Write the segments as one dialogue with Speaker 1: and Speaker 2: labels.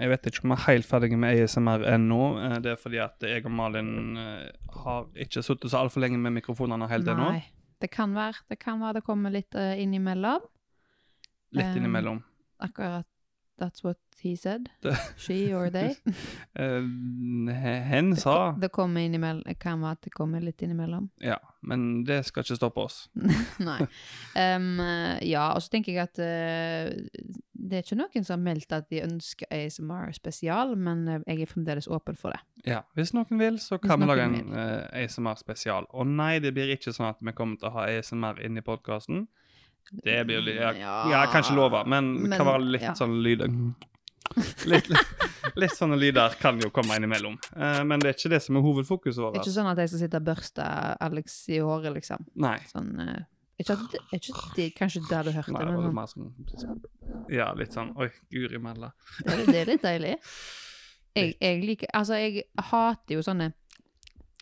Speaker 1: Jeg vet ikke om vi er helt ferdige med ASMR ennå. Eh, Det er fordi at jeg og Malin eh, har ikke sittet så altfor lenge med mikrofonene helt ennå.
Speaker 2: Nei. Det kan være det, kan være det kommer litt eh, innimellom.
Speaker 1: Litt
Speaker 2: Eh,
Speaker 1: innimellom.
Speaker 2: Akkurat That's what he said.
Speaker 1: Det-
Speaker 2: She or they.
Speaker 1: Eh, hen sa
Speaker 2: Det kommer innimellom. Det kan være at det kommer litt innimellom.
Speaker 1: Ja, men det skal ikke stoppe oss.
Speaker 2: Nei. Em, ja, og så tenker jeg at eh, det er ikke noen som har meldt at de ønsker ASMR spesial, men eh, jeg er fremdeles åpen for det.
Speaker 1: Ja, Hvis noen vil, så
Speaker 2: Hvis
Speaker 1: kan vi
Speaker 2: noen
Speaker 1: lage en
Speaker 2: vil.
Speaker 1: eh, ASMR-spesial. Og nei, det blir ikke sånn at vi kommer til å ha ASMR inni podkasten. Det blir litt Ja,
Speaker 2: Mm, Ja.
Speaker 1: ja jeg kan ikke love, men det kan
Speaker 2: Men,
Speaker 1: være litt
Speaker 2: ja.
Speaker 1: sånn lyd litt, litt sånne lyder kan jo komme innimellom. Eh, men det er ikke det som er hovedfokuset
Speaker 2: Det er
Speaker 1: vårt.
Speaker 2: ikke sånn at jeg skal sitte og børste Alex i håret, liksom.
Speaker 1: Nei.
Speaker 2: Sånn, eh, ikke at, det- ikke at det, kanskje der du hørte,
Speaker 1: Nei, det
Speaker 2: men
Speaker 1: var
Speaker 2: sånn,
Speaker 1: mer sånn Ja, litt sånn Oi, guri malla.
Speaker 2: det, er- det er litt deilig. Jeg, jeg liker, altså jeg hater jo sånne,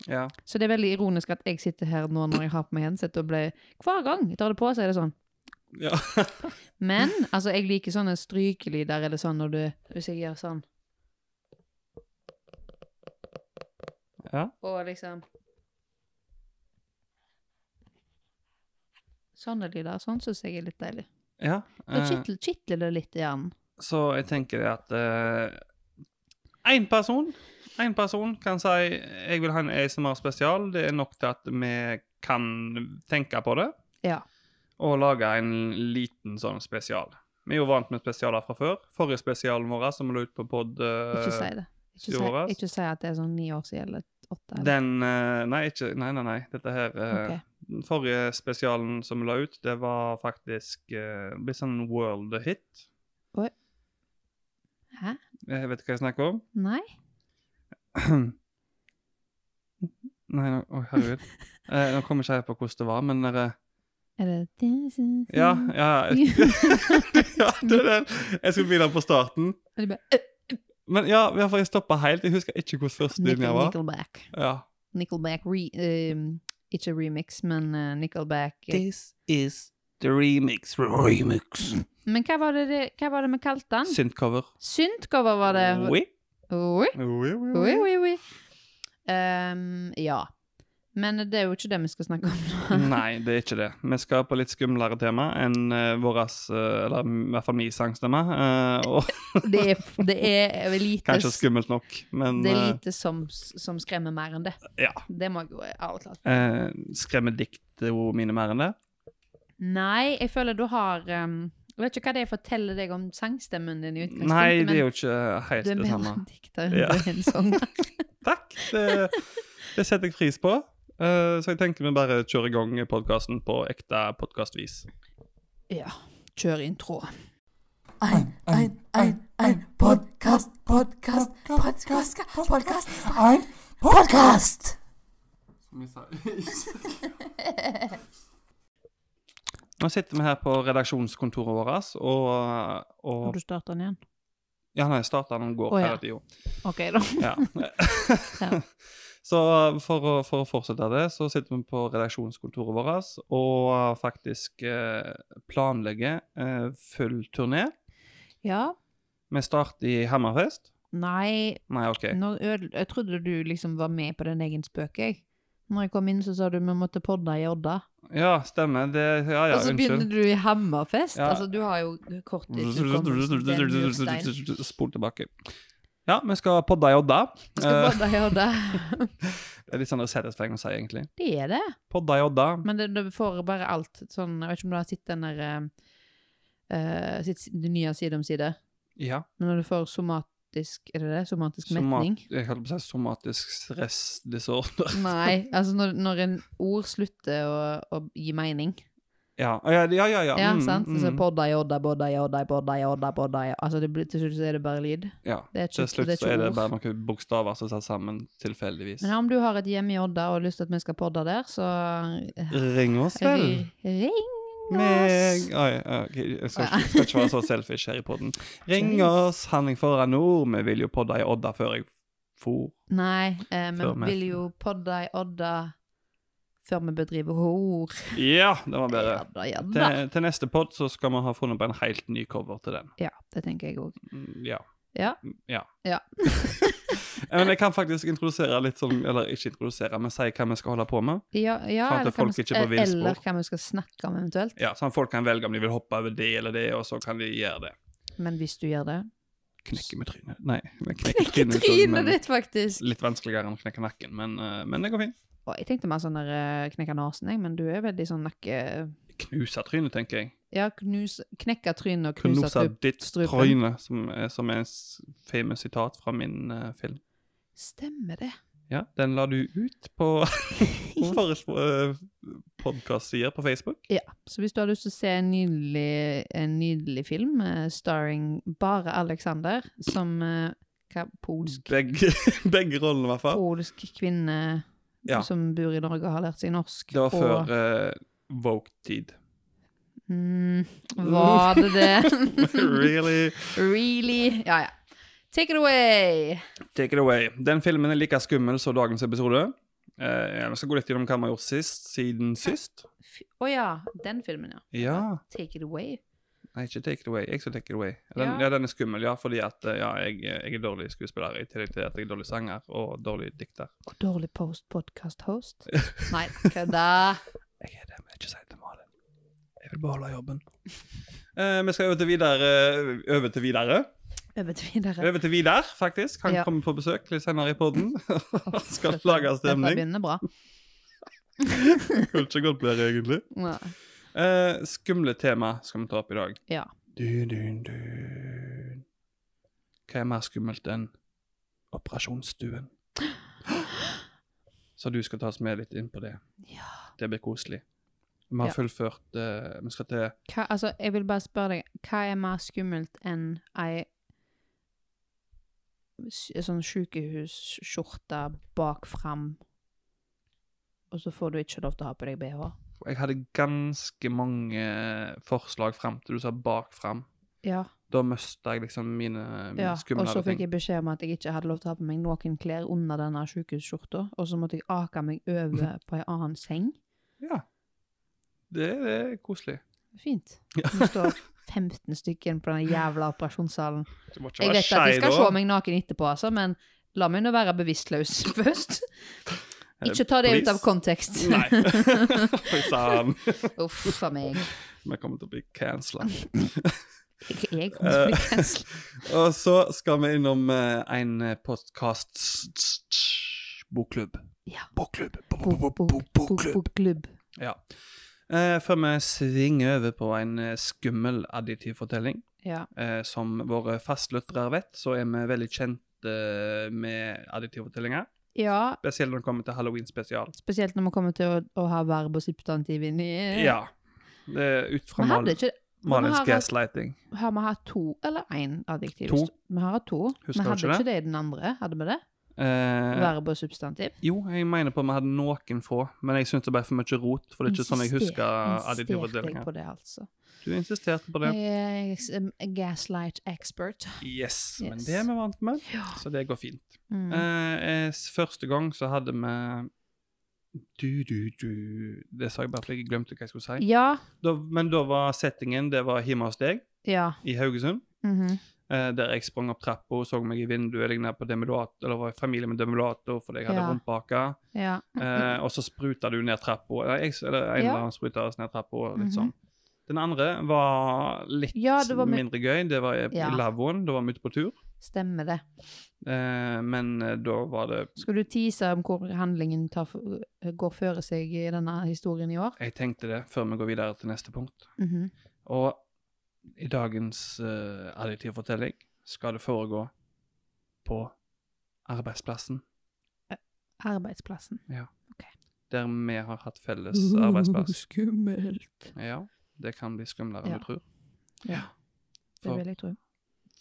Speaker 1: Ja.
Speaker 2: så det er veldig ironisk at jeg sitter her nå når jeg har på meg headset og ble, hver gang jeg tar det på, så er det sånn.
Speaker 1: ja.
Speaker 2: Men altså, jeg liker sånne strykelyder eller sånn når du Hvis jeg gjør sånn
Speaker 1: Ja.
Speaker 2: Og liksom Sånne lyder. Sånn syns jeg er litt deilig.
Speaker 1: ja.
Speaker 2: Da
Speaker 1: eh,
Speaker 2: kitler, kitler det litt i hjernen.
Speaker 1: Så jeg tenker at én person en person kan si 'jeg vil ha en ASMR-spesial'. Det er nok til at vi kan tenke på det
Speaker 2: Ja.
Speaker 1: og lage en liten sånn spesial. Vi er jo vant med spesialer fra før. Forrige spesialen vår som lå ut på pod eh,
Speaker 2: Ikke si det. Ikke si,
Speaker 1: Joras?
Speaker 2: ikke si at det er sånn ni år siden eller åtte. Eller.
Speaker 1: Den eh, Nei, ikke, nei, nei, nei. Dette her eh,
Speaker 2: Ok.
Speaker 1: Den forrige spesialen som vi la ut, det var faktisk eh, blitt sånn world hit.
Speaker 2: Oi. Hæ?
Speaker 1: Jeg vet ikke hva jeg snakker om.
Speaker 2: Nei?
Speaker 1: Nei, nå, å, herregud. Eh, nå kommer ikke jeg på hvordan det var, men dere
Speaker 2: Er det This is
Speaker 1: Ja,
Speaker 2: me.
Speaker 1: ja. ja det er den. Jeg skulle begynne på starten.
Speaker 2: Og de bare, «Øh,
Speaker 1: Men ja, i hvert fall jeg stoppa helt. Jeg husker ikke hvordan første linja
Speaker 2: Nickel,
Speaker 1: var.
Speaker 2: Nickelback.
Speaker 1: Ja.
Speaker 2: Nickelback re, ehm, Ikke remix, men eh, Nickelback eh,
Speaker 1: This is the remix. Remix.
Speaker 2: Men hva var det, det- hva var det vi kalte den?
Speaker 1: Synth-cover.
Speaker 2: Syntcover var det.
Speaker 1: Oui.
Speaker 2: Oi,
Speaker 1: Oui, oui,
Speaker 2: oi,
Speaker 1: oui.
Speaker 2: oi, oi. Ehm, ja. Men det er jo ikke det vi skal snakke om nå.
Speaker 1: Nei, det er ikke det. Vi skal på litt skumlere tema enn uh, våras, eh, eller i hvert fall min sangstemme. eh, og
Speaker 2: Det er, det er lite,
Speaker 1: kanskje skummelt nok, men
Speaker 2: det er
Speaker 1: eh,
Speaker 2: lite som, som skremmer mer enn det.
Speaker 1: Ja.
Speaker 2: Det må jeg jo ærlig talt.
Speaker 1: Eh, skremmer diktordene mine mer enn det?
Speaker 2: Nei, jeg føler du har ehm, Jeg vet ikke hva det er jeg forteller deg om sangstemmen din i utgangspunktet,
Speaker 1: Nei, det er jo
Speaker 2: men
Speaker 1: ikke helt
Speaker 2: du er
Speaker 1: det
Speaker 2: bedre
Speaker 1: samme.
Speaker 2: en dikter enn
Speaker 1: Ja.
Speaker 2: du er en sånn sanger.
Speaker 1: Takk! Det, det setter jeg pris på. Eh, så jeg tenker vi bare kjører i gang podkasten på ekte podkastvis.
Speaker 2: Ja. Kjør inn tråd.
Speaker 3: Ein, ein, ein, ein Podcast, Podcast, Podcast, Podcast, ein Podcast.
Speaker 1: Nå sitter vi her på redaksjonskontoret vårt, og,
Speaker 2: Har
Speaker 1: og
Speaker 2: du starta den igjen?
Speaker 1: Ja, nei, starta den går
Speaker 2: Å, ja.
Speaker 1: hele tida.
Speaker 2: OK, da.
Speaker 1: Ja.
Speaker 2: Ja.
Speaker 1: Så for å, for å fortsette det, så sitter vi på redaksjonskontoret vårt og faktisk eh, planlegger eh, full turné.
Speaker 2: Ja.
Speaker 1: Vi starter i Hammerfest.
Speaker 2: Nei,
Speaker 1: Nei, OK.
Speaker 2: Nå ødel- jeg trodde du liksom var med på din egen spøk, jeg. Når jeg kom inn, så sa du vi måtte podde i Odda.
Speaker 1: Ja, stemmer. Det, ja, ja,
Speaker 2: og så begynner
Speaker 1: unnskyld.
Speaker 2: du i Hammerfest.
Speaker 1: Ja.
Speaker 2: Altså, du har jo kort tid til å komme til den mursteinen.
Speaker 1: Spol tilbake. Ja, vi skal podde i Odda.
Speaker 2: Du Skal
Speaker 1: Eh,
Speaker 2: podde i Odda.
Speaker 1: det er litt sånn resettingstegn å si, egentlig.
Speaker 2: Det er det.
Speaker 1: Podda i Odda.
Speaker 2: Men det, det får bare alt sånn Jeg vet ikke om du har sett den der eh, eh, sitt, Det nye Side om side.
Speaker 1: Ja.
Speaker 2: Men når du får somatisk Er det det? Somatisk
Speaker 1: Somat,
Speaker 2: metning?
Speaker 1: jeg holdt på å si somatisk stressdisorder.
Speaker 2: Nei. Altså når, når en ord slutter å, å gi mening.
Speaker 1: Ja, ja, ja. ja, ja.
Speaker 2: Ja,
Speaker 1: mm,
Speaker 2: sant? Så
Speaker 1: mm.
Speaker 2: podda, jodda, bodda, jodda, bodda, jodda, bodda, jodda. Altså, det blir, til slutt så er det bare lyd.
Speaker 1: ja.
Speaker 2: Det er ikke,
Speaker 1: Til slutt
Speaker 2: det
Speaker 1: så er
Speaker 2: er
Speaker 1: det
Speaker 2: ikke ord.
Speaker 1: bare noen bokstaver som er satt sammen tilfeldigvis.
Speaker 2: Men om du har et hjem i Odda og har lyst til at vi skal podda der, så
Speaker 1: Ring oss vel.
Speaker 2: ri- ring oss!
Speaker 1: Meg Oi, ok, jeg skal, ikke- skal ikke være så selfish her i podden. Ring
Speaker 2: Jeez.
Speaker 1: oss, Henning Foran Nord. Vi vil jo podde i Odda før jeg for.
Speaker 2: Nei, eh, vi
Speaker 1: Før vi-
Speaker 2: vil jo podda i Odda før vi bedriver hor.
Speaker 1: Ja, det var bedre.
Speaker 2: Jodda, jodda.
Speaker 1: Til, til neste pod så skal vi ha funnet på en helt ny cover til den.
Speaker 2: Ja, det tenker jeg òg.
Speaker 1: Mm, Ja.
Speaker 2: Ja.
Speaker 1: Ja.
Speaker 2: Ja.
Speaker 1: Men jeg kan faktisk introdusere litt sånn, eller ikke introdusere, men si hva vi skal holde på med.
Speaker 2: Ja, ja
Speaker 1: Sånn at
Speaker 2: eller, hva vi
Speaker 1: folk
Speaker 2: skal-
Speaker 1: ikke er på villspor.
Speaker 2: eller hva vi skal snakke om eventuelt.
Speaker 1: Ja, Sånn at folk kan velge om de vil hoppe over det eller det, og så kan de gjøre det.
Speaker 2: Men hvis du gjør det
Speaker 1: Knekke med trynet. Nei, men knekke
Speaker 2: Ikke
Speaker 1: trynet. sånn, men
Speaker 2: trynet ditt, faktisk!
Speaker 1: Litt vanskeligere enn å knekke nakken, men, eh, men det går fint.
Speaker 2: Å, jeg tenkte mer sånn der eh, knekke nasen, jeg, men du er veldig sånn nakke...
Speaker 1: Knuse trynet, tenker jeg.
Speaker 2: Ja, knus, knekke trynet og
Speaker 1: Knuse
Speaker 2: knuse strup-
Speaker 1: ditt
Speaker 2: strupen.
Speaker 1: tryne, som, er- som er en s- famous sitat fra min eh, film.
Speaker 2: Stemmer det.
Speaker 1: Ja, den la du ut på våre uh, podkast-sider på Facebook.
Speaker 2: Ja, så hvis du har lyst til å se en nydelig, en nydelig film eh, starring bare Alexander, som eh, hva, polsk,
Speaker 1: Begge, begge rollene, i hvert fall.
Speaker 2: polsk kvinne
Speaker 1: Ja.
Speaker 2: som bor i Norge og har lært seg norsk.
Speaker 1: Det var
Speaker 2: og-
Speaker 1: før eh, Vogue-tid.
Speaker 2: Mm, var det det?
Speaker 1: really?
Speaker 2: really? Ja, ja. Take it away!
Speaker 1: Take it away. Den filmen er like skummel som dagens episode. Eh, ja, vi skal gå litt gjennom hva vi har gjort sist, siden sist.
Speaker 2: Å ja, den filmen, ja.
Speaker 1: Ja.
Speaker 2: Take it away.
Speaker 1: Nei, ikke Take It Away. Jeg skal Take It Away. Den, ja.
Speaker 2: Ja.
Speaker 1: den er skummel, ja, fordi at eh, ja, jeg, jeg er dårlig skuespiller, i tillegg til at jeg er dårlig sanger og dårlig dikter.
Speaker 2: Og dårlig post-podcast-host. Nei, kødda!
Speaker 1: Jeg er det, men ikke si det til Malin. Jeg vil beholde jobben. Eh, vi skal over til videre. Over til videre.
Speaker 2: Over til videre.
Speaker 1: Over til Vidar, faktisk. Han
Speaker 2: Ja.
Speaker 1: kommer på besøk litt senere i poden. skal
Speaker 2: Dette-
Speaker 1: lage
Speaker 2: Dette
Speaker 1: stemning.
Speaker 2: begynner bra.
Speaker 1: Kunne ikke gått bedre, egentlig.
Speaker 2: Ja.
Speaker 1: Eh, skumle tema skal vi ta opp i dag.
Speaker 2: Ja.
Speaker 1: Dun, dun, dun. Hva er mer skummelt enn operasjonsstuen? Så du skal ta oss med litt inn på det.
Speaker 2: Ja.
Speaker 1: Det blir koselig. Vi har
Speaker 2: Ja.
Speaker 1: fullført eh, Vi skal til
Speaker 2: Hva, altså, jeg vil bare spørre deg, hva er mer skummelt enn ei s- sånn sykehusskjorte bak fram, og så får du ikke lov til å ha på deg BH?
Speaker 1: Jeg hadde ganske mange forslag fram til du sa bak fram.
Speaker 2: Ja,
Speaker 1: Da mista jeg liksom mine, mine
Speaker 2: ja. og
Speaker 1: skumle
Speaker 2: så fikk
Speaker 1: ting.
Speaker 2: jeg beskjed om at jeg ikke hadde lov til å ha på meg noen klær under denne sykehusskjorta, og så måtte jeg ake meg over på ei annen seng.
Speaker 1: Ja. Det, det er koselig.
Speaker 2: Fint. Nå står 15 stykker på den jævla operasjonssalen.
Speaker 1: Du må ikke
Speaker 2: Jeg
Speaker 1: være
Speaker 2: vet at de
Speaker 1: skei da.
Speaker 2: skal se meg naken etterpå, altså, men la meg nå være bevisstløs først.
Speaker 1: Eh,
Speaker 2: Ikke ta det ut av
Speaker 1: please.
Speaker 2: kontekst.
Speaker 1: Nei. Oi sann.
Speaker 2: Uff a meg.
Speaker 1: Vi kommer til å bli cancela.
Speaker 2: Jeg, jeg
Speaker 1: Eh,
Speaker 2: kommer til å bli cancelled.
Speaker 1: Og så skal vi innom eh, en podkast Bokklubb.
Speaker 2: Ja.
Speaker 1: Bokklubb.
Speaker 2: Bo- bo- bo- Bokklubb.
Speaker 1: Ja. Eh, før vi svinger over på en eh, skummel additiv fortelling,
Speaker 2: Ja.
Speaker 1: eh, som våre fastlyttere vet, så er vi veldig kjent eh, med additive fortellinger.
Speaker 2: ja,
Speaker 1: Spesielt når det kommer til halloween-spesial.
Speaker 2: spesielt når vi kommer til å, å ha verb og substantiv inni
Speaker 1: Ja. Det er ut fra
Speaker 2: Vi
Speaker 1: Mal
Speaker 2: hadde ikke vi
Speaker 1: Malins
Speaker 2: har hatt-
Speaker 1: gaslighting.
Speaker 2: Har vi hatt to eller én adjektiv?
Speaker 1: To.
Speaker 2: Vi har hatt to.
Speaker 1: Husker
Speaker 2: vi hadde
Speaker 1: ikke det?
Speaker 2: ikke det i den andre, hadde vi det?
Speaker 1: Eh,
Speaker 2: Verb og substantiv.
Speaker 1: jo, jeg mener på at vi hadde noen få, men jeg syns det ble for mye rot. For det er ikke sånn jeg
Speaker 2: Insister-
Speaker 1: husker additive
Speaker 2: insisterte jeg
Speaker 1: fortellinger.
Speaker 2: på det, altså.
Speaker 1: Du insisterte på det.
Speaker 2: Jeg er ex- em, gaslight expert.
Speaker 1: Yes, men
Speaker 2: Yes.
Speaker 1: det er vi vant med,
Speaker 2: Ja.
Speaker 1: så det går fint.
Speaker 2: Mm.
Speaker 1: Eh, eh, s- første gang så hadde vi du, du, du. Det sa jeg bare fordi jeg glemte hva jeg skulle si.
Speaker 2: Ja.
Speaker 1: Da, men da var settingen det var hjemme hos deg
Speaker 2: Ja.
Speaker 1: i Haugesund.
Speaker 2: mhm.
Speaker 1: Eh, der jeg sprang opp trappa og så meg i vinduet. lignet på demulator, eller var i familie med demulator fordi jeg hadde
Speaker 2: Ja.
Speaker 1: rumpehake.
Speaker 2: ja.
Speaker 1: Eh, og så spruta du ned trappa. Eller jeg- eller en
Speaker 2: Ja.
Speaker 1: eller annen spruta oss ned trappa. og Litt
Speaker 2: Mhm.
Speaker 1: sånn. Den andre var litt
Speaker 2: Ja, det var med-
Speaker 1: mindre gøy. Det var i
Speaker 2: Ja.
Speaker 1: i lavvoen. Da var vi ute på tur.
Speaker 2: Stemmer det.
Speaker 1: Eh, men eh, da var det
Speaker 2: Skal du tease om hvor handlingen tar, går føre seg i denne historien i år?
Speaker 1: Jeg tenkte det før vi går videre til neste punkt.
Speaker 2: Mhm.
Speaker 1: Og i dagens uh, additiv fortelling skal det foregå på arbeidsplassen,
Speaker 2: Arbeidsplassen.
Speaker 1: der vi har hatt felles arbeidsplass.
Speaker 2: skummelt.
Speaker 1: Ja, det kan bli skumlere enn
Speaker 2: Ja.
Speaker 1: du tror.
Speaker 2: Ja, det
Speaker 1: For, Eh.
Speaker 2: vil jeg tro.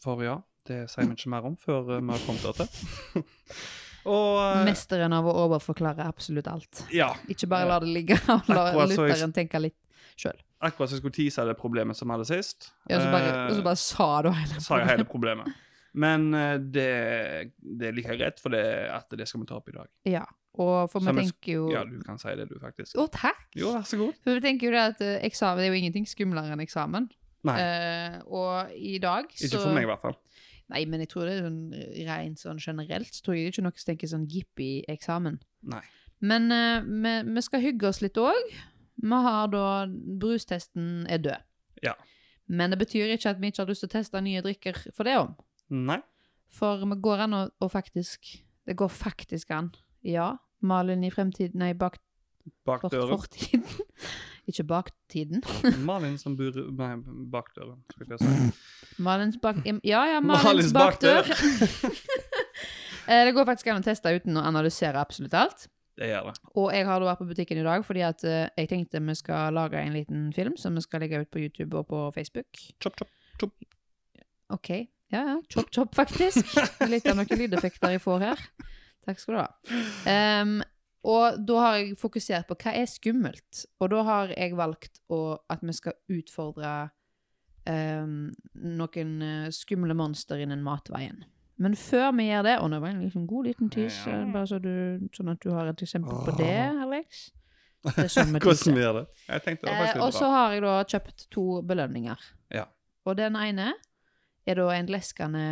Speaker 1: for ja, det sier vi ikke mer om før eh, vi har kommet dit. Og eh,
Speaker 2: Mesteren av å overforklare absolutt alt.
Speaker 1: ja,
Speaker 2: Ikke bare la det ligge og la
Speaker 1: Akkurat så jeg-
Speaker 2: lytteren tenke litt sjøl.
Speaker 1: akkurat som jeg skulle tease det problemet som vi hadde sist,
Speaker 2: Ja, så bare,
Speaker 1: eh,
Speaker 2: og så bare sa du hele
Speaker 1: sa jeg hele problemet. Men eh, det, det er like greit, for det, at det skal vi ta opp i dag.
Speaker 2: Ja. Og for
Speaker 1: Så
Speaker 2: vi
Speaker 1: vi sk-
Speaker 2: tenker jo
Speaker 1: Ja, du kan si det, du, faktisk.
Speaker 2: Å, takk!
Speaker 1: Jo, vær så god.
Speaker 2: For vi tenker jo det at eh, eksamen det er jo ingenting skumlere enn eksamen.
Speaker 1: Nei,
Speaker 2: Eh, og i dag så
Speaker 1: ikke for meg i hvert fall.
Speaker 2: Nei, men jeg tror det er sånn rent sånn generelt, så tror jeg det er ikke noe som tenker sånn jippi-eksamen.
Speaker 1: Nei.
Speaker 2: Men eh, vi, vi skal hygge oss litt òg. Vi har da Brustesten er død.
Speaker 1: Ja.
Speaker 2: Men det betyr ikke at vi ikke har lyst til å teste nye drikker for det om.
Speaker 1: Nei.
Speaker 2: For vi går an å, å faktisk Det går faktisk an. Ja. Malin i fremtiden Nei, bak
Speaker 1: Bak
Speaker 2: fort,
Speaker 1: døren.
Speaker 2: fortiden. ikke bak tiden.
Speaker 1: Malin som bor Nei, bak døren, skulle jeg si.
Speaker 2: Malins bak... Ja, ja, Malins bakdør. Eh, Det går faktisk an å teste uten å analysere absolutt alt.
Speaker 1: Det gjør det.
Speaker 2: Og jeg har da vært på butikken i dag fordi at eh, jeg tenkte vi skal lage en liten film som vi skal legge ut på YouTube og på Facebook.
Speaker 1: Chop, chop.
Speaker 2: Ok. Ja, ja. Chop, chop, faktisk. Litt av noen lydeffekter jeg får her. Takk skal du ha. Em, og da har jeg fokusert på hva er skummelt. Og da har jeg valgt å, at vi skal utfordre em, noen eh, skumle monster innen matveien. Men før vi gjør det Og nå var det en liksom god liten tiss,
Speaker 1: Ja.
Speaker 2: eh, bare så du, sånn at du har et eksempel på det, Alex. Det er sånn vi tisser.
Speaker 1: Hvordan vi gjør det? Jeg tenkte det var
Speaker 2: Eh, og
Speaker 1: faktisk
Speaker 2: så
Speaker 1: litt bra.
Speaker 2: har jeg da kjøpt to belønninger.
Speaker 1: Ja.
Speaker 2: Og den ene er da en leskende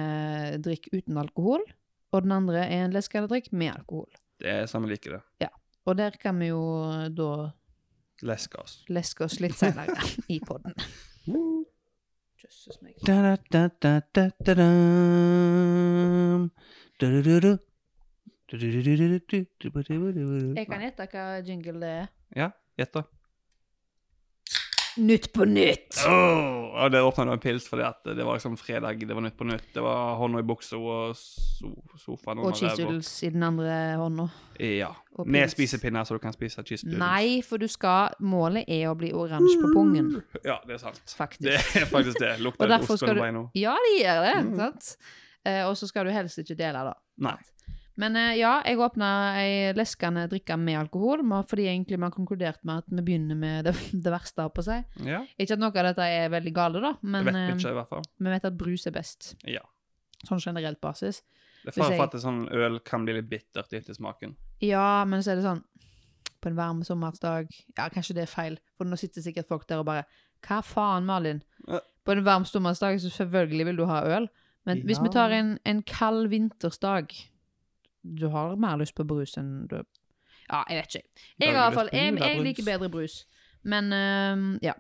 Speaker 2: drikk uten alkohol, og den andre er en leskende drikk med alkohol.
Speaker 1: Det er sånn vi liker det.
Speaker 2: Og der kan vi jo da
Speaker 1: Leske oss.
Speaker 2: leske oss litt senere i podden. Jøsses meg. Jeg kan gjette hva jingle det er.
Speaker 1: Ja, gjett da.
Speaker 2: Nytt på nytt!
Speaker 1: Åh, og det åpna en pils fordi at det var liksom fredag, det var Nytt på Nytt. Det var hånda i buksa og so sofaen
Speaker 2: Og
Speaker 1: under
Speaker 2: cheese
Speaker 1: ræva.
Speaker 2: doodles i den andre hånda.
Speaker 1: Ja.
Speaker 2: Og
Speaker 1: Med
Speaker 2: pils.
Speaker 1: spisepinner, så du kan spise cheese doodles.
Speaker 2: Nei, for du skal Målet er å bli oransje på pungen.
Speaker 1: Ja, det er sant.
Speaker 2: Faktisk.
Speaker 1: Det er faktisk det.
Speaker 2: Og
Speaker 1: Lukter litt
Speaker 2: derfor
Speaker 1: ost
Speaker 2: skal
Speaker 1: under
Speaker 2: du-
Speaker 1: beina.
Speaker 2: Ja, de gjør det,
Speaker 1: Mm.
Speaker 2: sant? Eh, og så skal du helst ikke dele, da.
Speaker 1: Nei.
Speaker 2: Men eh, ja, jeg åpna ei leskende drikke med alkohol, ma- fordi egentlig man har konkludert med at vi begynner med det, det verste, holdt på å si.
Speaker 1: Ja,
Speaker 2: Ikke at noe av dette er veldig gale, da,
Speaker 1: det
Speaker 2: men
Speaker 1: vet vi
Speaker 2: eh,
Speaker 1: ikke, i hvert fall.
Speaker 2: vi vet at brus er best.
Speaker 1: Ja.
Speaker 2: Sånn generelt basis.
Speaker 1: Det er
Speaker 2: hvis
Speaker 1: fare
Speaker 2: jeg-
Speaker 1: for at det sånn øl kan bli litt bittert i ettersmaken.
Speaker 2: Ja, men så er det sånn På en varm sommerdag Ja, kanskje det er feil, for nå sitter sikkert folk der og bare Hva faen, Malin?
Speaker 1: Ja.
Speaker 2: På en varm sommerdag så selvfølgelig vil du ha øl, men hvis vi
Speaker 1: Ja.
Speaker 2: tar en, en kald vintersdag Du har mer lyst på brus enn du Ja, jeg vet ikke. Jeg, har i hvert fall, jeg, jeg liker bedre brus, men øhm, ja.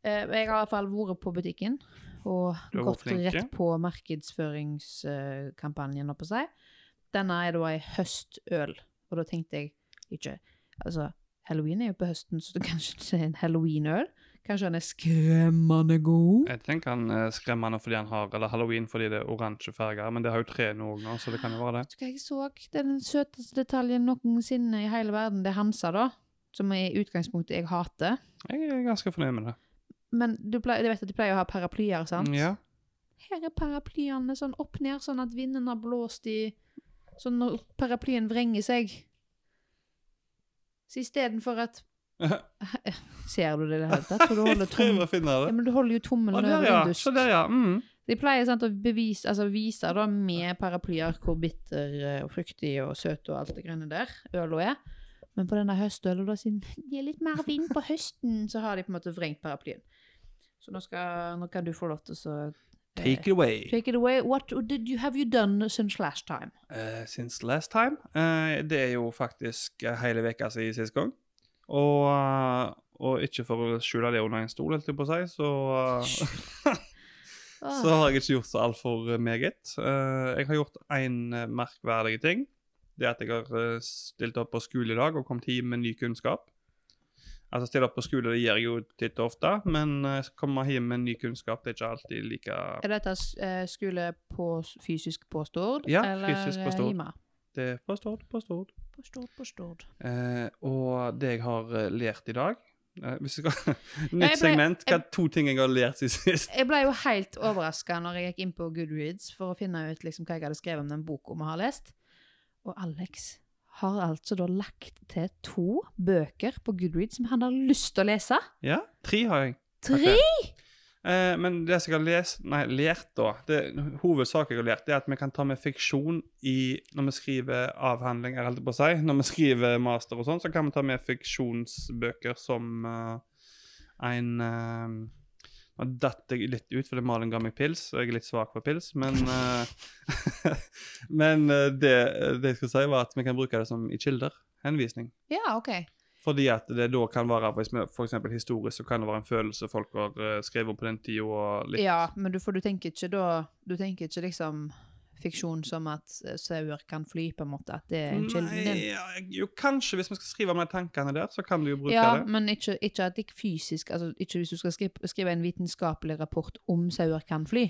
Speaker 2: Eh, Jeg har i hvert fall vært på butikken og
Speaker 1: Du har vært
Speaker 2: gått
Speaker 1: flink, ja.
Speaker 2: rett på markedsføringskampanjen. oppå seg. Denne er da ei høstøl, og da tenkte jeg ikke Altså, halloween er jo på høsten, så det kanskje ikke er en halloweenøl? Kanskje den er skremmende god?
Speaker 1: Jeg tenker han er skremmende fordi han har Eller halloween fordi det er oransje farger, men det har jo tre nå òg, nå, så det kan jo være det.
Speaker 2: Vet du hva jeg så? Det er den søteste detaljen noensinne i hele verden. Det er Hansa, da. Som i utgangspunktet jeg hater.
Speaker 1: Jeg er ganske fornøyd med det.
Speaker 2: Men du, pleier, du vet at de pleier å ha paraplyer, sant?
Speaker 1: Ja.
Speaker 2: Her er paraplyene sånn opp ned, sånn at vinden har blåst i Sånn når paraplyen vrenger seg. Så istedenfor at Ser du det i det hele tatt? For du holder, tom,
Speaker 1: Prøver å finne
Speaker 2: ja,
Speaker 1: det.
Speaker 2: men du holder jo
Speaker 1: Å,
Speaker 2: tommelen
Speaker 1: der,
Speaker 2: over
Speaker 1: ja.
Speaker 2: vindust.
Speaker 1: Så der, ja. Mm.
Speaker 2: De pleier sant, å bevise, altså, vise da, med paraplyer hvor bitter eh, og fruktig og søt og alt det grønne der øla er. Men på denne høstøla, da, siden det er litt mer vind på høsten, så har de på en måte vrengt paraplyen. Så nå, skal, nå kan du få lov til å så, eh,
Speaker 1: Take it away.
Speaker 2: Take it away. What did you have you done since last time?
Speaker 1: Eh, since last time. Eh, det er jo faktisk eh, hele veka siden sist gang. Og, eh, og ikke for å skjule det under en stol, holdt jeg på å si, så, eh,
Speaker 2: Åh,
Speaker 1: så har jeg ikke gjort så altfor meget. Eh, jeg har gjort én merkverdig ting. Det er at jeg har eh, stilt opp på skole i dag og kommet hjem med ny kunnskap. Altså Stille opp på skole det gjør jeg jo titt og ofte, men eh, komme hjem med ny kunnskap det er ikke alltid like
Speaker 2: Er dette eh, skole på, fysisk på Stord?
Speaker 1: Ja,
Speaker 2: eller,
Speaker 1: fysisk på
Speaker 2: eh,
Speaker 1: Stord.
Speaker 2: hjemme?
Speaker 1: Det er på Stord, på Stord.
Speaker 2: På Stord, på Stord.
Speaker 1: Eh, og det jeg har eh, lært i dag eh, hvis jeg skal,
Speaker 2: Ja,
Speaker 1: Nytt
Speaker 2: jeg ble-
Speaker 1: segment. Hva
Speaker 2: jeg-
Speaker 1: er to ting jeg har lært siden sist?
Speaker 2: Jeg ble jo helt overraska når jeg gikk inn på Goodreads for å finne ut liksom, hva jeg hadde skrevet om den boka vi har lest. Og Alex har altså da lagt til to bøker på Goodreads som han har lyst til å lese.
Speaker 1: Ja, Tre har jeg.
Speaker 2: Tre!
Speaker 1: Eh, men det som jeg har lest, nei, lært, da det, Hovedsaken jeg har lært, det er at vi kan ta med fiksjon i, når vi skriver avhandling. Jeg holdt på å si. Når vi skriver master og sånn, så kan vi ta med fiksjonsbøker som eh, en eh, Nå datt jeg litt ut fordi Malin ga meg pils, og jeg er litt svak for pils, men eh, Men eh, det, det jeg skulle si, var at vi kan bruke det som i kilder. Henvisning.
Speaker 2: Ja, OK.
Speaker 1: Fordi at det da kan være hvis vi for eksempel historisk, så kan det være en følelse folk har eh, skrevet om på den tida og litt
Speaker 2: Ja, men du, for du tenker ikke da Du tenker ikke liksom fiksjon som at eh, sauer kan fly, på en måte. At det er en kilden din.
Speaker 1: Nei, ja, jo, kanskje hvis vi skal skrive om de tankene der, så kan du jo bruke
Speaker 2: Ja,
Speaker 1: det.
Speaker 2: men ikke, ikke at det ikke fysisk altså Ikke hvis du skal skrive, skrive en vitenskapelig rapport om sauer kan fly.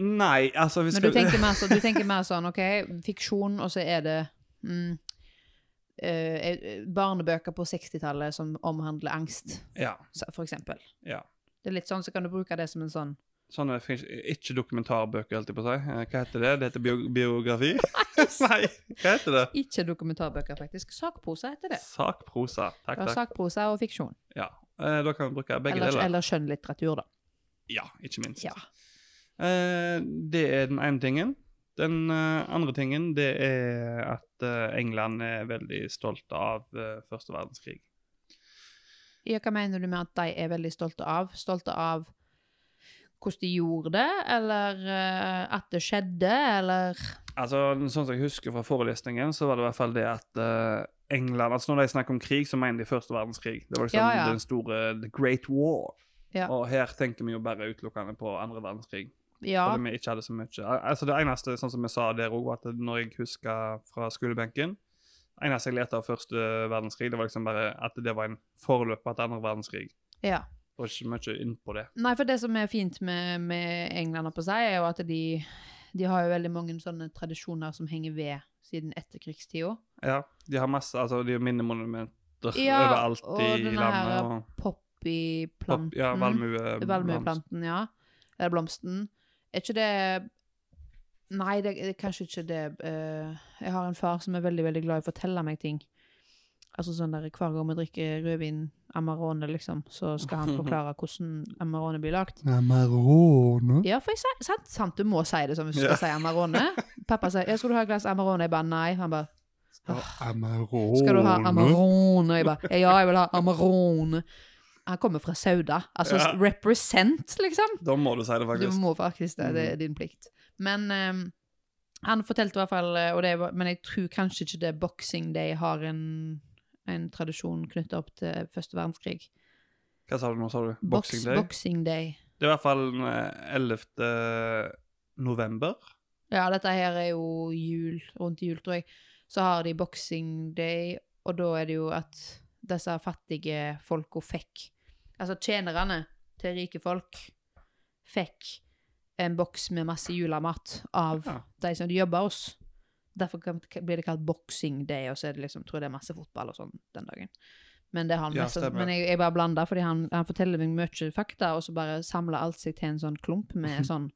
Speaker 1: Nei, altså vi
Speaker 2: Men
Speaker 1: skal,
Speaker 2: du tenker, mer så, du tenker mer sånn OK, fiksjon, og så er det mm, eh, eh, barnebøker på 60-tallet som omhandler angst,
Speaker 1: Ja.
Speaker 2: så- for eksempel.
Speaker 1: Ja.
Speaker 2: Det er litt sånn, så kan du bruke det som en sånn
Speaker 1: Sånne fins ikke dokumentarbøker, holdt jeg på å si. Eh, Hva heter det? Det heter bio biografi? Nei, hva heter det?
Speaker 2: Ikke dokumentarbøker, faktisk. Sakprosa heter det.
Speaker 1: Sakprosa. Takk,
Speaker 2: Ja,
Speaker 1: takk.
Speaker 2: sakprosa og fiksjon.
Speaker 1: Ja. Eh, Da kan vi bruke begge
Speaker 2: Eller,
Speaker 1: deler.
Speaker 2: eller skjønnlitteratur, da.
Speaker 1: Ja, ikke minst.
Speaker 2: Ja.
Speaker 1: Eh, Det er den ene tingen. Den eh, andre tingen det er at eh, England er veldig stolte av eh, første verdenskrig.
Speaker 2: ja. Hva mener du med at de er veldig stolte av? Stolte av hvordan de gjorde det, eller eh, at det skjedde, eller
Speaker 1: Altså, sånn som jeg husker fra forelesningen, så var det i hvert fall det at eh, England altså Når de snakker om krig, så mener de første verdenskrig. Det var liksom
Speaker 2: Ja, ja.
Speaker 1: den store The Great War.
Speaker 2: Ja.
Speaker 1: Og her tenker vi jo bare utelukkende på andre verdenskrig.
Speaker 2: Ja.
Speaker 1: Fordi vi ikke hadde så mye Al- Altså, det eneste, sånn som jeg sa der òg, var at når jeg husker fra skolebenken Det eneste jeg lærte av første verdenskrig, det var liksom bare at det var en forløper til andre verdenskrig.
Speaker 2: ja.
Speaker 1: Det var ikke mye innpå det.
Speaker 2: Nei, for det som er fint med, med England, på seg, er jo at de, de har jo veldig mange sånne tradisjoner som henger ved siden etterkrigstida.
Speaker 1: Ja, De har masse altså, de har minnemonumenter
Speaker 2: Ja,
Speaker 1: overalt
Speaker 2: og
Speaker 1: i
Speaker 2: denne her Mhm.
Speaker 1: landet. og...
Speaker 2: Poppyplanten.
Speaker 1: Pop, ja, valmue,
Speaker 2: Valmueplanten, ja. Eller blomsten. Er ikke det Nei, det er kanskje ikke det eh, Jeg har en far som er veldig veldig glad i å fortelle meg ting. Altså sånn der Hver gang vi drikker rødvin Amarone, liksom, så skal han forklare hvordan Amarone blir lagd.
Speaker 1: Amarone?
Speaker 2: Ja, for jeg sa, sant, sant, du må si det sånn hvis du
Speaker 1: Ja.
Speaker 2: skal si Amarone. Pappa sier ja, 'Skal du ha et glass Amarone?' Jeg bare nei. Han bare
Speaker 1: Amarone?
Speaker 2: skal du ha Amarone? Jeg bare, ja, jeg vil ha Amarone. Han kommer fra Sauda. Altså,
Speaker 1: Ja.
Speaker 2: represent, liksom.
Speaker 1: Da må du si det,
Speaker 2: Du
Speaker 1: faktisk. Mm.
Speaker 2: må faktisk det, det er din plikt. Men ehm, han fortalte i hvert fall, eh, og det var, men jeg tror kanskje ikke det er Boxing Day har en, en tradisjon knyttet opp til første verdenskrig.
Speaker 1: Hva sa du nå, sa du?
Speaker 2: Box-
Speaker 1: Boxing Day?
Speaker 2: Boxing Day.
Speaker 1: Det er i hvert fall den, eh, 11. november.
Speaker 2: Ja, dette her er jo jul, rundt jul, tror jeg. Så har de Boxing Day, og da er det jo at disse fattige folka fikk Altså tjenerne til rike folk fikk en boks med masse julemat av
Speaker 1: Ja.
Speaker 2: de som de jobba hos. Derfor kan- blir det kalt Boxing Day, og så er det liksom, tror jeg det er masse fotball og sånn den dagen. Men, det har han
Speaker 1: Ja,
Speaker 2: mest,
Speaker 1: stemmer.
Speaker 2: men jeg, jeg bare blander, fordi han, han forteller meg mye fakta, og så bare samler alt seg til en sånn klump med sånn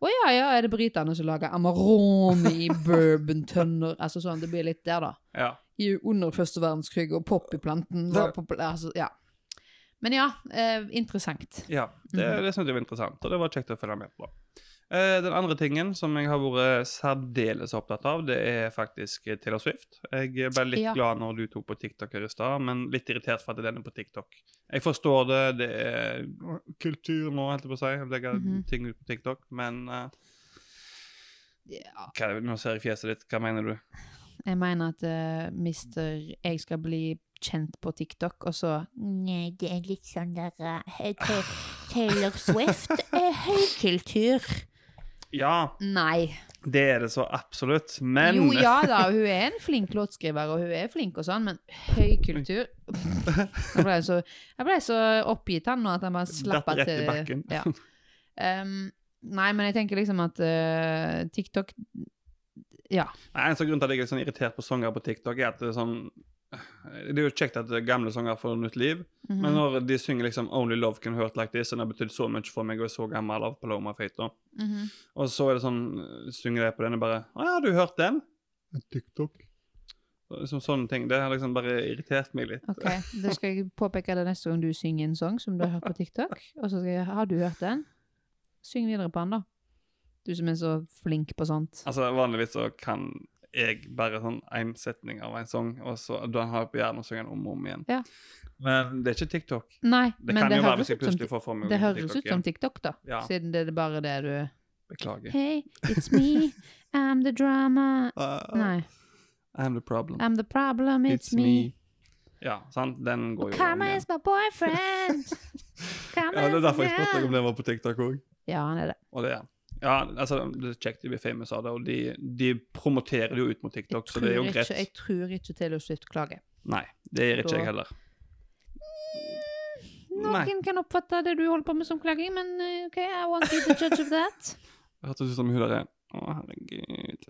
Speaker 2: å ja, ja, er det britene som lager Amarone i bourbon-tønner? Altså sånn, det blir litt der, da.
Speaker 1: Ja.
Speaker 2: I, under første verdenskrig, og poppyplanten var populær. Altså, ja. Men ja, eh, interessant.
Speaker 1: ja. Det,
Speaker 2: Mhm.
Speaker 1: det synes jeg var interessant, og det var kjekt å følge med på. Eh, Den andre tingen som jeg har vært særdeles opptatt av, det er faktisk eh, Taylor Swift. Jeg ble litt
Speaker 2: Ja.
Speaker 1: glad når du tok på TikTok her i stad, men litt irritert for at den er på TikTok. Jeg forstår det, det er kultur nå, holdt jeg på å si, å legge
Speaker 2: Mhm.
Speaker 1: ting ut på TikTok, men eh,
Speaker 2: Ja.
Speaker 1: Hva, nå ser jeg fjeset ditt, hva mener du?
Speaker 2: Jeg mener at eh, mister Jeg skal bli kjent på TikTok, og så
Speaker 4: Nei, det er litt sånn der eh, Ta- Taylor Swift er høykultur.
Speaker 1: Ja,
Speaker 2: Nei.
Speaker 1: det er det så absolutt, men
Speaker 2: Jo, ja da, hun er en flink låtskriver, og hun er flink og sånn, men høy kultur Jeg ble så, jeg ble så oppgitt han nå at han bare slapp
Speaker 1: Datt
Speaker 2: av
Speaker 1: rett
Speaker 2: til
Speaker 1: i bakken.
Speaker 2: Ja. Um, nei, men jeg tenker liksom at eh, TikTok
Speaker 1: Nei, En sånn grunn til at jeg er sånn irritert på sanger på TikTok, er at det er sånn det er jo kjekt at gamle sanger får nytt liv,
Speaker 2: mhm.
Speaker 1: men når de synger liksom 'Only Love Can Hurt Like This', og det har betydd så mye for meg, og jeg er så gammel av Paloma Feito,
Speaker 2: Mhm.
Speaker 1: og så er det sånn Synger de på den og bare 'Å ja, har du hørt den?' TikTok. Som sånne ting. Det har liksom bare irritert meg litt.
Speaker 2: Ok, da skal jeg påpeke det neste gang du synger en sang som du har hørt på TikTok. Og så skal jeg Har du hørt den? Syng videre på den, da. Du som er så flink på sånt.
Speaker 1: Altså, Vanligvis så kan jeg bare sånn én setning av en sang, og så da har jeg på hjernen og synger den om og om igjen.
Speaker 2: Ja.
Speaker 1: Men det er ikke TikTok.
Speaker 2: Nei,
Speaker 1: Det
Speaker 2: men
Speaker 1: kan
Speaker 2: det
Speaker 1: jo være
Speaker 2: høres,
Speaker 1: hvis jeg
Speaker 2: ut som,
Speaker 1: plutselig får for meg
Speaker 2: det høres
Speaker 1: TikTok
Speaker 2: ut som
Speaker 1: igjen.
Speaker 2: TikTok, da.
Speaker 1: Ja.
Speaker 2: Siden det er bare det du
Speaker 1: Beklager.
Speaker 2: Hey, it's me. I'm the drama.
Speaker 1: Oh.
Speaker 2: Nei.
Speaker 1: I'm Uh, the problem.
Speaker 2: I'm the problem, it's, me.
Speaker 1: Ja, sant? Den går jo om
Speaker 4: Karma
Speaker 1: igjen.
Speaker 4: is my boyfriend. Karma
Speaker 1: Ja, det er
Speaker 4: is
Speaker 1: derfor jeg spurte deg
Speaker 4: my-
Speaker 1: om den var på TikTok òg.
Speaker 2: Ja, han er det.
Speaker 1: Og det er ja, altså, det er kjekt de blir famous av det, og de, de promoterer det jo ut mot
Speaker 2: Jeg
Speaker 1: TikTok, så
Speaker 2: tror,
Speaker 1: det er jo
Speaker 2: ikke,
Speaker 1: greit.
Speaker 2: jeg tror ikke Taylor Swift klager.
Speaker 1: Nei, det gjør ikke
Speaker 2: Da-
Speaker 1: jeg heller. Nei.
Speaker 2: Noen kan oppfatte det du holder på med som klaging, men eh, OK, I want you to judge of that.
Speaker 1: Det hørtes ut som hun der er Å, herregud.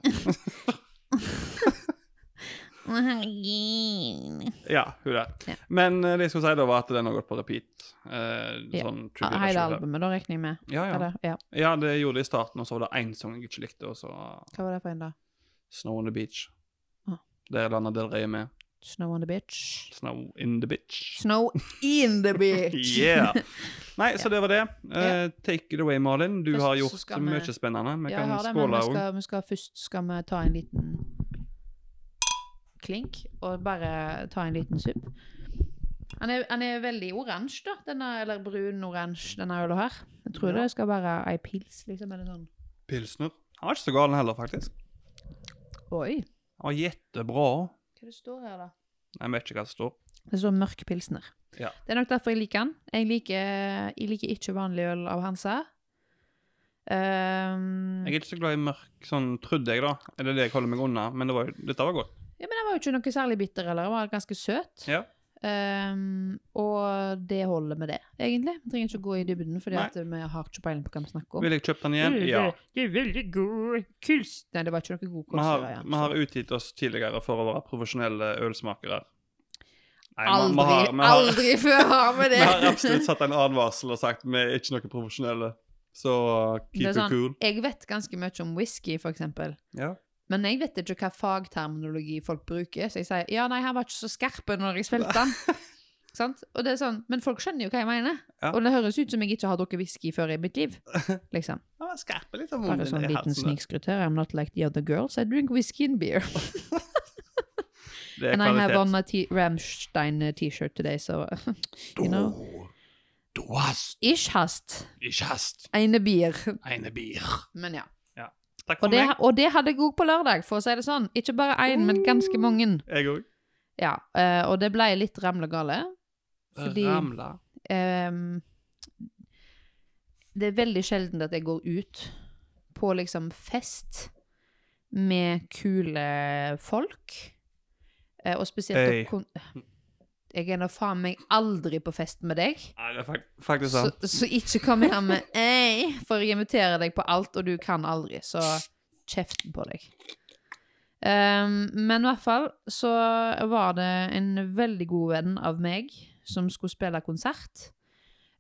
Speaker 4: Å, Herregud.
Speaker 1: Ja, hun der.
Speaker 2: Ja.
Speaker 1: Men eh, det jeg skulle si, da, var at den har gått på repeat. Eh,
Speaker 2: Ja.
Speaker 1: Sånn
Speaker 2: Ah,
Speaker 1: 24
Speaker 2: Hele
Speaker 1: 24.
Speaker 2: albumet, da regner jeg med.
Speaker 1: Ja, ja.
Speaker 2: Eller, ja.
Speaker 1: ja, det gjorde det i starten, og så var det én sang jeg ikke likte, og så
Speaker 2: Hva var det for en, da?
Speaker 1: Snow on the Beach.
Speaker 2: Ah.
Speaker 1: Der landa Del Rey med.
Speaker 2: Snow on the bitch.
Speaker 1: Snow in the bitch.
Speaker 2: Snow in the bitch!
Speaker 1: Yeah! Nei, så det var det. Eh, take it away, Malin. Du
Speaker 2: Først
Speaker 1: har
Speaker 2: så
Speaker 1: gjort
Speaker 2: skal vi-
Speaker 1: mye spennende. Vi
Speaker 2: Ja, jeg
Speaker 1: kan
Speaker 2: har det, men
Speaker 1: skåle
Speaker 2: vi
Speaker 1: òg.
Speaker 2: skal, vi skal først skal vi ta en liten klink, og bare ta en liten supp. Han er, han er veldig oransje, da, denne, eller brun-oransje, denne øla her. Jeg tror
Speaker 1: Ja.
Speaker 2: det skal være ei pils, liksom, eller sånn.
Speaker 1: Pilsner. Han var ikke så gal heller, faktisk.
Speaker 2: Oi,
Speaker 1: Han var jettebra.
Speaker 2: hva det står her, da?
Speaker 1: Jeg vet ikke hva det står.
Speaker 2: Det står mørk pilsner.
Speaker 1: Ja.
Speaker 2: Det er nok derfor jeg liker den. Jeg liker, jeg liker ikke vanlig øl av Hansa. Ehm,
Speaker 1: Jeg er ikke så glad i mørk sånn, trodde jeg, da. Eller det jeg holder meg unna. Men det var, jo- dette var godt.
Speaker 2: ja, men den var jo ikke noe særlig bitter, eller? Den var ganske søt.
Speaker 1: Ja.
Speaker 2: Ehm, og det holder med det, egentlig. Vi trenger ikke gå i dybden, fordi
Speaker 1: Nei.
Speaker 2: at vi har ikke peiling på hva vi snakker om.
Speaker 1: Vil jeg kjøpe den igjen? Ja.
Speaker 2: Det er veldig god kuls... Nei, det var ikke noe god
Speaker 1: Vi
Speaker 2: kuls.
Speaker 1: har,
Speaker 2: det var, ja.
Speaker 1: vi har utgitt oss tidligere for å være profesjonelle ølsmakere. Nei, vi- vi
Speaker 2: Aldri,
Speaker 1: har- vi har-
Speaker 2: aldri før har vi
Speaker 1: Vi
Speaker 2: det!
Speaker 1: har absolutt satt en advarsel og sagt vi er ikke noe profesjonelle, så uh, keep
Speaker 2: Det er
Speaker 1: it
Speaker 2: sånn-
Speaker 1: cool.
Speaker 2: Jeg vet ganske mye om whisky, for eksempel.
Speaker 1: Ja.
Speaker 2: Men jeg vet ikke hva fagterminologi folk bruker, så jeg sier ja, nei, han var ikke så skarp når jeg spilte den. Sant? Og det er sånn, Men folk skjønner jo hva jeg mener.
Speaker 1: Ja.
Speaker 2: Og det høres ut som jeg ikke har drukket whisky før i mitt liv. liksom.
Speaker 1: Ja, Skarpe litt om
Speaker 2: Bare
Speaker 1: munnen
Speaker 2: sånn
Speaker 1: i
Speaker 2: liten
Speaker 1: halsen der.
Speaker 2: snikskryt her. I'm not like the other girls. I drink whisky and beer.
Speaker 1: Det er
Speaker 2: And I have on
Speaker 1: kvalitet.
Speaker 2: my t- Ramstein T-shirt today, so eh, you know.
Speaker 1: Du hast
Speaker 2: Ich hast
Speaker 1: ich hast
Speaker 2: eine Bier.
Speaker 1: eine Bier.
Speaker 2: Men ja.
Speaker 1: Takk for
Speaker 2: Og det,
Speaker 1: meg.
Speaker 2: og det hadde jeg òg på lørdag, for å si det sånn. Ikke bare én, men
Speaker 1: Mm.
Speaker 2: ganske mange.
Speaker 1: Jeg òg.
Speaker 2: Ja, eh, Og det ble litt ramlegale. Fordi-
Speaker 1: Ramla.
Speaker 2: Ehm, det er veldig sjelden at jeg går ut på liksom fest med kule folk. Eh, og spesielt
Speaker 1: Hey.
Speaker 2: da kon- Jeg er nå faen meg aldri på fest med deg.
Speaker 1: Nei, det er fak- faktisk
Speaker 2: Så,
Speaker 1: sant.
Speaker 2: så ikke kom her med ei, for jeg inviterer deg på alt, og du kan aldri. Så kjeften på deg. Ehm, men i hvert fall så var det en veldig god venn av meg som skulle spille konsert.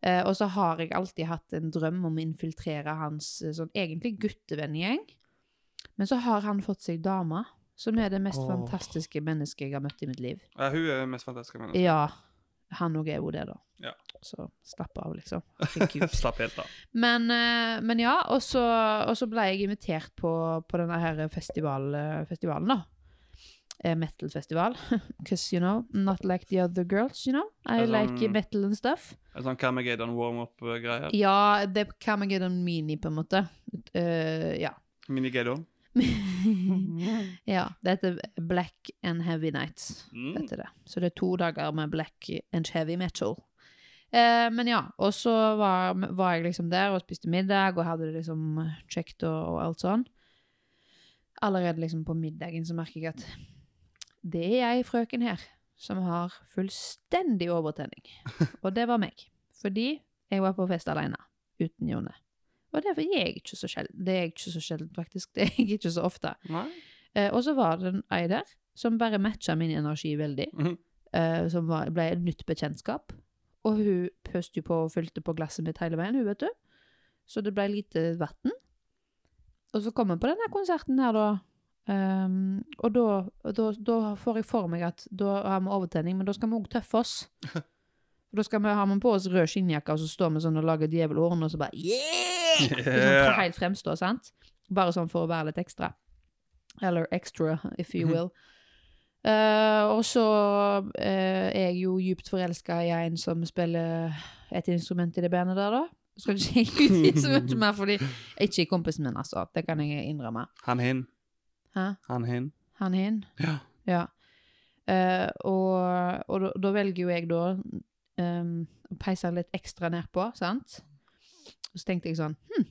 Speaker 2: Eh, og så har jeg alltid hatt en drøm om å infiltrere hans eh, sånn egentlig guttevennegjeng. Men så har han fått seg dame, som er det mest
Speaker 1: Åh.
Speaker 2: fantastiske mennesket jeg har møtt i mitt liv.
Speaker 1: Ja, hun er mest fantastiske menneske.
Speaker 2: Ja, han òg er jo det, da.
Speaker 1: Ja.
Speaker 2: Så slapp av, liksom. Herregud.
Speaker 1: Slapp helt av.
Speaker 2: Men, eh, men ja, og så, og så ble jeg invitert på, på denne her festival, festivalen, da. Eh, Metal-festival. Because, you know, not like the other girls, you know. I
Speaker 1: Det er sånn-
Speaker 2: like metal and stuff.
Speaker 1: En sånn Carmageddon warm-up-greie.
Speaker 2: Ja, det kan man gjøre en mini, på en måte. Eh, ja.
Speaker 1: Minigeddon.
Speaker 2: ja. Det heter Black and Heavy Nights.
Speaker 1: Mm.
Speaker 2: Dette er det. Så det er to dager med black and heavy metal. Eh, men ja, og så var, var jeg liksom der og spiste middag og hadde det liksom kjekt og, og alt sånn. Allerede liksom på middagen så merker jeg at det er jeg, frøken her, som har fullstendig overtenning. Og det var meg. Fordi jeg var på fest alene, uten Jone. Og det er jeg ikke så sjelden, det er jeg ikke så sjelden faktisk, det er jeg ikke så ofte.
Speaker 1: Nei?
Speaker 2: Eh, og så var det en ei der som bare matcha min energi veldig.
Speaker 1: Mhm.
Speaker 2: Eh, som var, ble et nytt bekjentskap. Og hun pøste jo på og fylte på glasset mitt hele veien, hun, vet du. Så det ble lite vann. Og så kom jeg på denne konserten her, da. Ehm, og da, da, da får jeg for meg at da har vi overtenning, men da skal vi òg tøffe oss. Da skal vi ha med på oss rød skinnjakke, og så står vi sånn og lager djevelhorn, og så bare yeah! Liksom,
Speaker 1: Yeah.
Speaker 2: helt fremstå, sant? Bare sånn for å være litt ekstra. Eller extra, if you
Speaker 1: Mhm.
Speaker 2: will. Eh, og så eh, er jeg jo djupt forelska i en som spiller et instrument i det bandet der, da. Skal ikke jeg ut i så mye mer, fordi Ikke i kompisen min, altså. Det kan jeg innrømme.
Speaker 1: Han hin.
Speaker 2: Hæ?
Speaker 1: Han hin.
Speaker 2: Han hin?
Speaker 1: Ja.
Speaker 2: Ja. Eh, og og da, da velger jo jeg da em, å peise litt ekstra nedpå, sant? Og så tenkte jeg sånn Hm,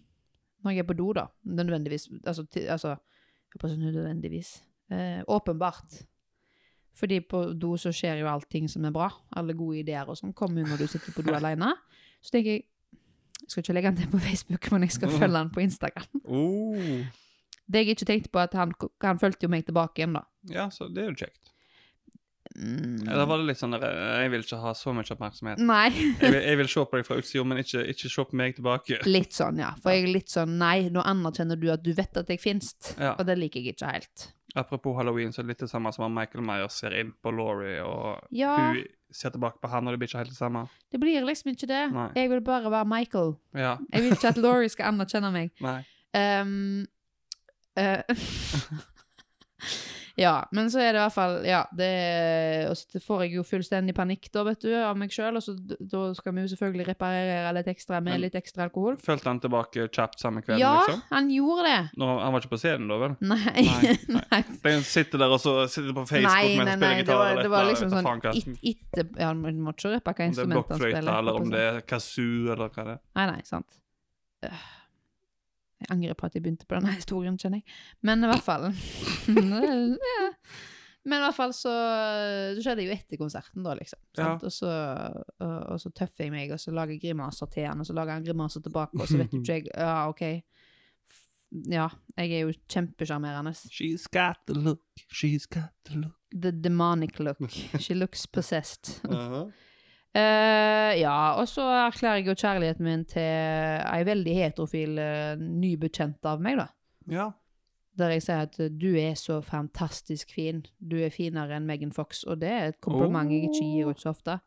Speaker 2: når jeg er på do, da. Nødvendigvis. Altså, ti, altså jeg håper ikke nødvendigvis. Eh, åpenbart. Fordi på do så skjer jo allting som er bra. Alle gode ideer og sånn kommer jo når du sitter på do alene. Så tenker jeg Jeg skal ikke legge den til på Facebook, men jeg skal følge den på Instagram.
Speaker 1: Oh.
Speaker 2: Det jeg ikke tenkte på, at han, han fulgte jo meg tilbake igjen, da.
Speaker 1: Ja, så det er jo kjekt.
Speaker 2: Mm.
Speaker 1: Eller var det litt sånn der eh, Jeg vil ikke ha så mye oppmerksomhet.
Speaker 2: Nei.
Speaker 1: Jeg vil, jeg vil se på deg fra utsida, men ikke, ikke se på meg tilbake.
Speaker 2: Litt sånn, ja. For jeg er litt sånn Nei, nå anerkjenner du at du vet at jeg finnes.
Speaker 1: Ja.
Speaker 2: Og det liker jeg ikke helt.
Speaker 1: Apropos halloween, så er det litt det samme som at Michael Myers ser inn på Laurie, og
Speaker 2: Ja,
Speaker 1: hun ser tilbake på han, og det blir ikke helt det samme.
Speaker 2: det blir liksom ikke det.
Speaker 1: Nei.
Speaker 2: Jeg vil bare være Michael.
Speaker 1: Ja,
Speaker 2: Jeg vil ikke at Laurie skal anerkjenne meg.
Speaker 1: nei.
Speaker 2: Ehm, eh, ja, men så er det i hvert fall Ja, det Og så får jeg jo fullstendig panikk da, vet du, av meg sjøl, og så d- da skal vi jo selvfølgelig reparere litt ekstra med
Speaker 1: Men-
Speaker 2: litt ekstra alkohol.
Speaker 1: Følte han tilbake kjapt samme kveld,
Speaker 2: Ja,
Speaker 1: liksom?
Speaker 2: han gjorde det!
Speaker 1: Når han, han var ikke på scenen da, vel?
Speaker 2: Nei.
Speaker 1: Nei,
Speaker 2: nei.
Speaker 1: Den sitter der og så sitter på Facebook
Speaker 2: Nei,
Speaker 1: mens
Speaker 2: nei,
Speaker 1: han spiller
Speaker 2: nei, det
Speaker 1: gitar.
Speaker 2: var,
Speaker 1: eller
Speaker 2: det
Speaker 1: et
Speaker 2: var
Speaker 1: eller
Speaker 2: liksom
Speaker 1: annet,
Speaker 2: sånn
Speaker 1: faen hva.
Speaker 2: it, it, ja, Man må ikke
Speaker 1: Om
Speaker 2: røpe hva
Speaker 1: det er
Speaker 2: instrument han spiller.
Speaker 1: blokkfløyte, eller om det
Speaker 2: Nei,
Speaker 1: er kazoo, eller hva det er.
Speaker 2: nei, sant. Øh. Jeg angrer på at jeg begynte på denne historien, kjenner jeg. Men i hvert fall Ja. Men i hvert fall så Det skjedde jo etter konserten, da, liksom. Sant? Og, så, og, og så tøffer jeg meg, og så lager jeg grimaser til han, og så lager han grimaser tilbake, og så vet jo ikke jeg Ja, OK. F- Ja, jeg er jo kjempesjarmerende.
Speaker 1: She's got the look, she's got the look.
Speaker 2: The demonic look. She looks possessed.
Speaker 1: Uh-huh.
Speaker 2: Eh, ja, og så erklærer jeg jo kjærligheten min til ei veldig heterofil eh, ny bekjent av meg, da.
Speaker 1: Ja.
Speaker 2: Der jeg sier at eh, du er så fantastisk fin, du er finere enn Megan Fox, og det er et kompliment jeg ikke gir ut så ofte.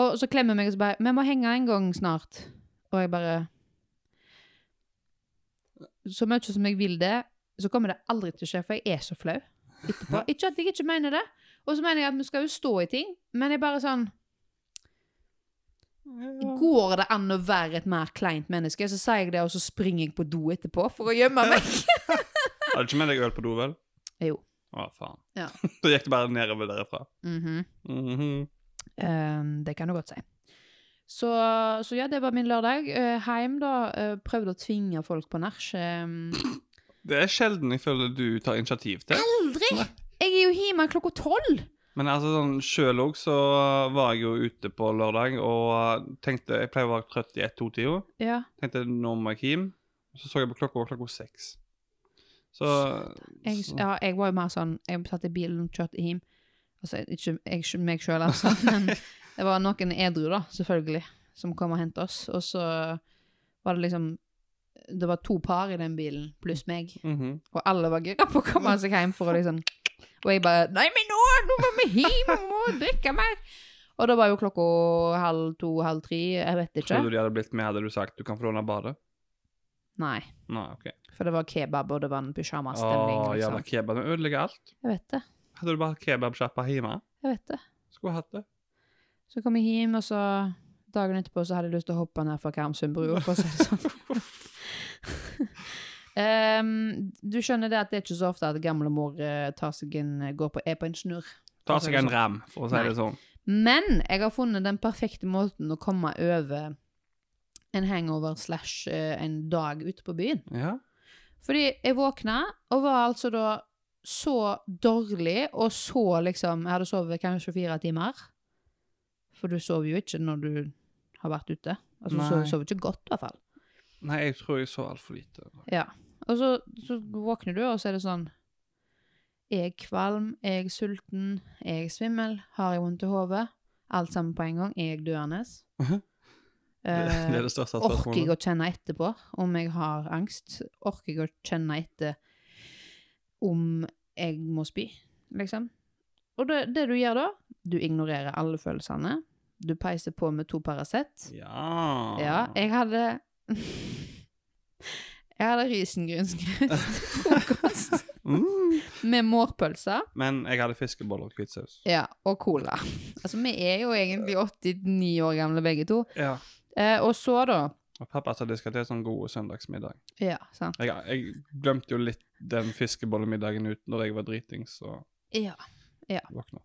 Speaker 2: Og så klemmer hun meg og så bare 'Vi må henge en gang snart'. Og jeg bare Så mye som jeg vil det, så kommer det aldri til å skje, for jeg er så flau etterpå. Ikke at jeg ikke mener det, og så mener jeg at vi skal jo stå i ting, men jeg bare sånn Går det an å være et mer kleint menneske? Så sier jeg det, og så springer jeg på do etterpå for å gjemme meg.
Speaker 1: Hadde du ikke med deg øl på do, vel?
Speaker 2: Jo.
Speaker 1: Å, faen.
Speaker 2: Ja.
Speaker 1: da gikk det bare nedover derifra.
Speaker 2: Mhm.
Speaker 1: Mhm.
Speaker 2: Ehm, det kan du godt si. Så, så ja, det var min lørdag. Eh, Heim, da, eh, prøvde å tvinge folk på nach. Ehm,
Speaker 1: Det er sjelden jeg føler du tar initiativ til.
Speaker 2: Aldri! Jeg er jo hjemme klokka tolv!
Speaker 1: Men altså sånn sjøl òg så var jeg jo ute på lørdag og eh, tenkte Jeg pleier å være trøtt i ett-to-tida.
Speaker 2: Ja.
Speaker 1: Tenkte nå må jeg hjem. Og Så så jeg på klokka, og klokka var seks. Så
Speaker 2: Jeg, ja, jeg var jo mer sånn Jeg satt i bilen og kjørte hjem. Altså, ikke jeg, meg sjøl, altså, men det var noen edru, da, selvfølgelig, som kom og hentet oss. Og så var det liksom Det var to par i den bilen, pluss meg,
Speaker 1: Mhm.
Speaker 2: og alle var gira på å komme seg hjem for å liksom Og jeg bare Nei, men nå, nå må vi hjem, vi må drikke mer! Og da var jo klokka halv to, halv tre, jeg vet ikke.
Speaker 1: Tror du de hadde blitt med, hadde du sagt du kan få låne badet?
Speaker 2: Nei,
Speaker 1: Nei, OK.
Speaker 2: for det var kebab, og det var en
Speaker 1: Å,
Speaker 2: pysjamasstemning.
Speaker 1: jævla
Speaker 2: Liksom.
Speaker 1: kebab. Den ødelegger alt.
Speaker 2: Jeg vet det.
Speaker 1: Hadde du bare kebabsjappa hjemme,
Speaker 2: Jeg vet det.
Speaker 1: skulle hatt det.
Speaker 2: Så kom jeg hjem, og så dagen etterpå så hadde jeg lyst til å hoppe ned fra Karmsundbrua, for å si det sånn. Ehm, du skjønner det at det er ikke så ofte at gamlemor eh, tar seg en, går på, er på en snurr.
Speaker 1: Ta seg en ram, for å si det sånn.
Speaker 2: Men jeg har funnet den perfekte måten å komme over en hangover slash eh, en dag ute på byen.
Speaker 1: Ja.
Speaker 2: Fordi jeg våkna og var altså da så dårlig og så liksom Jeg hadde sovet kanskje fire timer. For du sover jo ikke når du har vært ute. Altså, du
Speaker 1: Nei.
Speaker 2: sover, sover ikke godt, i hvert fall.
Speaker 1: Nei, jeg tror jeg så altfor lite.
Speaker 2: Ja. Og så, så våkner du, og så er det sånn Er jeg kvalm? Er jeg sulten? Er jeg svimmel? Har jeg vondt i hodet? Alt sammen på en gang. Er jeg døende?
Speaker 1: Mhm.
Speaker 2: Eh,
Speaker 1: Det er det største
Speaker 2: Orker jeg
Speaker 1: spørsmålet.
Speaker 2: å kjenne etterpå om jeg har angst? Orker jeg å kjenne etter om jeg må spy, liksom? Og det, det du gjør da, du ignorerer alle følelsene. Du peiser på med to Paracet.
Speaker 1: Ja.
Speaker 2: Ja, jeg hadde Jeg hadde risengrynsgrøt til frokost.
Speaker 1: Mm.
Speaker 2: med mårpølse
Speaker 1: Men jeg hadde fiskeboller og hvitsaus.
Speaker 2: ja, og cola. Altså, vi er jo egentlig 89 år gamle begge to.
Speaker 1: Ja.
Speaker 2: Eh, og så, da
Speaker 1: Og pappa sa det skal til sånn god søndagsmiddag.
Speaker 2: Ja, sant.
Speaker 1: Jeg, jeg glemte jo litt den fiskebollemiddagen ut når jeg var dritings og
Speaker 2: Ja.
Speaker 1: våkna.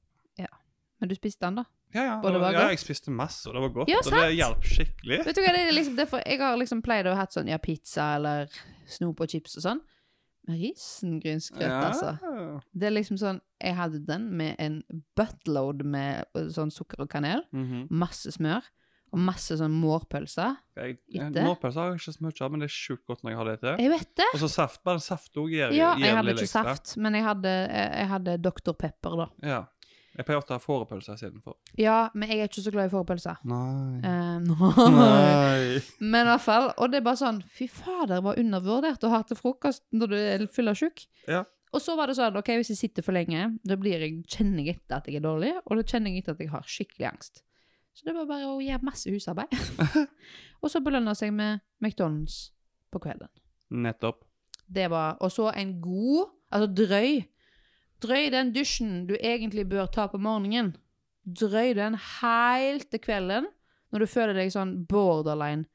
Speaker 2: Men du spiste den, da?
Speaker 1: Ja, ja,
Speaker 2: Og det var
Speaker 1: ja,
Speaker 2: godt?
Speaker 1: jeg spiste masse, og det var godt.
Speaker 2: Ja,
Speaker 1: og det hjalp skikkelig.
Speaker 2: Vet du hva, det er liksom derfor Jeg har liksom pleid å ha hatt sånn ja, pizza eller snop og chips og sånn. Men risengrynsgrøt, altså. Det er liksom sånn Jeg hadde den med en buttload med eh, sånn sukker og kanel.
Speaker 1: Mhm.
Speaker 2: Masse smør. Og masse sånn mårpølse.
Speaker 1: Jeg-
Speaker 2: Ikke?
Speaker 1: Mårpølse har jeg ikke så mye av, men det er sjukt godt når jeg har det til.
Speaker 2: Jeg vet det!
Speaker 1: Og så saft. Bare saft òg gjør gjør
Speaker 2: Ja, jeg
Speaker 1: det
Speaker 2: hadde
Speaker 1: litt
Speaker 2: ikke
Speaker 1: ekstra.
Speaker 2: saft, men jeg hadde, eh, jeg, jeg hadde Dr. Pepper, da.
Speaker 1: Ja. Jeg pleier ofte å ha fårepølse istedenfor.
Speaker 2: Ja, men jeg er ikke så glad i fårepølse.
Speaker 1: Mm. Nei.
Speaker 2: Eh,
Speaker 1: Nei.
Speaker 2: men i hvert fall. Og det er bare sånn Fy fader, det var undervurdert å ha til frokost når du er full av sjuk.
Speaker 1: Ja.
Speaker 2: Og så var det sånn, ok, hvis jeg sitter for lenge, da blir jeg, kjenner jeg etter at jeg er dårlig, og da kjenner jeg etter at jeg har skikkelig angst. Så det var bare å gjøre masse husarbeid. og så belønne seg med McDonald's på kvelden.
Speaker 1: Nettopp.
Speaker 2: Det var, og så en god, altså drøy, drøy den dusjen du egentlig bør ta på morgenen. Drøy den helt til kvelden, når du føler deg sånn borderline.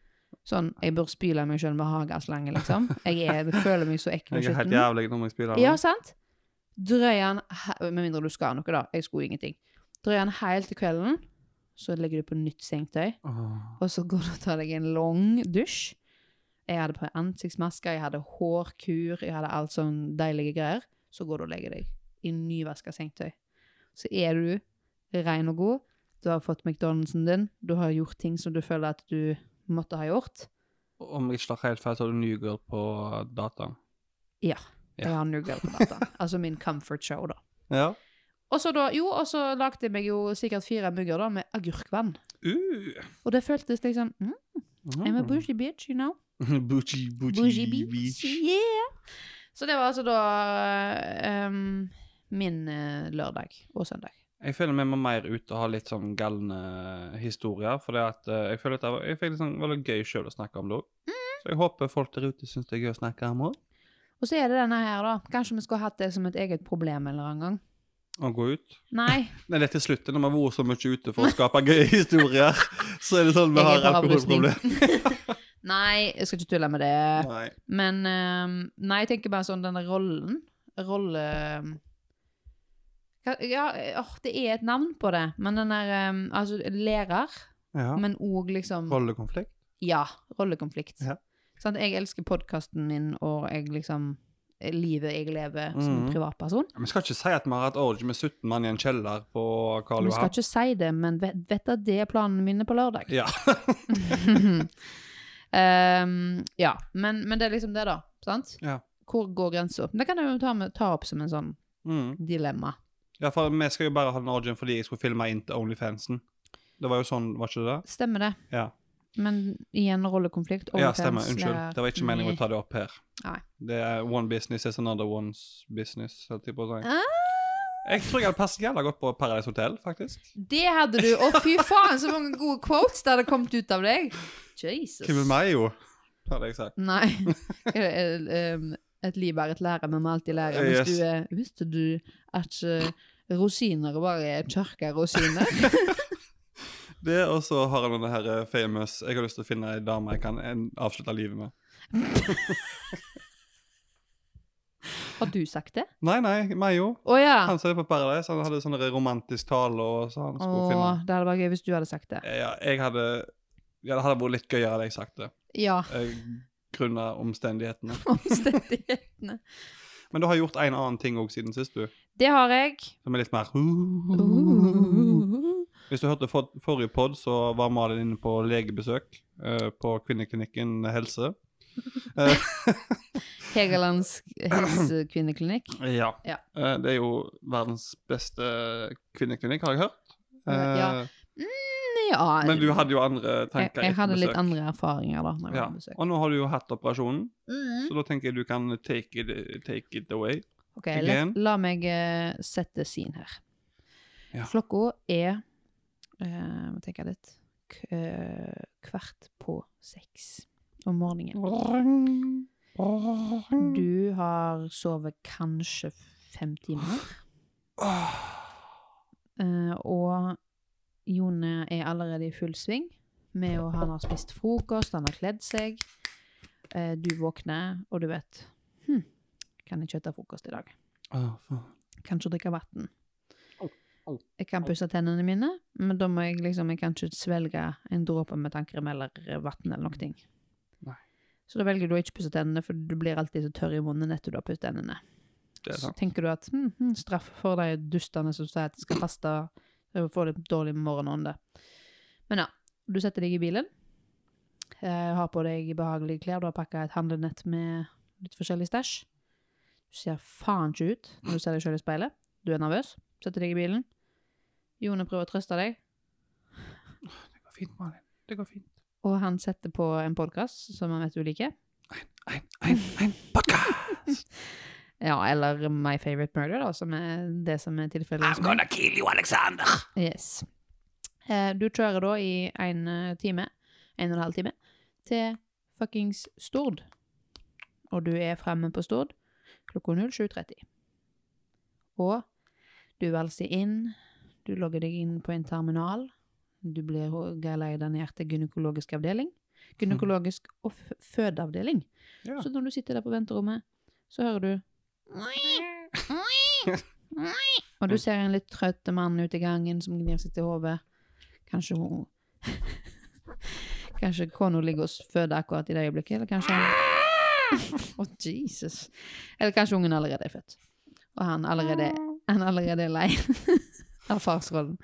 Speaker 2: Sånn, jeg bør spyle meg selv med hageslange, liksom. Jeg, er, jeg føler meg så ekkel og
Speaker 1: Jeg er helt
Speaker 2: skitten.
Speaker 1: jævlig når jeg spiller.
Speaker 2: Ja, sant? Drøy han, he- med mindre du skal noe da, jeg skulle ingenting. Drøy han helt til kvelden, så legger du på nytt sengetøy.
Speaker 1: Åh.
Speaker 2: Og så går du og tar deg en lang dusj. Jeg hadde på ansiktsmasker, jeg hadde hårkur, jeg hadde alt sånn deilige greier. Så går du og legger deg i nyvaska sengetøy. Så er du ren og god. Du har fått McDonald'sen din. Du har gjort ting som du føler at du måtte ha gjort.
Speaker 1: Om jeg ikke tar helt feil, så har du Newgirl på dataen.
Speaker 2: Ja.
Speaker 1: Ja.
Speaker 2: Jeg har New Girl på data. altså min comfort show, da.
Speaker 1: Ja.
Speaker 2: Og så da, jo, og så lagde jeg meg jo sikkert fire mugger da, med agurkvann.
Speaker 1: Uh.
Speaker 2: Og det føltes liksom mm, I'm a
Speaker 1: Mm.
Speaker 2: bougie bitch, you know.
Speaker 1: Bougie, bougie,
Speaker 2: Bougie
Speaker 1: beach.
Speaker 2: Beach. Yeah. Så det var altså da ehm, min eh, lørdag og søndag.
Speaker 1: Jeg føler vi må mer ut og ha litt sånn galne historier. For det at eh, jeg føler at det var, jeg føler det sånn, var litt gøy sjøl å snakke om det òg.
Speaker 2: Mm.
Speaker 1: Så jeg håper folk der ute syns det er gøy å snakke om òg.
Speaker 2: Og så er det denne her, da. Kanskje vi skulle hatt det som et eget problem en eller annen gang.
Speaker 1: Og gå ut.
Speaker 2: Nei,
Speaker 1: Nei, det er til slutt. Når vi har vært så mye ute for å skape gøye historier, så er det sånn vi
Speaker 2: jeg er
Speaker 1: har
Speaker 2: på avrusning.
Speaker 1: alkoholproblem.
Speaker 2: nei, jeg skal ikke tulle med det.
Speaker 1: Nei.
Speaker 2: Men ehm, Nei, jeg tenker bare sånn denne rollen. Rolle... Hva- Ja, åh, det er et navn på det, men den der ehm, Altså, lærer,
Speaker 1: Ja.
Speaker 2: men òg liksom
Speaker 1: Rollekonflikt.
Speaker 2: Ja, rollekonflikt.
Speaker 1: Ja.
Speaker 2: Sant, jeg elsker podkasten min og jeg liksom livet jeg lever som
Speaker 1: Mhm.
Speaker 2: privatperson.
Speaker 1: Vi skal ikke si at vi har hatt orgie med 17 mann i en kjeller på Karl
Speaker 2: Vi skal
Speaker 1: Johan.
Speaker 2: ikke si det, men vet, vet at det er planene mine på lørdag.
Speaker 1: Ja.
Speaker 2: Ehm, ja, men, men det er liksom det, da. Sant?
Speaker 1: Ja.
Speaker 2: Hvor går grensa? Det kan jeg jo ta, med, ta opp som en sånn
Speaker 1: Mm.
Speaker 2: dilemma.
Speaker 1: ja, for vi skal jo bare ha den orgien fordi jeg skulle filme inn til Onlyfansen. Det var jo sånn, var ikke det?
Speaker 2: Stemmer det?
Speaker 1: Ja.
Speaker 2: Men igjen rollekonflikt. eh,
Speaker 1: Ja,
Speaker 2: overfalls-
Speaker 1: stemmer. Unnskyld. Det var ikke meningen å
Speaker 2: Nei.
Speaker 1: ta det opp her.
Speaker 2: Nei.
Speaker 1: Det er one business is another one's business. holdt jeg på å si.
Speaker 2: Ah!
Speaker 1: Jeg tror jeg hadde passet jævla godt på Paradise Hotel, faktisk.
Speaker 2: Det hadde du! Å, fy faen, så mange gode quotes det hadde kommet ut av deg! Jesus.
Speaker 1: Hvem er meg, jo? Hadde jeg sagt.
Speaker 2: Nei. Er det, eh, em, Et liv er et lære, men må alltid lære. Hvis
Speaker 1: Yes.
Speaker 2: du, er- visste du at eh, rosiner bare er tørka rosiner?
Speaker 1: Det, og så har han denne her eh, famous Jeg har lyst til å finne ei dame jeg kan en, avslutte livet med.
Speaker 2: Har du sagt det?
Speaker 1: Nei, nei, meg jo.
Speaker 2: Å ja!
Speaker 1: Han sa det på Paradise. Han hadde sånn romantisk tale og så han skulle finne
Speaker 2: Å, det hadde vært gøy hvis du hadde sagt det.
Speaker 1: Ja, jeg hadde ja, Det hadde vært litt gøyere hadde jeg sagt det.
Speaker 2: Ja.
Speaker 1: eh, Grunnet omstendighetene.
Speaker 2: Omstendighetene.
Speaker 1: Men du har gjort en annen ting òg siden sist, du.
Speaker 2: Det har jeg.
Speaker 1: Som er litt mer
Speaker 2: Uh.
Speaker 1: Hvis du hørte for, forrige pod, så var Malin inne på legebesøk eh, på Kvinneklinikken helse.
Speaker 2: Hegelands helsekvinneklinikk.
Speaker 1: Ja.
Speaker 2: Ja.
Speaker 1: Eh, det er jo verdens beste kvinneklinikk, har jeg hørt. Eh,
Speaker 2: Ja. Ja.
Speaker 1: Men du hadde jo andre
Speaker 2: jeg,
Speaker 1: tanker
Speaker 2: jeg
Speaker 1: etter
Speaker 2: hadde litt
Speaker 1: besøk.
Speaker 2: andre erfaringer da. Når jeg
Speaker 1: Ja.
Speaker 2: var på besøk.
Speaker 1: Og nå har du jo hatt operasjonen,
Speaker 2: Mhm.
Speaker 1: så da tenker jeg du kan take it, take it away.
Speaker 2: Ok, la,
Speaker 1: Again.
Speaker 2: la meg eh, sette sin her.
Speaker 1: Ja.
Speaker 2: Klokka er eh, Må tenke litt k eh, Kvart på seks om
Speaker 5: Mm.
Speaker 2: morgenen. Du har sovet kanskje fem timer.
Speaker 1: Åh.
Speaker 2: Eh, og Jone er allerede i full sving med å han har spist frokost, han har kledd seg. Eh, du våkner, og du vet hm, Kan jeg kjøtte frokost i dag?
Speaker 1: Åh, faen.
Speaker 2: Kan ikke drikke vann. Jeg kan pusse tennene mine, men da må jeg liksom Jeg kan ikke svelge en dråpe med tannkrem eller vann eller noe. ting.
Speaker 1: Nei.
Speaker 2: Så da velger du å ikke pusse tennene, for du blir alltid så tørr i munnen etter du har pusset tennene.
Speaker 1: Det er
Speaker 2: Så
Speaker 1: sant.
Speaker 2: tenker du at hm, hm, straff for de dustene som sier at de skal faste og får litt dårlig morgenånde. Men ja, du setter deg i bilen, eh, har på deg behagelige klær, du har pakka et handlenett med litt forskjellig stæsj. Du ser faen ikke ut når du ser deg sjøl i speilet. Du er nervøs, setter deg i bilen. Jone prøver å trøste deg,
Speaker 1: Det går fint, Malin. Det går fint.
Speaker 2: og han setter på en podkast som han vet du liker.
Speaker 1: Ein, ein, ein podcast!
Speaker 2: Ja, eller My Favorite Murder, da, som er det som er tilfellet. hos meg.
Speaker 1: kill you, Alexander!
Speaker 2: Yes. Eh, Du kjører da i en eh, time, en og en halv time, til fuckings Stord. Og du er fremme på Stord klokka 07.30. Og du valser inn, du logger deg inn på en terminal, du blir geleida ned til gynekologisk avdeling, gynekologisk og f- fødeavdeling.
Speaker 1: Ja.
Speaker 2: Så når du sitter der på venterommet, så hører du Og du ser en litt trøtt mann ute i gangen som gnir seg til hodet. Kanskje hun Kanskje kona ligger og føder akkurat i det øyeblikket, eller kanskje han Å, Jesus. Eller kanskje ungen allerede er født. Og han allerede, han allerede er lei av farsrollen.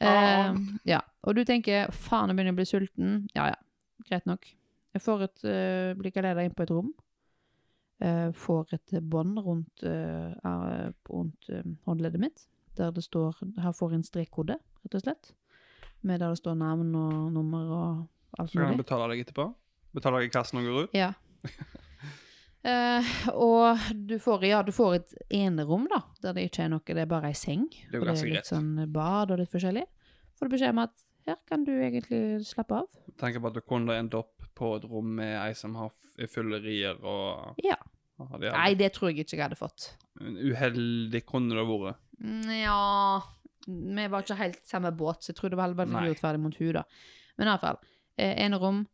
Speaker 1: Ah.
Speaker 2: Eh, ja. Og du tenker 'faen, jeg begynner å bli sulten'. Ja ja, greit nok. Jeg får et uh, blikk av leder inn på et rom. Eh, får et bånd rundt, eh, eh, rundt eh, håndleddet mitt. Der det står Her får jeg en strekkode, rett og slett. Med der det står navn og nummer og alt
Speaker 1: Så kan jeg
Speaker 2: mulig.
Speaker 1: betale deg etterpå. Betaler jeg i kassen og går ut?
Speaker 2: Ja. Eh, og du får, ja, du får et enerom, da, der det ikke er noe, det er bare ei seng.
Speaker 1: er jo
Speaker 2: og det
Speaker 1: ganske
Speaker 2: er
Speaker 1: greit.
Speaker 2: litt sånn bad og litt forskjellig. Får du beskjed om at her kan du egentlig slappe av.
Speaker 1: Med tanke på at du kunne endt opp på et rom med ei som har f- fyllerier og
Speaker 2: Ja.
Speaker 1: og det
Speaker 2: Nei,
Speaker 1: er-
Speaker 2: det tror jeg ikke jeg hadde fått.
Speaker 1: Uheldig kunne det vært.
Speaker 2: Ja Vi var ikke helt samme båt, så jeg tror det var veldig
Speaker 1: Nei.
Speaker 2: urettferdig mot hun da. Men iallfall. eh, Enerom,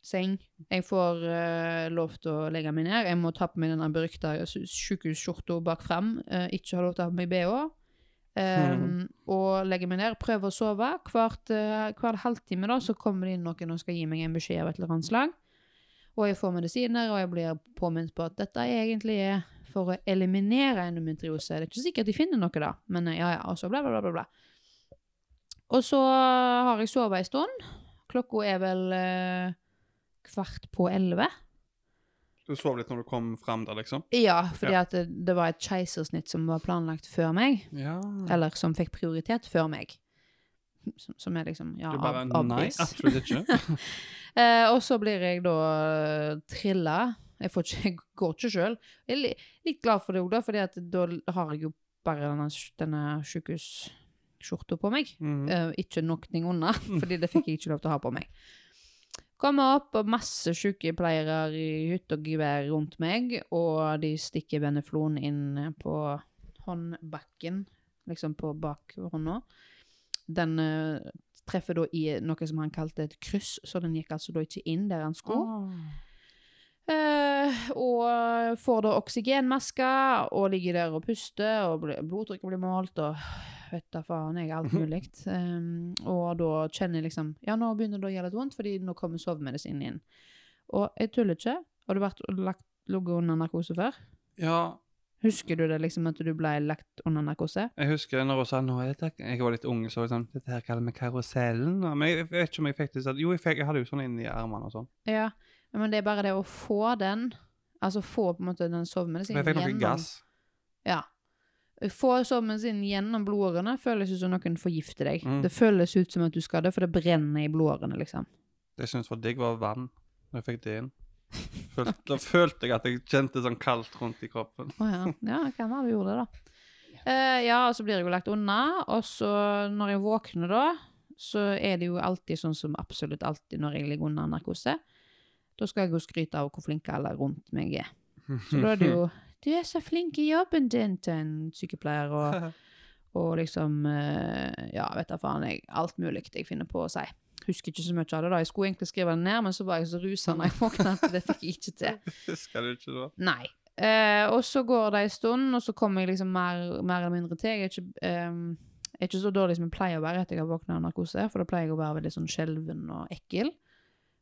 Speaker 2: seng. Jeg får eh, lov til å legge meg ned. Jeg må ta på meg denne berykta eh, sykehusskjorta bak fram. Eh, ikke ha lov til å ha på meg bh. Um, og legger meg ned, prøver å sove. Hvert, eh, hver halvtime da, så kommer det inn noen og skal gi meg en beskjed av et eller annet slag. Og jeg får medisiner, og jeg blir påminnet på at dette egentlig er for å eliminere endometriose. Det er ikke sikkert de finner noe da, men eh, ja, ja, og så bla, bla, bla, bla, bla. Og så har jeg sovet en stund. Klokka er vel eh, kvart på elleve.
Speaker 1: Du sov litt når du kom fram der, liksom?
Speaker 2: Ja, fordi at det, det var et keisersnitt som var planlagt før meg.
Speaker 1: Ja.
Speaker 2: eller som fikk prioritet før meg. Som, som er liksom ja,
Speaker 1: Du bare
Speaker 2: ob-
Speaker 1: Nei,
Speaker 2: obvious.
Speaker 1: absolutt ikke.
Speaker 2: Eh, og så blir jeg da trilla. Jeg, får ikke, jeg går ikke sjøl. Jeg er li- litt glad for det òg, da, fordi at da har jeg jo bare denne, denne sjukehusskjorta på meg.
Speaker 1: Mhm.
Speaker 2: Eh, ikke noe unna, fordi det fikk jeg ikke lov til å ha på meg. Kommer opp, og masse sykepleiere i hytt og gevær rundt meg, og de stikker veneflon inn på håndbakken, liksom på bakhånda. Den eh, treffer da i noe som han kalte et kryss, så den gikk altså da ikke inn der han skulle. Eh, og får da oksygenmaske, og ligger der og puster, og bl- blodtrykket blir målt, og vet da faen, jeg er alt mulig. Um, og da kjenner jeg liksom Ja, nå begynner det å gjøre litt vondt, fordi nå kommer sovemedisinen inn. Og jeg tuller ikke. Har du vært lagt, ligget under narkose før?
Speaker 1: Ja,
Speaker 2: Husker du det liksom at du ble lagt under narkose?
Speaker 1: Jeg husker når hun sa nå er dette, Jeg var litt ung, så var det sånn Dette her kaller vi karusellen. Og- Men jeg, jeg vet ikke om jeg fikk det sånn. Jo, jeg, fikk, jeg hadde jo sånn inni armene og sånn.
Speaker 2: Ja. Men det er bare det å få den, altså få på en måte den
Speaker 1: For jeg
Speaker 2: sovemedisinen
Speaker 1: fikk noe
Speaker 2: gjennom-
Speaker 1: gass.
Speaker 2: Ja. Få sommen sin gjennom blodårene føles ut som noen forgifter deg.
Speaker 1: Mm.
Speaker 2: Det føles ut som at du skal dø, for det brenner i blodårene, liksom.
Speaker 1: Det jeg syntes var digg, var vann. Når jeg fikk det inn. Følte, Da følte jeg at jeg kjente sånn kaldt rundt i kroppen.
Speaker 2: Å ja. Ja, hvem var det som gjorde det, da? Eh, ja, og så blir jeg jo lagt unna, og så når jeg våkner da, så er det jo alltid sånn som absolutt alltid når jeg ligger under narkose. Da skal jeg jo skryte av hvor flink alle rundt meg er. Så da er det jo Du er så flink i jobben din til en sykepleier, og, og liksom eh, Ja, vet da faen, jeg. Alt mulig jeg finner på å si. Husker ikke så mye av det, da. Jeg skulle egentlig skrive det ned, men så var jeg så rusa når jeg våkna at det fikk jeg ikke til.
Speaker 1: Skal du ikke da?
Speaker 2: Nei. Eh, og så går det en stund, og så kommer jeg liksom mer, mer eller mindre til. Jeg er ikke, ehm, jeg er ikke så dårlig som jeg pleier å være etter jeg har våkna av narkose, for da pleier jeg å være veldig sånn skjelven og ekkel.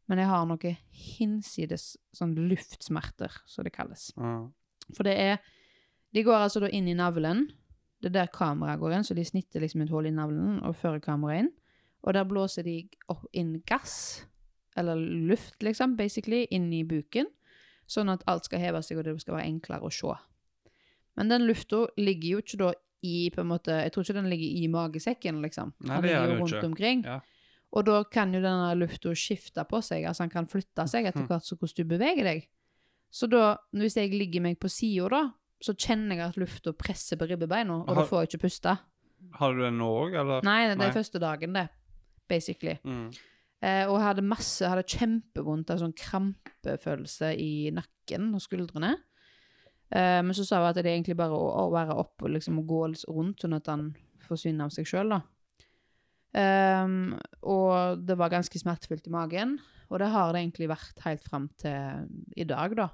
Speaker 2: Men jeg har noe hinsides sånn luftsmerter, som det kalles.
Speaker 1: Ja.
Speaker 2: For det er De går altså da inn i navlen. Det er der kameraet går inn, så de snitter liksom et hull i navlen og fører kameraet inn. Og der blåser de opp inn gass, eller luft, liksom, basically, inn i buken. Sånn at alt skal heve seg, og det skal være enklere å se. Men den lufta ligger jo ikke da i på en måte, Jeg tror ikke den ligger i magesekken, liksom.
Speaker 1: Nei,
Speaker 2: Den
Speaker 1: det gjør
Speaker 2: ligger
Speaker 1: den
Speaker 2: jo
Speaker 1: jo
Speaker 2: rundt
Speaker 1: ikke.
Speaker 2: omkring.
Speaker 1: Ja.
Speaker 2: Og da kan jo denne lufta skifte på seg, altså han kan flytte seg etter
Speaker 1: Mhm.
Speaker 2: hvert som hvordan du beveger deg. Så da, hvis jeg ligger meg på sida da, så kjenner jeg at lufta presser på ribbebeina, og da
Speaker 1: Har-
Speaker 2: får jeg ikke puste.
Speaker 1: Har du den nå òg, eller?
Speaker 2: Nei, det
Speaker 1: Nei.
Speaker 2: er første dagen, det. Basically.
Speaker 1: Mm.
Speaker 2: Eh, og hadde masse, hadde kjempevondt av sånn krampefølelse i nakken og skuldrene. Eh, men så sa hun at det er egentlig bare å, å være opp og liksom gå litt rundt, sånn at han forsvinner av seg sjøl, da. Ehm, og det var ganske smertefullt i magen, og det har det egentlig vært helt fram til i dag, da.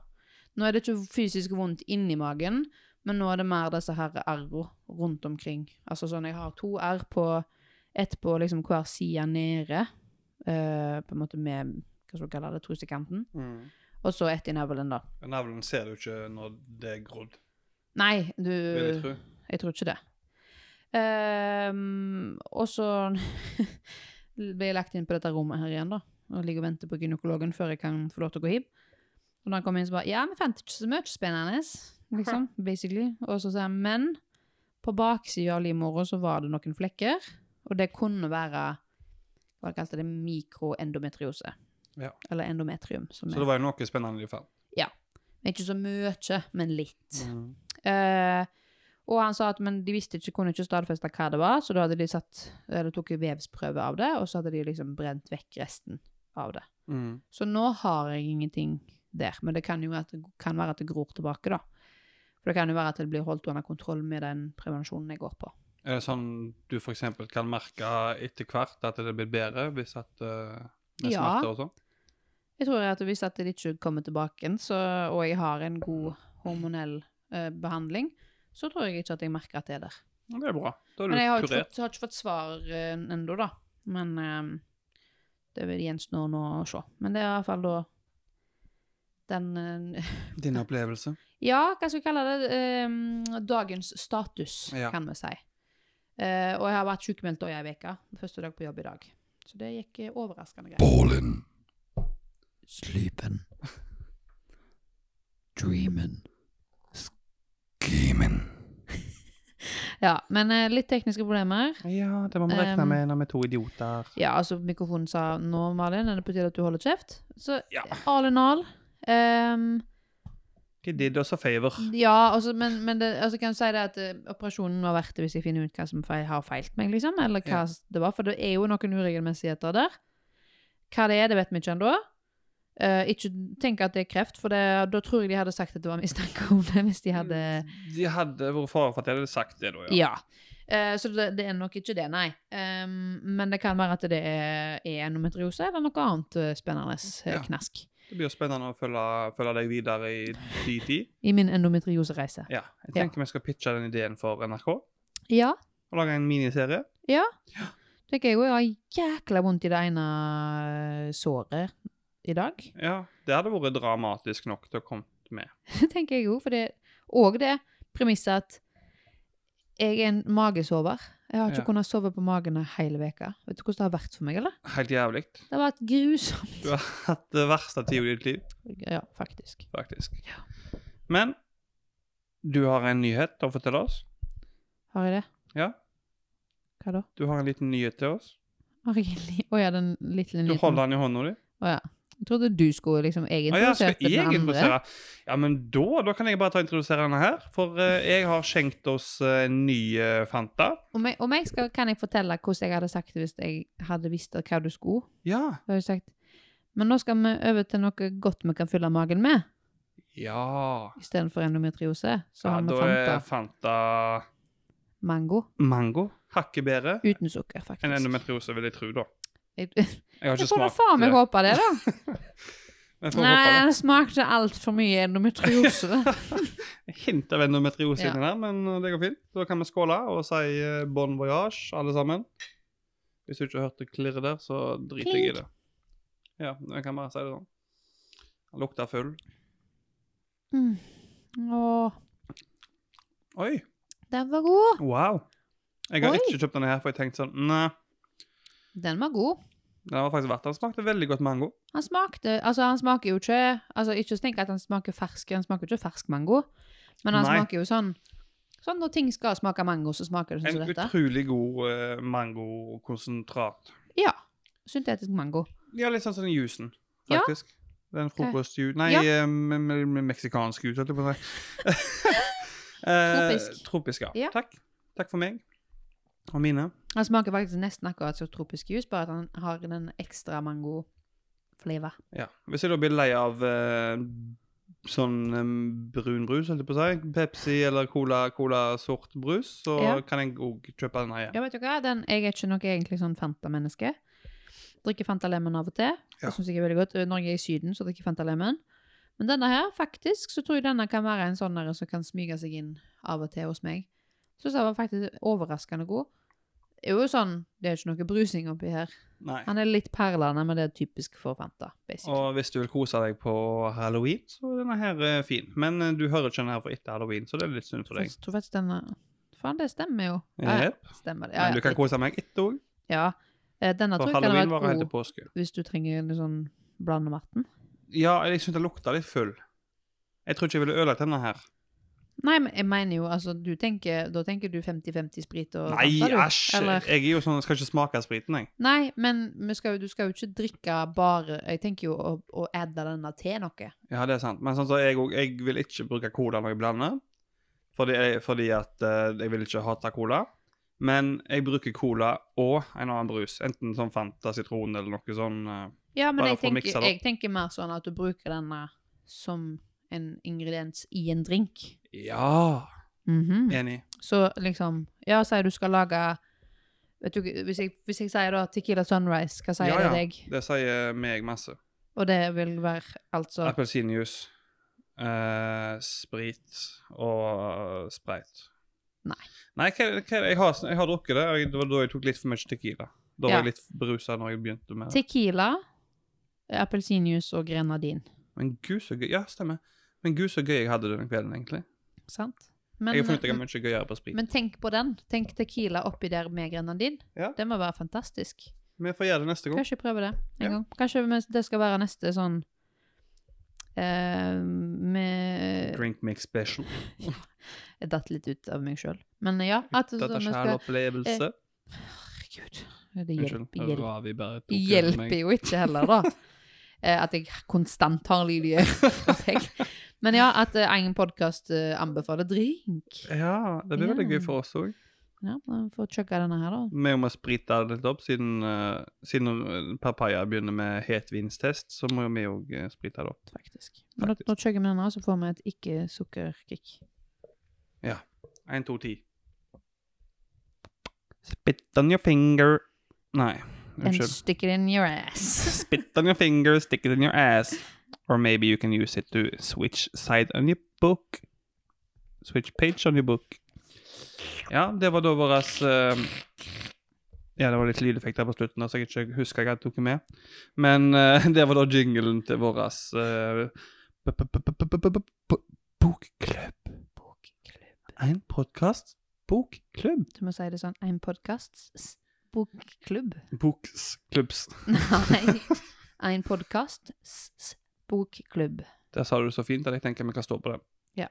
Speaker 2: Nå er det ikke fysisk vondt inni magen, men nå er det mer disse her r-ene rundt omkring. Altså sånn, jeg har to r på ett på liksom hver side nede, eh, på en måte med hva skal du kalle det, trusekanten,
Speaker 1: Mm.
Speaker 2: og så ett i navlen, da.
Speaker 1: Navlen ser du ikke når det er grodd,
Speaker 2: Nei, du
Speaker 1: vil jeg tro.
Speaker 2: Jeg tror ikke det. Ehm, og så ble jeg lagt inn på dette rommet her igjen, da. Og ligger og venter på gynekologen før jeg kan få lov til å gå hib. Og da han kom inn, så bare Ja, vi fant ikke så mye spennende, liksom. Basically. Og så sa han men på baksida av livmora så var det noen flekker, og det kunne være Hva kalte det? Mikroendometriose.
Speaker 1: Ja.
Speaker 2: Eller endometrium. Som
Speaker 1: Så det
Speaker 2: er,
Speaker 1: var jo noe spennende de fant.
Speaker 2: ikke så mye, men litt. Eh, og han sa at men de visste ikke, kunne ikke stadfeste hva det var, så da hadde de satt, eller tok en vevsprøve av det, og så hadde de liksom brent vekk resten av det.
Speaker 1: Mm.
Speaker 2: Så nå har jeg ingenting der, men det kan jo at, kan være at det gror tilbake, da. For det kan jo være at det blir holdt under kontroll med den prevensjonen jeg går på.
Speaker 1: Er det sånn du for eksempel kan merke etter hvert at det blir bedre hvis at eh, med
Speaker 2: Ja.
Speaker 1: smerter og sånn?
Speaker 2: Jeg tror at hvis at det ikke kommer tilbake, igjen, så, og jeg har en god hormonell eh, behandling, så tror jeg ikke at jeg merker at det er der.
Speaker 1: Ja, Det er bra. Da
Speaker 2: Men jeg
Speaker 1: er
Speaker 2: har
Speaker 1: du
Speaker 2: ikke,
Speaker 1: kurert.
Speaker 2: fått, har ikke fått svar eh, ennå, da. Men eh, det vil gjenstå nå å se. Men det er i hvert fall da den eh,
Speaker 1: Din opplevelse.
Speaker 2: Ja, hva skal vi kalle det? Eh, dagens status,
Speaker 1: Ja.
Speaker 2: kan vi si. Eh, og jeg har vært sjukmeldt i ei uke. Første dag på jobb i dag. Så det gikk eh, overraskende greit.
Speaker 5: Ballen. Sleepen. Dreamen. Schemen.
Speaker 2: Ja, men eh, litt tekniske problemer.
Speaker 1: Ja, det må
Speaker 2: vi regne Um, med
Speaker 1: når vi er to idioter.
Speaker 2: Ja, altså mikrofonen sa nå, Malin, er det på tide at du holder kjeft? Så
Speaker 1: Ja.
Speaker 2: all in all ehm,
Speaker 1: De did us a favor.
Speaker 2: Ja, altså, men, men det, altså, kan jeg si det at eh, operasjonen var verdt det hvis jeg finner ut hva som feil, har feilt meg, liksom, eller hva
Speaker 1: Ja.
Speaker 2: s- det var, for det er jo noen uregelmessigheter der. Hva det er, det vet vi ikke ennå. Eh, ikke tenk at det er kreft, for det, da tror jeg de hadde sagt at det var mistanke om det hvis de hadde
Speaker 1: De hadde vært fare for at de hadde sagt det, da.
Speaker 2: ja. Eh, så det, det er nok ikke det, nei. Ehm, men det kan være at det er er endometriose eller noe annet eh, spennende eh,
Speaker 1: Ja.
Speaker 2: knask
Speaker 1: Det blir jo spennende å følge, følge deg videre i din tid.
Speaker 2: i min endometriosereise.
Speaker 1: Ja, jeg tenker vi skal pitche den ideen for NRK og
Speaker 2: Ja,
Speaker 1: lage en miniserie.
Speaker 2: tenker jeg òg. Jeg har jækla vondt i det ene eh, såret i dag.
Speaker 1: Ja, Det hadde vært dramatisk nok til å komme med.
Speaker 2: tenker jeg òg. For det Og det premisset at jeg er en magesover. Jeg har ikke
Speaker 1: Ja.
Speaker 2: kunnet sove på magen en hel uke. Vet du hvordan det har vært for meg, eller?
Speaker 1: Helt jævlig.
Speaker 2: Det har vært grusomt.
Speaker 1: Du har hatt det verste tida i ditt liv,
Speaker 2: Ja, faktisk.
Speaker 1: faktisk. Men du har en nyhet å fortelle oss.
Speaker 2: Har jeg det?
Speaker 1: Ja.
Speaker 2: Hva da?
Speaker 1: Du har en liten nyhet til oss.
Speaker 2: Har jeg en li- Å ja, den lille
Speaker 1: Du holder den i hånda di.
Speaker 2: Å ja. Jeg trodde du skulle liksom Jeg
Speaker 1: Å ja, skal
Speaker 2: introduserte
Speaker 1: jeg
Speaker 2: den andre.
Speaker 1: introdusere? Ja, men da, da kan jeg bare ta og introdusere denne her. For eh, jeg har skjenkt oss eh, en ny eh, Fanta.
Speaker 2: Om jeg, om jeg skal, kan jeg fortelle hvordan jeg hadde sagt det hvis jeg hadde visst hva du skulle?
Speaker 1: Ja.
Speaker 2: Da hadde jeg sagt Men nå skal vi over til noe godt vi kan fylle magen med.
Speaker 1: Ja.
Speaker 2: istedenfor endometriose. Så
Speaker 1: ja
Speaker 2: har vi
Speaker 1: da
Speaker 2: Fanta
Speaker 1: er Fanta
Speaker 2: mango
Speaker 1: mango. Hakket bedre
Speaker 2: uten sukker,
Speaker 1: enn
Speaker 2: faktisk.
Speaker 1: endometriose, vil jeg tro, da.
Speaker 2: Jeg,
Speaker 1: Jeg har
Speaker 2: jeg
Speaker 1: ikke
Speaker 2: får da
Speaker 1: smakt
Speaker 2: faen meg
Speaker 1: det.
Speaker 2: håpe det, da.
Speaker 1: Jeg får
Speaker 2: Nei,
Speaker 1: håpe
Speaker 2: det smakte altfor mye endometriose.
Speaker 1: det. Hint av endometriose
Speaker 2: Ja.
Speaker 1: inni der, men eh, det går fint. Da kan vi skåle og si eh, bon voyage, alle sammen. Hvis du ikke hørte klirret der, så driter jeg i det. Ja, jeg kan bare si det sånn. Han lukter full.
Speaker 2: Mm. Åh,
Speaker 1: Oi!
Speaker 2: den var god.
Speaker 1: Wow. Jeg har
Speaker 2: Oi.
Speaker 1: ikke kjøpt denne her, for jeg tenkte sånn Nei,
Speaker 2: Den var god.
Speaker 1: den var faktisk verdt det. Den smakte veldig godt mango.
Speaker 2: Han smakte Altså, han smaker jo ikke Altså, ikke tenk at han smaker fersk, han smaker jo ikke fersk mango, men han
Speaker 1: Nei.
Speaker 2: smaker jo sånn Sånn når ting skal smake mango, så smaker det sånn
Speaker 1: En
Speaker 2: som dette.
Speaker 1: utrolig god eh, mangokonsentrat.
Speaker 2: Ja. Syntetisk mango.
Speaker 1: Ja, litt sånn som den jusen,
Speaker 2: Ja.
Speaker 1: faktisk. Den frokostjusen Nei,
Speaker 2: Ja.
Speaker 1: eh, me- me- me- meksikansk jus, holdt jeg på å si. Eh,
Speaker 2: Tropisk.
Speaker 1: Tropisk, ja.
Speaker 2: Ja.
Speaker 1: Takk. Takk for meg. Og mine.
Speaker 2: Han smaker faktisk nesten akkurat som tropisk juice, bare at han har den ekstra mango-flavor.
Speaker 1: Ja. Hvis jeg da blir lei av eh, sånn eh, brun brus, holdt jeg på å si, Pepsi eller cola, cola sort brus, så
Speaker 2: Ja.
Speaker 1: kan jeg òg kjøpe den her igjen.
Speaker 2: Ja, vet du hva? Den, jeg er ikke noe egentlig sånn Fanta-menneske. Drikker Fanta Lemon av og til.
Speaker 1: Ja.
Speaker 2: Det synes jeg er veldig godt. Når jeg er i Syden, så drikker jeg Fanta Lemon. Men denne her, faktisk, så tror jeg denne kan være en sånn der som kan smyge seg inn av og til hos meg. Synes den var faktisk overraskende god. Det er jo sånn, det er ikke noe brusing oppi her.
Speaker 1: Nei.
Speaker 2: Han er litt perlende, men det er typisk for Fanta, basically.
Speaker 1: Og hvis du vil kose deg på halloween, så er denne her eh, fin. Men eh, du hører ikke denne her for etter halloween, så det er litt synd for
Speaker 2: Så
Speaker 1: deg.
Speaker 2: jeg tror faktisk denne... Faen, det stemmer jo. Ja, ja,
Speaker 1: Jep.
Speaker 2: stemmer det. Ja,
Speaker 1: Men du
Speaker 2: ja,
Speaker 1: kan
Speaker 2: litt-
Speaker 1: kose meg etter òg,
Speaker 2: ja. Eh, Denne
Speaker 1: for
Speaker 2: tror jeg kan
Speaker 1: halloween
Speaker 2: være
Speaker 1: varer helt til
Speaker 2: god
Speaker 1: påske.
Speaker 2: hvis du trenger en sånn blandevatten.
Speaker 1: Ja, jeg syns det lukta litt full. Jeg tror ikke jeg ville ødelagt denne her.
Speaker 2: Nei, men jeg mener jo, altså, du tenker, da tenker du 50-50 sprit og
Speaker 1: Nei,
Speaker 2: Fanta, du?
Speaker 1: æsj!
Speaker 2: Eller,
Speaker 1: Jeg er jo sånn, skal ikke smake av spriten, jeg.
Speaker 2: nei, men vi skal, jo- du skal jo ikke drikke bare, jeg tenker jo å, å adde denne til noe.
Speaker 1: Ja, det er sant. Men sånn så jeg, òg- jeg vil ikke bruke cola når jeg blander, fordi, fordi at eh, jeg vil ikke hate cola. Men jeg bruker cola og en annen brus, enten sånn Fanta sitron eller noe sånn. eh,
Speaker 2: Ja, men
Speaker 1: Bare
Speaker 2: jeg
Speaker 1: for å mikse
Speaker 2: tenker,
Speaker 1: det
Speaker 2: jeg tenker mer sånn at du bruker denne som en ingrediens i en drink.
Speaker 1: Ja!
Speaker 2: Mhm.
Speaker 1: Enig.
Speaker 2: Så liksom, ja, sier du skal lage, vet du, ikke, hvis jeg, hvis jeg sier da Tequila Sunrise, hva sier
Speaker 1: Ja, ja.
Speaker 2: det deg?
Speaker 1: Det sier meg masse.
Speaker 2: Og det vil være, altså,
Speaker 1: Appelsinjuice, eh, sprit og spreit.
Speaker 2: Nei.
Speaker 1: Nei, hva, hva, jeg, har, jeg har drukket det. og jeg- Det var da jeg tok litt for mye tequila. Da
Speaker 2: Ja.
Speaker 1: var jeg litt berusa når jeg begynte med det.
Speaker 2: tequila, eh, appelsinjuice og grenadin.
Speaker 1: Men gud, så gøy. Ja, stemmer. Men gud, så gøy jeg hadde det den kvelden, egentlig.
Speaker 2: Sant? Men, eh,
Speaker 1: jeg har funnet ut jeg er mye gøyere på sprit.
Speaker 2: men tenk på den. Tenk Tequila oppi der med grenadin.
Speaker 1: Ja.
Speaker 2: Det må være fantastisk.
Speaker 1: Vi får gjøre det neste gang.
Speaker 2: Kanskje jeg prøver det en
Speaker 1: Ja.
Speaker 2: gang. Kanskje vi- det skal være neste sånn eh, med
Speaker 1: Drink mix special.
Speaker 2: Jeg datt litt ut av meg sjøl. Men ja. At, så,
Speaker 1: Dette er
Speaker 2: vi skal, eh,
Speaker 1: sjælopplevelse.
Speaker 2: herregud. Det
Speaker 1: Unnskyld.
Speaker 2: hjelper, hjelper,
Speaker 1: Ravi bare tok over meg.
Speaker 2: hjelper jo ikke heller, da. Eh, At jeg konstant har lyd i øret. Men ja, at eh, egen podkast anbefaler drink.
Speaker 1: Ja, det blir veldig
Speaker 2: Ja.
Speaker 1: gøy for oss òg.
Speaker 2: Ja, vi får chugge denne her, da.
Speaker 1: Vi må sprite det litt opp, siden, eh, siden papaya begynner med hetvinstest, så må vi òg eh, sprite det opp.
Speaker 2: faktisk. Men nå,
Speaker 1: Faktisk.
Speaker 2: nå chugger vi denne, så får vi et ikke-sukkerkick.
Speaker 1: Én, to, ti. Spit on your finger Nei,
Speaker 2: And
Speaker 1: unnskyld.
Speaker 2: stick it in your ass.
Speaker 1: Spit on your finger, stick it in your ass. Or maybe you can use it to switch side on your book. Switch page on your book. Ja, det var da våres eh, Ja, det var litt lydeffekter på slutten, da, så jeg ikke husker hva jeg tok med. Men eh, det var da jinglen til våres eh, b- b- b- b- b- b- b- b- Bokklubb. En podkast. Bokklubb.
Speaker 2: Du må si det sånn. En podkast. Bokklubb.
Speaker 1: Bokklubbs.
Speaker 2: Nei. En podkast. Bokklubb.
Speaker 1: Der sa du det så fint at jeg tenker vi kan stå på det.
Speaker 2: Ja.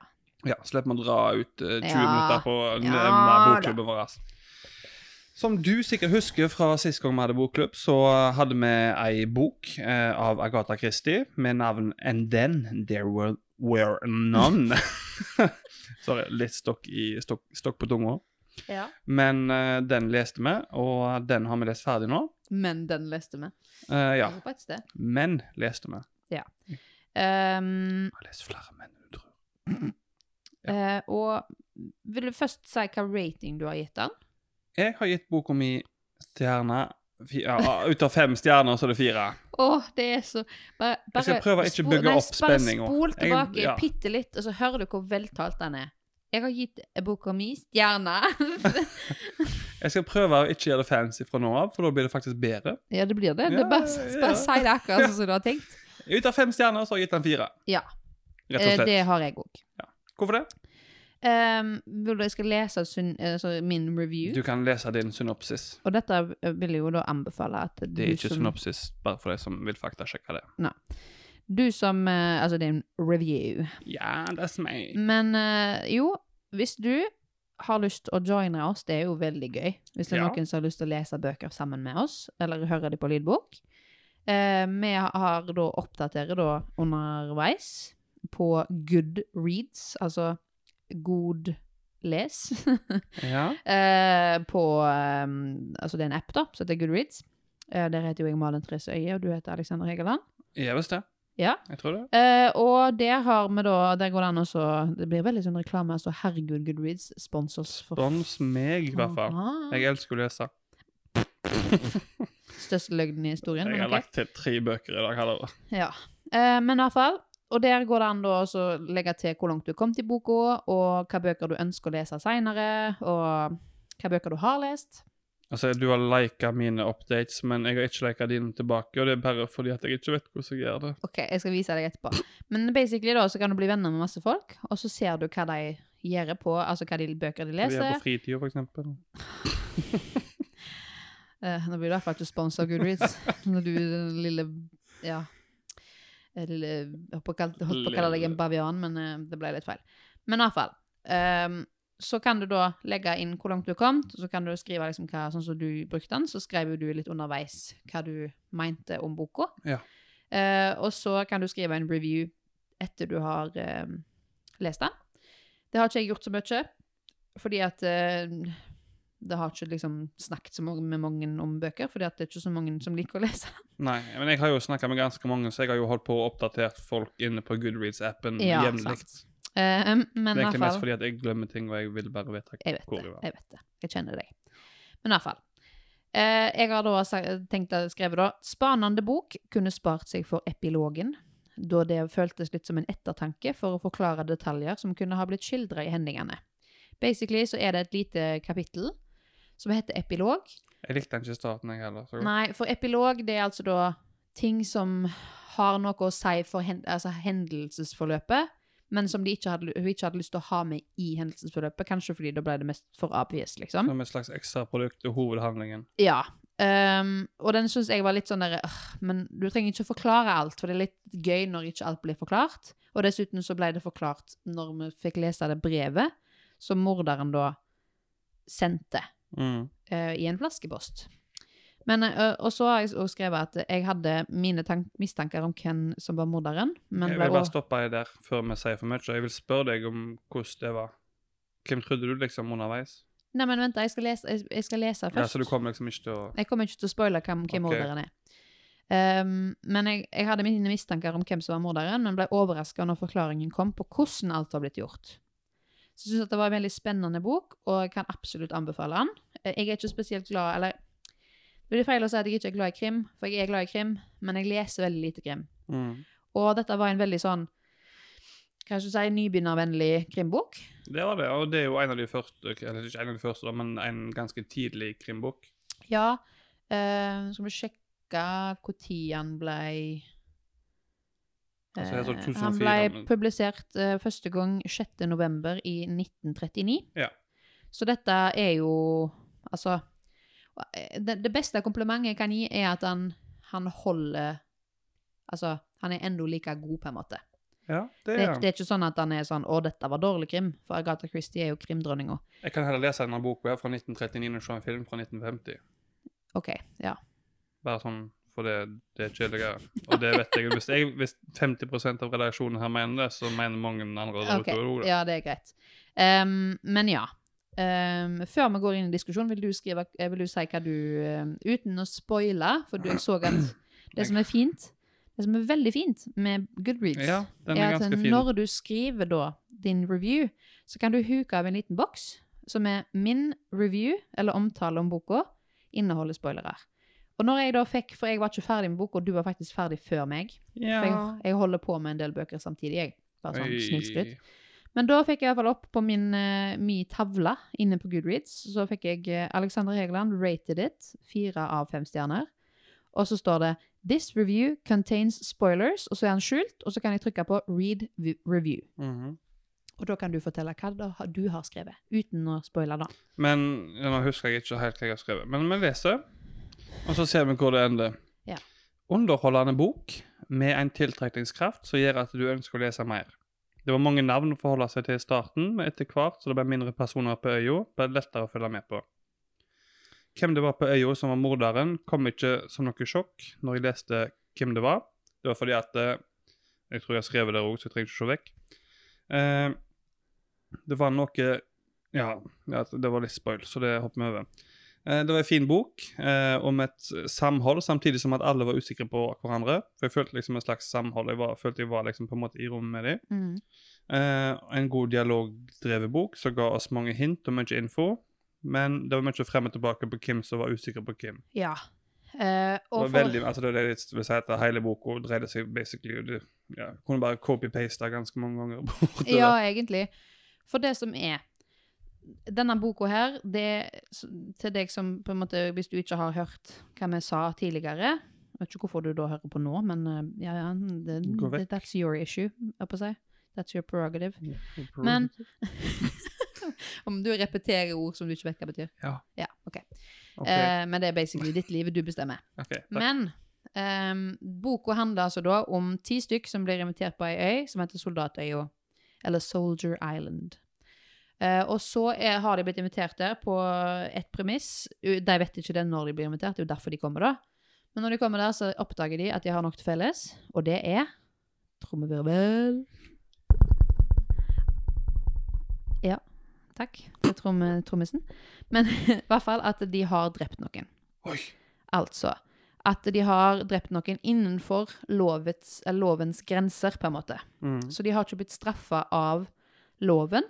Speaker 1: Ja, Slipp meg å dra ut eh, 20
Speaker 2: Ja.
Speaker 1: minutter på å nevne
Speaker 2: Ja,
Speaker 1: bokklubben vår. ass. Som du sikkert husker fra sist gang vi hadde bokklubb, så hadde vi ei bok eh, av Agatha Christie med navn And Then There Were, were None. Sorry, litt stokk, i, stokk, stokk på tunga.
Speaker 2: Ja.
Speaker 1: Men eh, den leste vi, og den har vi lest ferdig nå.
Speaker 2: Men den leste vi.
Speaker 1: Eh, ja.
Speaker 2: Det var faktisk det.
Speaker 1: Men leste vi.
Speaker 2: Um,
Speaker 1: Jeg leser flere menn enn du tror.
Speaker 2: eh, og vil du først si hva rating du har gitt den?
Speaker 1: Jeg har gitt boka mi stjerne fi- ja, Ut av fem stjerner, så er det fire.
Speaker 2: Å, det er så bare, bare,
Speaker 1: Jeg skal prøve å ikke
Speaker 2: spo-
Speaker 1: bygge
Speaker 2: nei,
Speaker 1: opp spenninga.
Speaker 2: Bare spol
Speaker 1: Jeg-
Speaker 2: tilbake
Speaker 1: ja.
Speaker 2: bitte litt, og så hører du hvor veltalt den er. Jeg har gitt boka mi stjerne.
Speaker 1: Jeg skal prøve å ikke gjøre det fancy fra nå av, for da blir det faktisk bedre.
Speaker 2: ja, det blir det.
Speaker 1: Ja,
Speaker 2: det er bare,
Speaker 1: ja, ja.
Speaker 2: bare si det akkurat sånn som du har tenkt.
Speaker 1: Ut av fem stjerner så har jeg gitt den fire.
Speaker 2: Ja.
Speaker 1: Rett og
Speaker 2: Eh,
Speaker 1: slett.
Speaker 2: Det har jeg òg.
Speaker 1: Hvorfor det?
Speaker 2: vil du jeg skal lese sunn, eh, så min review?
Speaker 1: Du kan lese din synopsis.
Speaker 2: Og dette eh, vil jeg jo da anbefale at du
Speaker 1: Det er ikke
Speaker 2: som
Speaker 1: synopsis, bare for de som vil faktasjekke det.
Speaker 2: Du som eh, Altså, det er en review.
Speaker 1: Ja, that's me.
Speaker 2: Men eh, jo, hvis du har lyst å joine oss, det er jo veldig gøy. Hvis det er
Speaker 1: Ja.
Speaker 2: noen som har lyst til å lese bøker sammen med oss, eller høre de på lydbok. Eh, vi har da oppdaterer da underveis på good reads, altså god les.
Speaker 1: Ja.
Speaker 2: Eh, på eh, Altså, det er en app, da, som heter Goodreads. Eh, der heter jo jeg Malin Therese Øye, og du heter Alexander Hegeland.
Speaker 1: Jeg visste det.
Speaker 2: Ja.
Speaker 1: Jeg tror det.
Speaker 2: Eh, og der har vi da Der går det an også Det blir veldig sånn reklame. Altså, herregud, Goodreads sponsor oss for
Speaker 1: Dans meg, i hvert fall.
Speaker 2: faen.
Speaker 1: Jeg elsker å lese.
Speaker 2: Største løgnen i historien.
Speaker 1: Jeg
Speaker 2: men
Speaker 1: har
Speaker 2: ok.
Speaker 1: lagt til tre bøker i dag. Heller.
Speaker 2: Ja. Eh, men i hvert fall. Og der går det an da også å legge til hvor langt du kom til boka, og hva bøker du ønsker å lese seinere, og hva bøker du har lest.
Speaker 1: Altså, Du har lika mine updates, men jeg har ikke lika dine tilbake. Og det er bare fordi at jeg ikke vet hvordan jeg gjør det.
Speaker 2: Ok, jeg skal vise deg etterpå. Men basically da, så kan du bli venner med masse folk, og så ser du hva de gjør på, altså hva de
Speaker 1: Hva de
Speaker 2: bøker de
Speaker 1: gjør
Speaker 2: leser.
Speaker 1: på fritida, for eksempel.
Speaker 2: Eh, nå blir det i hvert fall at du sponser Goodreads. Når du den lille Ja. eh, Lille, jeg holdt på å kalle- holdt på å kalle deg en
Speaker 1: Lille.
Speaker 2: bavian, men eh, det ble litt feil. Men i hvert fall. ehm, så kan du da legge inn hvor langt du kom, så kan du skrive liksom hva, sånn som du brukte den, så skrev jo du litt underveis hva du mente om boka.
Speaker 1: Ja.
Speaker 2: Eh, og så kan du skrive en review etter du har eh, lest den. Det har ikke jeg gjort så mye, fordi at eh, det har ikke liksom snakket så mange med mange om bøker, fordi at det er ikke så mange som liker å lese.
Speaker 1: Nei, men jeg har jo snakka med ganske mange, så jeg har jo holdt på å oppdatert folk inne på Goodreads-appen
Speaker 2: Ja,
Speaker 1: jevnlig.
Speaker 2: sant. Eh,
Speaker 1: Det er
Speaker 2: men i hvert
Speaker 1: egentlig mest
Speaker 2: fall
Speaker 1: fordi at jeg glemmer ting, og jeg vil bare vite
Speaker 2: Jeg vet
Speaker 1: hvor
Speaker 2: det.
Speaker 1: jeg var.
Speaker 2: Jeg vet det. Jeg kjenner deg. Men i hvert fall. Eh, jeg har da sa- tenkt å skrive da Spanende bok kunne spart seg for epilogen, da det føltes litt som en ettertanke for å forklare detaljer som kunne ha blitt skildra i hendingene. Basically så er det et lite kapittel som heter epilog,
Speaker 1: Jeg likte den ikke i starten, jeg heller. Så.
Speaker 2: Nei, for epilog det er altså da ting som har noe å si for hen, altså hendelsesforløpet, men som de ikke hadde, hun ikke hadde lyst til å ha med i hendelsesforløpet, kanskje fordi da ble det mest for obvious, liksom.
Speaker 1: Som et slags ekstraprodukt til hovedhandlingen.
Speaker 2: Ja. ehm, og den syns jeg var litt sånn der «Åh, Men du trenger ikke forklare alt, for det er litt gøy når ikke alt blir forklart. Og dessuten så ble det forklart når vi fikk lese det brevet som morderen da sendte
Speaker 1: Mm.
Speaker 2: eh, i en flaskepost. Men, eh, og så har jeg også skrevet at jeg hadde mine tank mistanker om hvem som var morderen. Men
Speaker 1: Jeg
Speaker 2: ble
Speaker 1: vil bare
Speaker 2: også-
Speaker 1: stoppe deg der før vi sier for mye. Jeg vil spørre deg om hvordan det var. Hvem trodde du liksom underveis?
Speaker 2: Nei, men vent, da, jeg skal lese, jeg, jeg skal lese først.
Speaker 1: Ja, Så du kom liksom ikke til å
Speaker 2: Jeg kommer ikke til å spoile hvem, hvem
Speaker 1: Ok.
Speaker 2: morderen er. Ehm, men jeg, jeg hadde mine mistanker om hvem som var morderen, men ble overraska når forklaringen kom på hvordan alt var blitt gjort. Så jeg synes at det var en veldig spennende bok, og jeg kan absolutt anbefale den. Eh, Jeg er ikke spesielt glad Eller det blir feil å si at jeg ikke er glad i krim, for jeg er glad i krim, men jeg leser veldig lite krim.
Speaker 1: mm.
Speaker 2: Og dette var en veldig sånn Hva skal jeg si, nybegynnervennlig krimbok.
Speaker 1: Det var det, og det er jo en av de første, eller ikke en av de første, da, men en ganske tidlig krimbok.
Speaker 2: Ja. eh, skal vi sjekke når han ble
Speaker 1: Altså, jeg tror
Speaker 2: Eh,
Speaker 1: 2004,
Speaker 2: Han ble
Speaker 1: men-
Speaker 2: publisert eh, første gang 6. november i 1939.
Speaker 1: Ja.
Speaker 2: Så dette er jo Altså eh, Det, det beste komplimentet jeg kan gi, er at han, han holder Altså, han er enda like god, på en måte.
Speaker 1: Ja, det
Speaker 2: Det,
Speaker 1: er
Speaker 2: det er ikke sånn at han er sånn 'Å, dette var dårlig krim', for Agatha Christie er jo krimdronninga.
Speaker 1: Jeg kan heller lese denne boka her fra 1939 og se en film fra 1950.
Speaker 2: OK, ja.
Speaker 1: Bare sånn, for det, det er kjedeligere. Og det vet jeg. Hvis, jeg, hvis 50 av redaksjonen her mener det, så mener mange andre der
Speaker 2: Ok,
Speaker 1: ute også det.
Speaker 2: Ja, det er greit. Ehm, men ja. Ehm, før vi går inn i diskusjonen, vil du, skrive, eh, vil du si hva du eh, Uten å spoile, for du, jeg så at det som er fint, det Det som er veldig fint med Goodreads,
Speaker 1: Ja, den er
Speaker 2: er at
Speaker 1: ganske fin.
Speaker 2: når du skriver da din review, så kan du huke av en liten boks som er min review, eller omtale om boka, inneholder spoilere. Og når jeg da fikk, for jeg var ikke ferdig med boka, og du var faktisk ferdig før meg, for jeg,
Speaker 1: Ja.
Speaker 2: jeg holder på med en del bøker samtidig, jeg. Bare sånn
Speaker 1: Oi.
Speaker 2: snikskryt. Men da fikk jeg i hvert fall opp på min, eh, mi tavle inne på Goodreads, så fikk jeg eh, Alexander Hegeland rated it, fire av fem stjerner. Og så står det This review contains spoilers, og så er han skjult, og så kan jeg trykke på read v- review.
Speaker 1: Mhm.
Speaker 2: Og da kan du fortelle hva da har- du har skrevet, uten å spoile da.
Speaker 1: Men ja, nå husker jeg ikke helt hva jeg har skrevet. Men vi leser, og så ser vi hvor det ender.
Speaker 2: Ja.
Speaker 1: Underholdende bok med en tiltrekningskraft som gjør at du ønsker å lese mer. Det var mange navn å forholde seg til i starten, men etter hvert så det ble mindre personer på øya, ble det lettere å følge med på. Hvem det var på øya som var morderen, kom ikke som noe sjokk når jeg leste hvem det var. Det var fordi at eh, Jeg tror jeg har skrevet det òg, så jeg trenger ikke å se vekk. Eh, det var noe ja, ja, altså, det var litt spoil, så det hopper vi over. Eh, Det var en fin bok eh, om et samhold, samtidig som at alle var usikre på hverandre. For jeg følte liksom et slags samhold. Jeg var, følte jeg var liksom på en måte i rommet med dem.
Speaker 2: Mm.
Speaker 1: Eh, en god dialogdrevet bok som ga oss mange hint og mye info. Men det var mye frem og tilbake på hvem som var usikker på hvem.
Speaker 2: Ja. Eh,
Speaker 1: Det var
Speaker 2: og for,
Speaker 1: veldig, altså det er det jeg vil si at Hele boka dreide seg basically og det- ja, jeg Kunne bare copy-paste ganske mange ganger. bortover.
Speaker 2: Ja, egentlig. For det som er Denne boka her, det s- til deg som på en måte Hvis du ikke har hørt hva vi sa tidligere jeg Vet ikke hvorfor du da hører på nå, men eh, ja, ja, det,
Speaker 1: Gå vekk.
Speaker 2: det, that's your issue, jeg på å si. That's your prerogative. Men
Speaker 1: Approve.
Speaker 2: om du repeterer ord som du ikke vet hva betyr.
Speaker 1: Ja.
Speaker 2: ja ok.
Speaker 1: Ok,
Speaker 2: Eh, men det er basically ditt liv, du bestemmer.
Speaker 1: ok, takk.
Speaker 2: Men ehm, boka handler altså da om ti stykk som blir invitert på ei øy som heter Soldatøya, eller Soldier Island. Eh, og så er, har de blitt invitert der på et premiss. U- De vet ikke det når de blir invitert, det er jo derfor de kommer da. Men når de kommer der, så oppdager de at de har noe til felles, og det er trommevirvel. Ja, takk til tromme, trommisen. Men i hvert fall at de har drept noen.
Speaker 1: Oi.
Speaker 2: Altså at de har drept noen innenfor lovets, eller lovens grenser, på en måte.
Speaker 1: Mm.
Speaker 2: Så de har ikke blitt straffa av loven.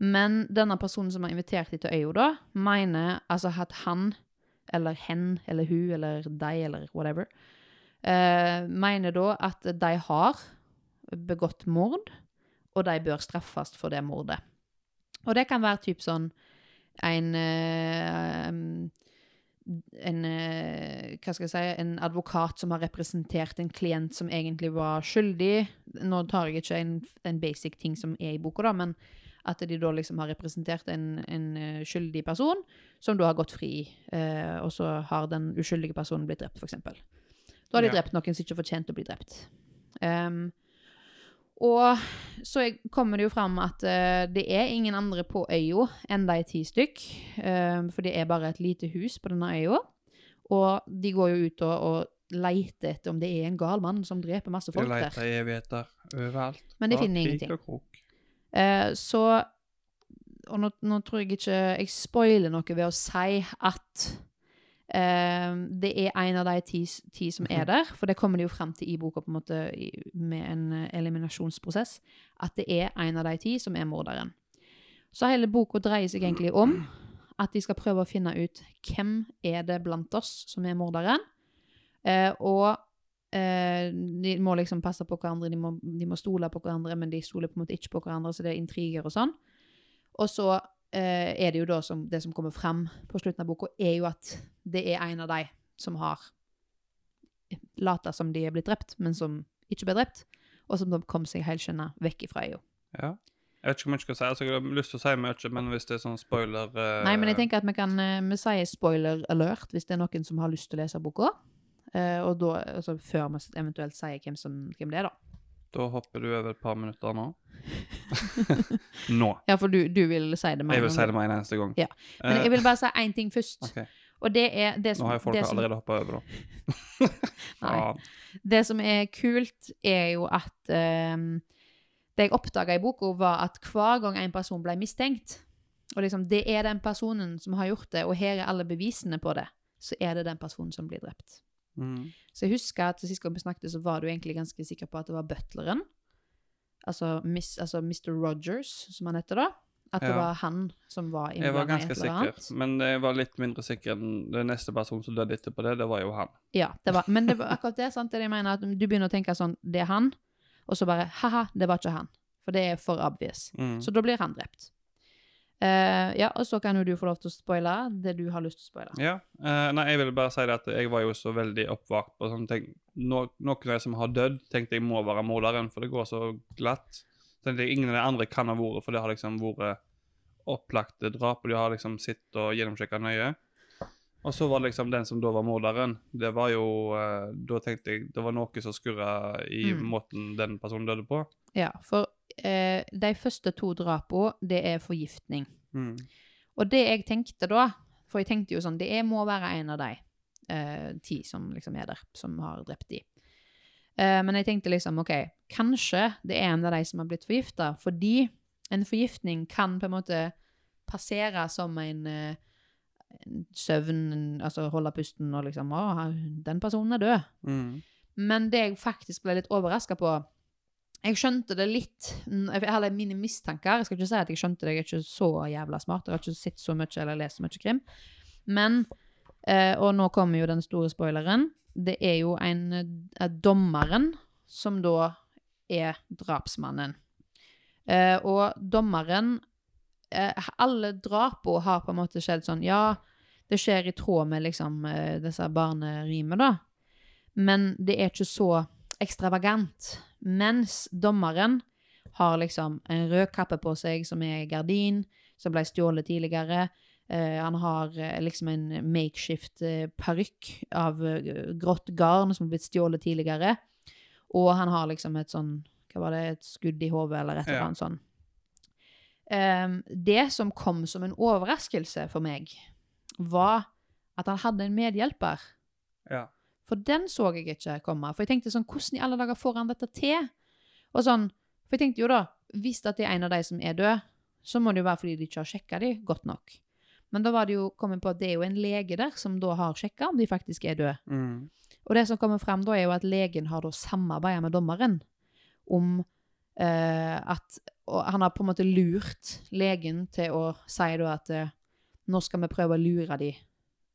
Speaker 2: Men denne personen som har invitert dem til øya, da, mener altså at han, eller hen, eller hun, eller de, eller whatever, eh, mener da at de har begått mord, og de bør straffes for det mordet. Og det kan være typ sånn en eh, en, eh, hva skal jeg si, en advokat som har representert en klient som egentlig var skyldig. Nå tar jeg ikke en, en basic ting som er i boka, da, men at de da liksom har representert en, en eh, skyldig person som da har gått fri, eh, og så har den uskyldige personen blitt drept, f.eks. Da har de
Speaker 1: Ja.
Speaker 2: drept noen som ikke fortjente å bli drept. Ehm, og så jeg- kommer det jo fram at eh, det er ingen andre på øya enn de ti stykk, ehm, for det er bare et lite hus på denne øya. Og de går jo ut og, og leter etter om det er en gal mann som dreper masse
Speaker 1: Vi
Speaker 2: folk der.
Speaker 1: leter i evigheter overalt.
Speaker 2: Men de
Speaker 1: Bak
Speaker 2: finner
Speaker 1: vik
Speaker 2: ingenting.
Speaker 1: og krok.
Speaker 2: Eh, så Og nå, nå tror jeg ikke jeg spoiler noe ved å si at eh, det er en av de ti, s- ti som er der, for det kommer det jo frem til i boka på en måte i, med en eh, eliminasjonsprosess, at det er en av de ti som er morderen. Så hele boka dreier seg egentlig om at de skal prøve å finne ut hvem er det blant oss som er morderen, eh, og Eh, de må liksom passe på hverandre, de må, de må stole på hverandre, men de stoler på en måte ikke på hverandre, så det er intriger og sånn. Og så eh, er det jo da som, det som kommer frem på slutten av boka, er jo at det er en av de som har lata som de er blitt drept, men som ikke ble drept, og som da kom seg helskjønna vekk ifra EU.
Speaker 1: Ja. Jeg vet ikke hvor mye jeg skal si. Altså, jeg har lyst til å si mye, men hvis det er sånn spoiler eh,
Speaker 2: Nei, men jeg tenker at vi kan eh, Vi sier spoiler alert hvis det er noen som har lyst til å lese boka. Eh, og da, altså før vi eventuelt sier hvem, som, hvem det er, da.
Speaker 1: Da hopper du over et par minutter nå. nå.
Speaker 2: Ja, for du, du vil si det med
Speaker 1: Jeg
Speaker 2: en
Speaker 1: vil
Speaker 2: gang,
Speaker 1: si
Speaker 2: du.
Speaker 1: det med en eneste gang.
Speaker 2: Ja, Men
Speaker 1: Eh,
Speaker 2: jeg vil bare si én ting først.
Speaker 1: ok.
Speaker 2: Og det er det som,
Speaker 1: Nå har jeg folk
Speaker 2: det som,
Speaker 1: allerede hoppa over, da.
Speaker 2: Nei.
Speaker 1: Faen.
Speaker 2: det som er kult, er jo at eh, Det jeg oppdaga i boka, var at hver gang en person ble mistenkt Og liksom, det er den personen som har gjort det, og her er alle bevisene på det, så er det den personen som blir drept.
Speaker 1: Mm.
Speaker 2: Så jeg husker at sist gang vi snakket, så var du egentlig ganske sikker på at det var butleren. Altså, Miss, altså Mr. Rogers, som han heter da. At det
Speaker 1: Ja.
Speaker 2: var han som var
Speaker 1: Jeg var
Speaker 2: innblandet i
Speaker 1: ganske
Speaker 2: et eller annet.
Speaker 1: sikker, men jeg var litt mindre sikker enn den neste personen som døde etterpå det. Det var jo han.
Speaker 2: Ja, det var, men det var akkurat det, sant? det er det jeg mener, at du begynner å tenke sånn, det er han, og så bare, haha, det var ikke han. For det er for obvious.
Speaker 1: Mm.
Speaker 2: Så da blir han drept. Eh, ja, og så kan jo du få lov til å spoile det du har lyst til å spoile.
Speaker 1: Ja. eh, nei, jeg ville bare si det at jeg var jo så veldig oppvakt på sånne ting. No, noen av de som har dødd, tenkte jeg må være morderen, for det går så glatt. Tenkte jeg Ingen av de andre kan ha vært, for det har liksom vært opplagte drap, og de har liksom sittet og gjennomsjekka nøye. Og så var det liksom den som da var morderen. Det var jo eh, Da tenkte jeg det var noe som skurra i
Speaker 2: Mm.
Speaker 1: måten den personen døde på.
Speaker 2: Ja, for eh, de første to drapene, det er forgiftning.
Speaker 1: Mm.
Speaker 2: Og det jeg tenkte da, for jeg tenkte jo sånn, det er, må være en av de eh, ti som liksom er der, som har drept de. Eh, men jeg tenkte liksom, ok, kanskje det er en av de som har blitt forgifta, fordi en forgiftning kan på en måte passere som en, eh, en søvn, en- altså holde pusten og liksom, å, han- den personen er død.
Speaker 1: Mm.
Speaker 2: Men det jeg faktisk ble litt overraska på Jeg skjønte det litt n- Eller mine mistanker. Jeg skal ikke si at jeg skjønte det, jeg er ikke så jævla smart. Jeg har ikke sett så mye eller lest så mye krim. Men eh, Og nå kommer jo den store spoileren. Det er jo en eh, dommeren som da er drapsmannen. Eh, og dommeren eh, Alle drapene har på en måte skjedd sånn Ja, det skjer i tråd med liksom eh, disse barnerimene, da men det er ikke så ekstravagant. Mens dommeren har liksom en rød kappe på seg som er gardin, som ble stjålet tidligere. Eh, han har eh, liksom en makeshift eh, parykk av eh, grått garn som har blitt stjålet tidligere. Og han har liksom et sånn Hva var det? Et skudd i hodet eller et eller
Speaker 1: Ja.
Speaker 2: annet sånn. Ehm, det som kom som en overraskelse for meg, var at han hadde en medhjelper.
Speaker 1: Ja.
Speaker 2: For den så jeg ikke komme. For jeg tenkte sånn, hvordan i alle dager får han dette til? Og sånn, for jeg tenkte jo da, hvis at det er en av de som er død, så må det jo være fordi de ikke har sjekket de godt nok. Men da var det jo kommet på at det er jo en lege der som da har sjekket om de faktisk er døde.
Speaker 1: Mm.
Speaker 2: Og det som kommer frem da er jo at legen har da samarbeidet med dommeren om eh, at og han har på en måte lurt legen til å si da at eh, nå skal vi prøve å lure de,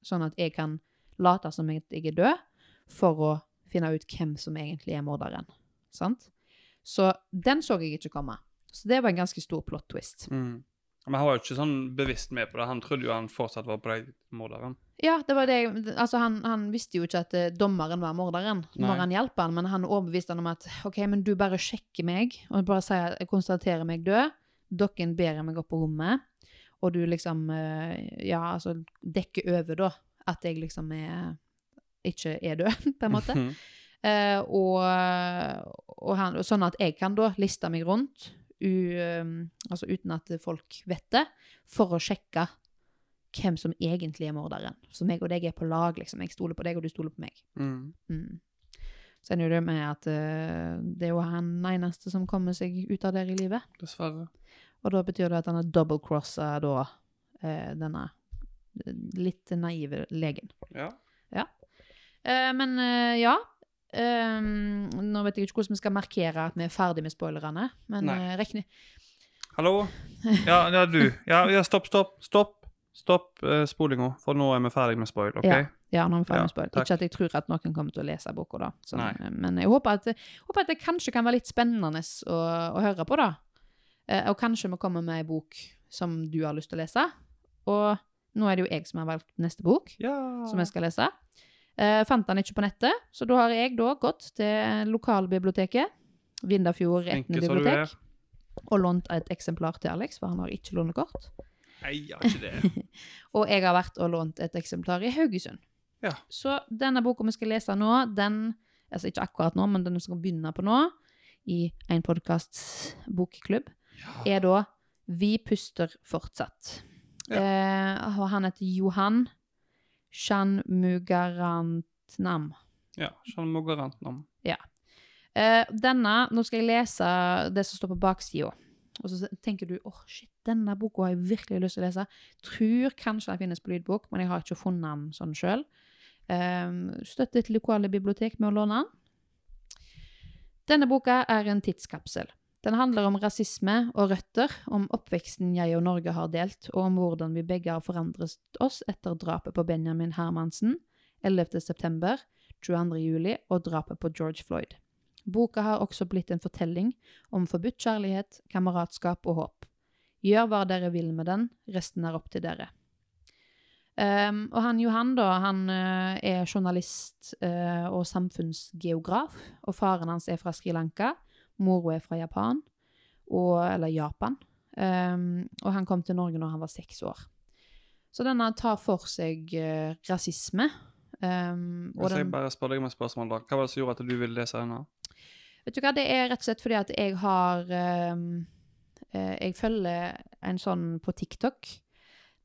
Speaker 2: sånn at jeg kan late som at jeg er død, for å finne ut hvem som egentlig er morderen. Sant? Så den så jeg ikke komme. Så det var en ganske stor plot twist.
Speaker 1: Mm. Men han var jo ikke sånn bevisst med på det. Han trodde jo han fortsatt var på deg, morderen.
Speaker 2: Ja, det var det jeg, altså han, han visste jo ikke at eh, dommeren var morderen
Speaker 1: Nei.
Speaker 2: når han hjalp han, men han overbeviste han om at ok, men du bare sjekker meg, og bare sier at jeg konstaterer meg død, dere ber meg opp på rommet, og du liksom, eh, ja, altså dekker over da, at jeg liksom er, ikke er død, på en måte.
Speaker 1: Mhm.
Speaker 2: Eh, og, og han, og sånn at jeg kan da liste meg rundt, u, um, altså uten at folk vet det, for å sjekke hvem som egentlig er morderen. Så meg og deg er på lag, liksom. Jeg stoler på deg, og du stoler på meg.
Speaker 1: Mm.
Speaker 2: Mm. Så er det jo det med at eh, det er jo han eneste som kommer seg ut av der i livet.
Speaker 1: Dessverre.
Speaker 2: Og da betyr det at han har double-crossa da eh, denne eh, litt naive legen.
Speaker 1: Ja.
Speaker 2: Eh, men eh, ja. Eh, nå vet jeg ikke hvordan vi skal markere at vi er ferdig med spoilerne. Men
Speaker 1: Nei.
Speaker 2: eh, rekne
Speaker 1: Hallo? Ja, ja du. Ja, ja, stopp, stopp. Stopp Stopp eh, spolinga, for nå er vi ferdig med spoil, OK?
Speaker 2: Ja, nå er vi ferdig
Speaker 1: Ja,
Speaker 2: med spoil.
Speaker 1: takk.
Speaker 2: Ikke at jeg tror at noen kommer til å lese boka, da. Så,
Speaker 1: Nei.
Speaker 2: eh, men jeg håper at, håper at det kanskje kan være litt spennende å, å høre på, da. Eh, og kanskje vi kommer med ei bok som du har lyst til å lese. Og nå er det jo jeg som har valgt neste bok.
Speaker 1: Ja.
Speaker 2: som jeg skal lese. Eh, fant han ikke på nettet, så da har jeg da gått til lokalbiblioteket, Vindafjord
Speaker 1: Flinke
Speaker 2: Etne
Speaker 1: som du
Speaker 2: bibliotek, og lånt et eksemplar til Alex, for han har ikke lånekort.
Speaker 1: Nei, jeg har ikke det.
Speaker 2: Og jeg har vært og lånt et eksemplar i Haugesund.
Speaker 1: Ja.
Speaker 2: Så denne boka vi skal lese nå, den, altså ikke akkurat nå, men den vi skal begynne på nå, i en podkasts bokklubb, er da Vi puster fortsatt.
Speaker 1: Ja.
Speaker 2: Eh, og han heter Johan Shanmugarantnam.
Speaker 1: Ja, Jean Mogaranten om.
Speaker 2: Eh, denne, nå skal jeg lese det som står på baksida. Og så tenker du åh shit, denne boka har jeg virkelig lyst til å lese. Tror kanskje den finnes på lydbok, men jeg har ikke funnet den sånn sjøl. Ehm, Støtte til lokale bibliotek med å låne den. Denne boka er en tidskapsel. Den handler om rasisme og røtter, om oppveksten jeg og Norge har delt, og om hvordan vi begge har forandret oss etter drapet på Benjamin Hermansen 11. september, 22. juli og drapet på George Floyd. Boka har også blitt en fortelling om forbudt kjærlighet, kameratskap og håp. Gjør hva dere vil med den, resten er opp til dere. Ehm, og han Johan da, han eh, er journalist eh, og samfunnsgeograf, og faren hans er fra Sri Lanka, moro er fra Japan, og, eller Japan, Ehm, og han kom til Norge når han var seks år. Så denne tar for seg eh, rasisme, ehm, og
Speaker 1: Hvis jeg
Speaker 2: den...
Speaker 1: bare spør deg om et spørsmål, da. Hva var det som gjorde at du ville lese denne?
Speaker 2: Vet du hva, det er rett og slett fordi at jeg har ehm, eh, Jeg følger en sånn på TikTok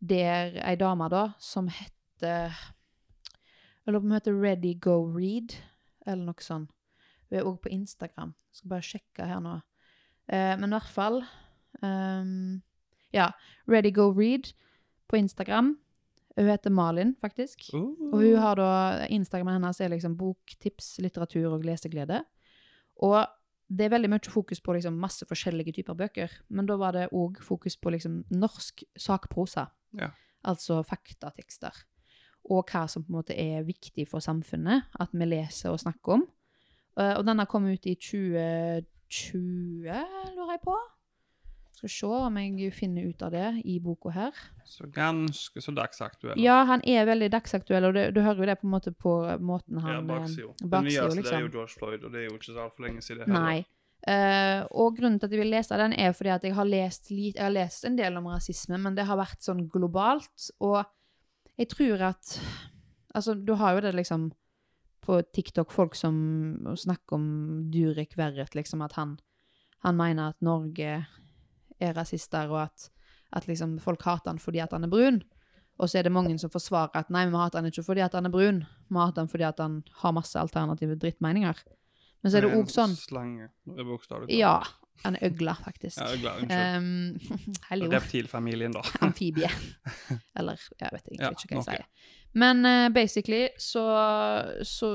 Speaker 2: der ei dame da som heter Jeg lurer på om hun heter Ready Go Read eller noe sånt. Hun er òg på Instagram. Jeg skal bare sjekke her nå. Eh, men i hvert fall ehm, Ja, Ready Go Read på Instagram. Hun heter Malin, faktisk. Og hun har da, Instagramen hennes er liksom boktips, litteratur og leseglede. Og det er veldig mye fokus på liksom masse forskjellige typer bøker, men da var det òg fokus på liksom norsk sakprosa,
Speaker 1: Ja.
Speaker 2: altså faktatekster, og hva som på en måte er viktig for samfunnet at vi leser og snakker om. Eh, Og denne kom ut i 2020, lurer jeg på. Skal se om jeg finner ut av det i boka her.
Speaker 1: Så ganske så dagsaktuell.
Speaker 2: Ja, han er veldig dagsaktuell, og det, du hører jo det på en måte på måten
Speaker 1: Ja,
Speaker 2: han
Speaker 1: baksida.
Speaker 2: eh,
Speaker 1: Den
Speaker 2: baksida,
Speaker 1: nyeste det er
Speaker 2: liksom.
Speaker 1: jo George Floyd, og det er jo ikke så altfor lenge siden. heller.
Speaker 2: Nei. Eh, og grunnen til at jeg vil lese den, er fordi at jeg har lest, lit, jeg har lest en del om rasisme, men det har vært sånn globalt, og jeg tror at Altså, du har jo det liksom på TikTok, folk som snakker om Durek Verret, liksom, at han, han mener at Norge er rasister, og at, at liksom folk hater han fordi at han er brun. Og så er det mange som forsvarer at nei, vi hater han ikke fordi at han er brun, vi hater han fordi at han har masse alternative drittmeninger. Men så er det
Speaker 1: en
Speaker 2: òg sånn
Speaker 1: Slange. Det er bokstavelig talt.
Speaker 2: ja. En øgle, faktisk.
Speaker 1: Ja, øgla, unnskyld.
Speaker 2: Um, Hallo.
Speaker 1: Reptilfamilien, da.
Speaker 2: Amfibie. Eller jeg vet egentlig
Speaker 1: Ja,
Speaker 2: ikke hva jeg
Speaker 1: noe.
Speaker 2: sier. Men eh, basically så, så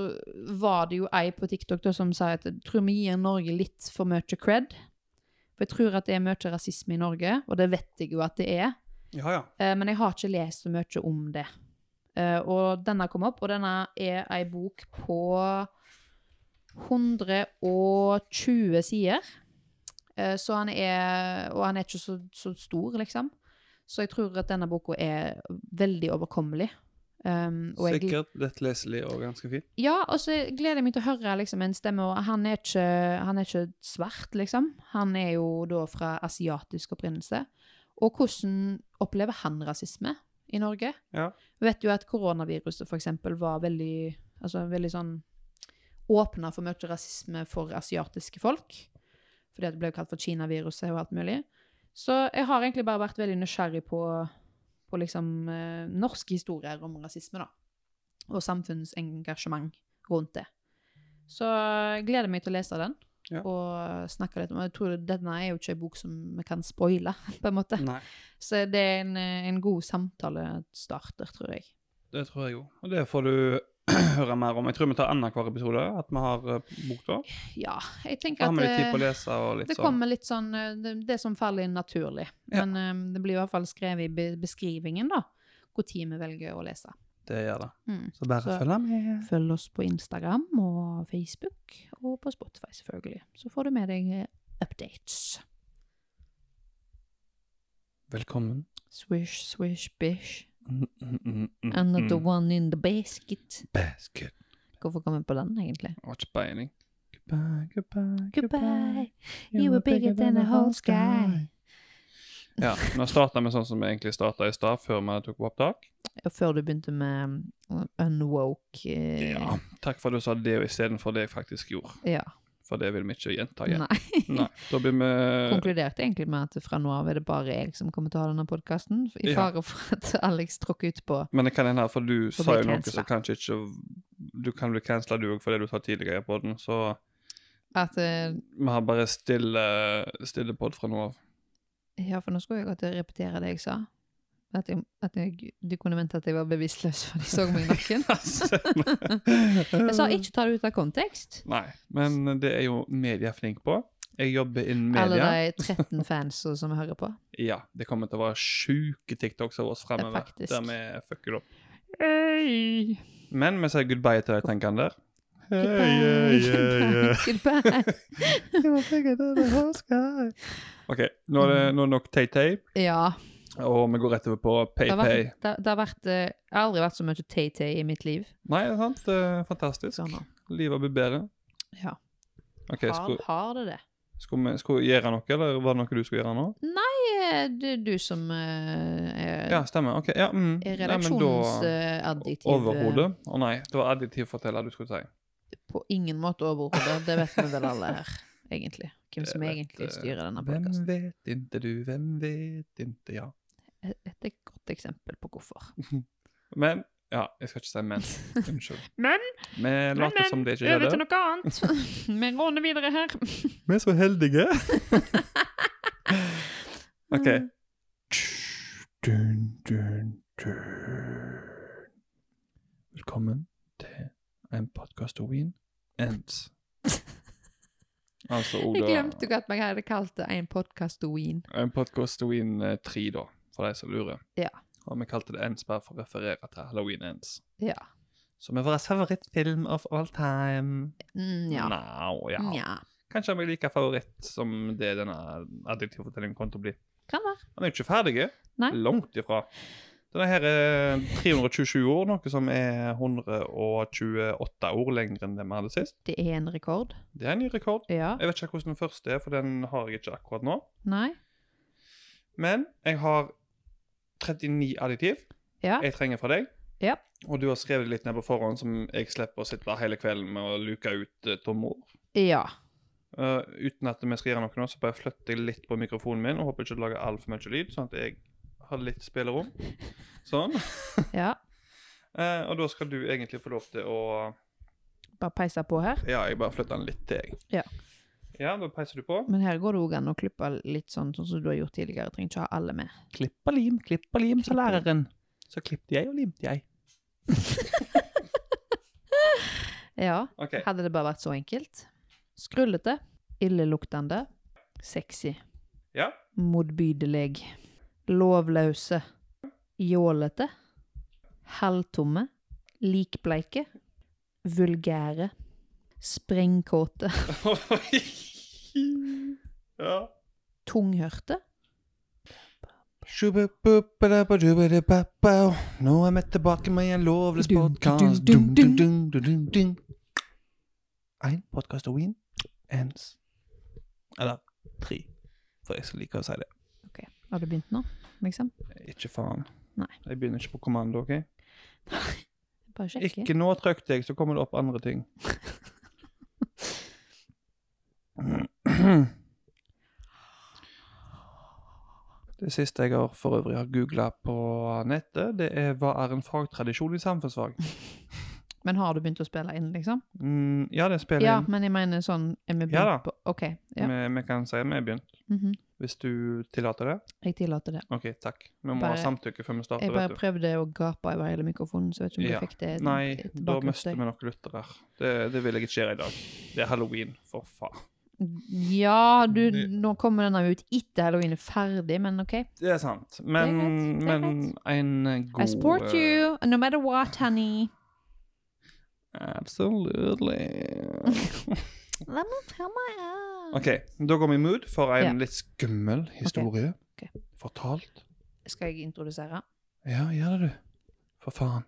Speaker 2: var det jo ei på TikTok da, som sa at jeg tror vi gir Norge litt for mye cred. For jeg tror at det er mye rasisme i Norge, og det vet jeg jo at det er.
Speaker 1: Ja, ja.
Speaker 2: Eh, men jeg har ikke lest så mye om det. Eh, og denne kom opp, og denne er ei bok på 120 sider. Eh, så han er Og han er ikke så, så stor, liksom. Så jeg tror at denne boka er veldig overkommelig. Um, og jeg-
Speaker 1: Sikkert lett leselig og ganske fin.
Speaker 2: ja, og så gleder jeg meg til å høre liksom, en stemme. Og han, er ikke, han er ikke svart, liksom. Han er jo da fra asiatisk opprinnelse. Og hvordan opplever han rasisme i Norge?
Speaker 1: Ja.
Speaker 2: Vi vet jo at koronaviruset for eksempel var veldig, altså, veldig sånn åpna for mye rasisme for asiatiske folk. Fordi at det ble jo kalt for Kina-viruset og alt mulig. Så jeg har egentlig bare vært veldig nysgjerrig på, på liksom, eh, norske historier om rasisme, da og samfunnsengasjement rundt det. Så jeg gleder meg til å lese den
Speaker 1: Ja.
Speaker 2: og snakke litt om Jeg tror Denne er jo ikke en bok som vi kan spoile, på en måte.
Speaker 1: Nei,
Speaker 2: Så det er en, eh, en god samtalestarter, tror jeg.
Speaker 1: det tror jeg jo. Og det får du høre mer om. Jeg tror vi tar annenhver episode, at vi har eh, bok da.
Speaker 2: Ja, jeg
Speaker 1: Da
Speaker 2: tenker
Speaker 1: har
Speaker 2: at
Speaker 1: vi litt tid på å
Speaker 2: eh,
Speaker 1: lese og litt
Speaker 2: det kommer litt sånn eh, Det, det som faller inn naturlig.
Speaker 1: Ja.
Speaker 2: Men eh, det blir i hvert fall skrevet i be- beskrivingen, da, hvor tid vi velger å lese.
Speaker 1: sånn. Det gjør det.
Speaker 2: Mm.
Speaker 1: Så bare
Speaker 2: Så-
Speaker 1: følg med.
Speaker 2: Følg oss på Instagram og Facebook, og på Spotify, selvfølgelig. Så får du med deg eh, updates.
Speaker 1: Velkommen.
Speaker 2: Swish, swish, bish.
Speaker 1: Mm, mm, mm, mm,
Speaker 2: Another
Speaker 1: mm.
Speaker 2: one in the basket.
Speaker 1: Basket.
Speaker 2: Hvorfor kom jeg på den, egentlig?
Speaker 1: Har ikke peiling. Goodbye, goodbye,
Speaker 4: Goodbye. You were bigger than the whole sky.
Speaker 1: Ja, nå starta vi sånn som vi egentlig starta i stad, før vi tok på opptak.
Speaker 2: Ja, Før du begynte med um, unwoke eh,
Speaker 1: Ja. Takk for at du sa det istedenfor det jeg faktisk gjorde,
Speaker 2: ja.
Speaker 1: for det vil vi ikke gjenta igjen.
Speaker 2: Nei.
Speaker 1: Nei. Da blir vi
Speaker 2: Konkluderte egentlig med at fra nå av er det bare jeg som kommer til å ha denne podkasten, i
Speaker 1: Ja.
Speaker 2: fare for at Alex tråkker ut på
Speaker 1: Men det kan hende, for du
Speaker 2: Så
Speaker 1: sa
Speaker 2: blir
Speaker 1: jo noe
Speaker 2: cancela.
Speaker 1: som kanskje ikke Du kan bli cancela du òg for det du sa tidligere i poden, så
Speaker 2: at eh,
Speaker 1: vi har bare stille, stille pod fra nå av.
Speaker 2: Ja, for nå skulle jeg godt repetere det jeg sa. At, jeg, at jeg, de kunne mente at jeg var bevisstløs, for de så meg nakken. Jeg
Speaker 1: Jeg
Speaker 2: sa ikke ta det ut av kontekst.
Speaker 1: Nei, men det er jo media flink på. Jeg jobber innen
Speaker 2: Alle
Speaker 1: media.
Speaker 2: de 13 fans som hører på.
Speaker 1: Ja, det kommer til å være sjuke TikToks av oss fremover.
Speaker 2: faktisk.
Speaker 1: Der vi fucker opp. Men vi sier goodbye til de tenkende der.
Speaker 2: Goodbye. Goodbye.
Speaker 1: OK, nå er det nå er det nok Tay-Tay,
Speaker 2: Ja.
Speaker 1: og vi går rett over på
Speaker 2: Det har,
Speaker 1: PayPay.
Speaker 2: vært, det, det har vært, eh, aldri vært så mye Tay-Tay i mitt liv.
Speaker 1: Nei, det er sant? Det er fantastisk.
Speaker 2: Sånn, da.
Speaker 1: Livet blir bedre.
Speaker 2: Ja.
Speaker 1: OK,
Speaker 2: Har,
Speaker 1: skulle,
Speaker 2: har det det?
Speaker 1: skulle vi skulle vi gjøre noe, eller var det noe du skulle gjøre nå?
Speaker 2: Eh, Det er du som eh, er,
Speaker 1: Ja, stemmer. OK. Ja, mm. Nei, men
Speaker 2: er
Speaker 1: da-
Speaker 2: redaksjonsadjektiv. eh,
Speaker 1: Overhodet? Å nei, det var adjektivforteller du skulle si.
Speaker 2: På ingen måte overhodet. Det vet vi vel alle her, egentlig. Hvem som
Speaker 1: Jeg vet,
Speaker 2: egentlig
Speaker 1: eh,
Speaker 2: styrer denne
Speaker 1: Hvem
Speaker 2: podkasten.
Speaker 1: vet inte du, hvem vet inte ja.
Speaker 2: Et et godt eksempel på hvorfor.
Speaker 1: Men Ja, jeg skal ikke si men. Unnskyld.
Speaker 2: Men,
Speaker 1: Vi later som det ikke skjedde.
Speaker 2: noe annet. Vi råner videre her.
Speaker 1: Vi er så heldige. OK.
Speaker 2: Mm.
Speaker 1: Dun, dun, dun. Velkommen til en podkast om Wien Ends. Altså
Speaker 2: Jeg
Speaker 1: ordet
Speaker 2: glemte jo at jeg hadde kalt det en podkast Ween.
Speaker 1: Eh, En podkast Halloween 3, eh, da, for de som lurer.
Speaker 2: Ja.
Speaker 1: Og vi kalte det Ends bare for å referere til Halloween Ends.
Speaker 2: Ja.
Speaker 1: Som er vår favorittfilm of all time.
Speaker 2: Mm, ja.
Speaker 1: Nå, ja.
Speaker 2: Nja.
Speaker 1: Kanskje han blir like favoritt som det denne adjektivfortellingen kom til å bli.
Speaker 2: Kan være.
Speaker 1: Han er jo ikke ferdig.
Speaker 2: Nei.
Speaker 1: Langt ifra. Denne her er 327 ord, noe som er 128 ord lenger enn det vi hadde sist.
Speaker 2: Det er en rekord.
Speaker 1: Det er en ny rekord.
Speaker 2: Ja.
Speaker 1: Jeg vet ikke hvordan den første er, for den har jeg ikke akkurat nå.
Speaker 2: Nei.
Speaker 1: Men jeg har 39 adjektiv
Speaker 2: Ja.
Speaker 1: jeg trenger fra deg.
Speaker 2: Ja.
Speaker 1: Og du har skrevet litt ned på forhånd, som jeg slipper å sitte hele kvelden med å luke ut eh, tomme ord.
Speaker 2: Ja.
Speaker 1: Eh, uten at vi skal gjøre noe nå, så bare flytter jeg litt på mikrofonen min og håper ikke det lager altfor mye lyd, sånn at jeg har litt spillerom. Sånn.
Speaker 2: ja.
Speaker 1: Eh, og da skal du egentlig få lov til å
Speaker 2: Bare peise på her.
Speaker 1: Ja, jeg bare flytter den litt til, jeg.
Speaker 2: Ja.
Speaker 1: Ja, da peiser du på.
Speaker 2: Men her går det òg an å klippe litt sånn, sånn som du har gjort tidligere. Trenger ikke ha alle med.
Speaker 1: Klipp og lim, klipp og lim, sa læreren. Så klippte jeg og limte jeg.
Speaker 2: Ja.
Speaker 1: OK.
Speaker 2: Hadde det bare vært så enkelt. Skrullete. Illeluktende. Sexy.
Speaker 1: Ja.
Speaker 2: Motbydelig. Lovløse. Jålete. Halvtomme. Likbleike. Vulgære. Sprengkåte.
Speaker 1: ja.
Speaker 2: Tunghørte.
Speaker 5: Shubabubabubabubabubabu. Nå er vi tilbake med en lovløs podcast. Dum, dum, dum, dum, dum, dum.
Speaker 1: Én podkast og win. Ens. Eller tre, for jeg skal like å si det.
Speaker 2: Har du begynt nå, liksom?
Speaker 1: Ikke faen.
Speaker 2: Nei.
Speaker 1: Jeg begynner ikke på kommando, OK?
Speaker 2: Bare sjekke.
Speaker 1: Ikke nå trykk deg, så kommer det opp andre ting. Det siste jeg har for øvrig har googla på nettet, det er 'Hva er en fagtradisjon i samfunnsfag?'
Speaker 2: Men har du begynt å spille inn, liksom?
Speaker 1: Mm, ja, det spiller
Speaker 2: Ja,
Speaker 1: inn.
Speaker 2: men jeg mener sånn er vi
Speaker 1: Ja
Speaker 2: begynt på, Ok, ja.
Speaker 1: Vi, vi kan si vi er begynt,
Speaker 2: mhm.
Speaker 1: hvis du tillater det.
Speaker 2: Jeg tillater det.
Speaker 1: OK, takk. Vi må ha
Speaker 2: Bare-
Speaker 1: samtykke før vi starter.
Speaker 2: Jeg bare
Speaker 1: vet du.
Speaker 2: prøvde å gape over hele mikrofonen, så jeg vet ikke om
Speaker 1: Ja.
Speaker 2: du fikk det
Speaker 1: Nei,
Speaker 2: et
Speaker 1: da mister
Speaker 2: bakgrunnsstøy.
Speaker 1: vi nok lyttere. Det, det vil jeg ikke gjøre i dag. Det er halloween, for faen.
Speaker 2: Ja, du,
Speaker 1: Det-
Speaker 2: nå kommer denne ut etter halloween er ferdig, men ok.
Speaker 1: Det er sant. Men,
Speaker 2: greit, det er
Speaker 1: men en god
Speaker 2: I support you, no matter what, honey.
Speaker 1: eh, Absolutely.
Speaker 4: La meg ta meg av.
Speaker 1: OK, da går vi i mood for en
Speaker 2: Ja.
Speaker 1: litt skummel historie.
Speaker 2: Ok.
Speaker 1: Fortalt.
Speaker 2: Skal jeg introdusere?
Speaker 1: Ja, gjør det, du. For faen.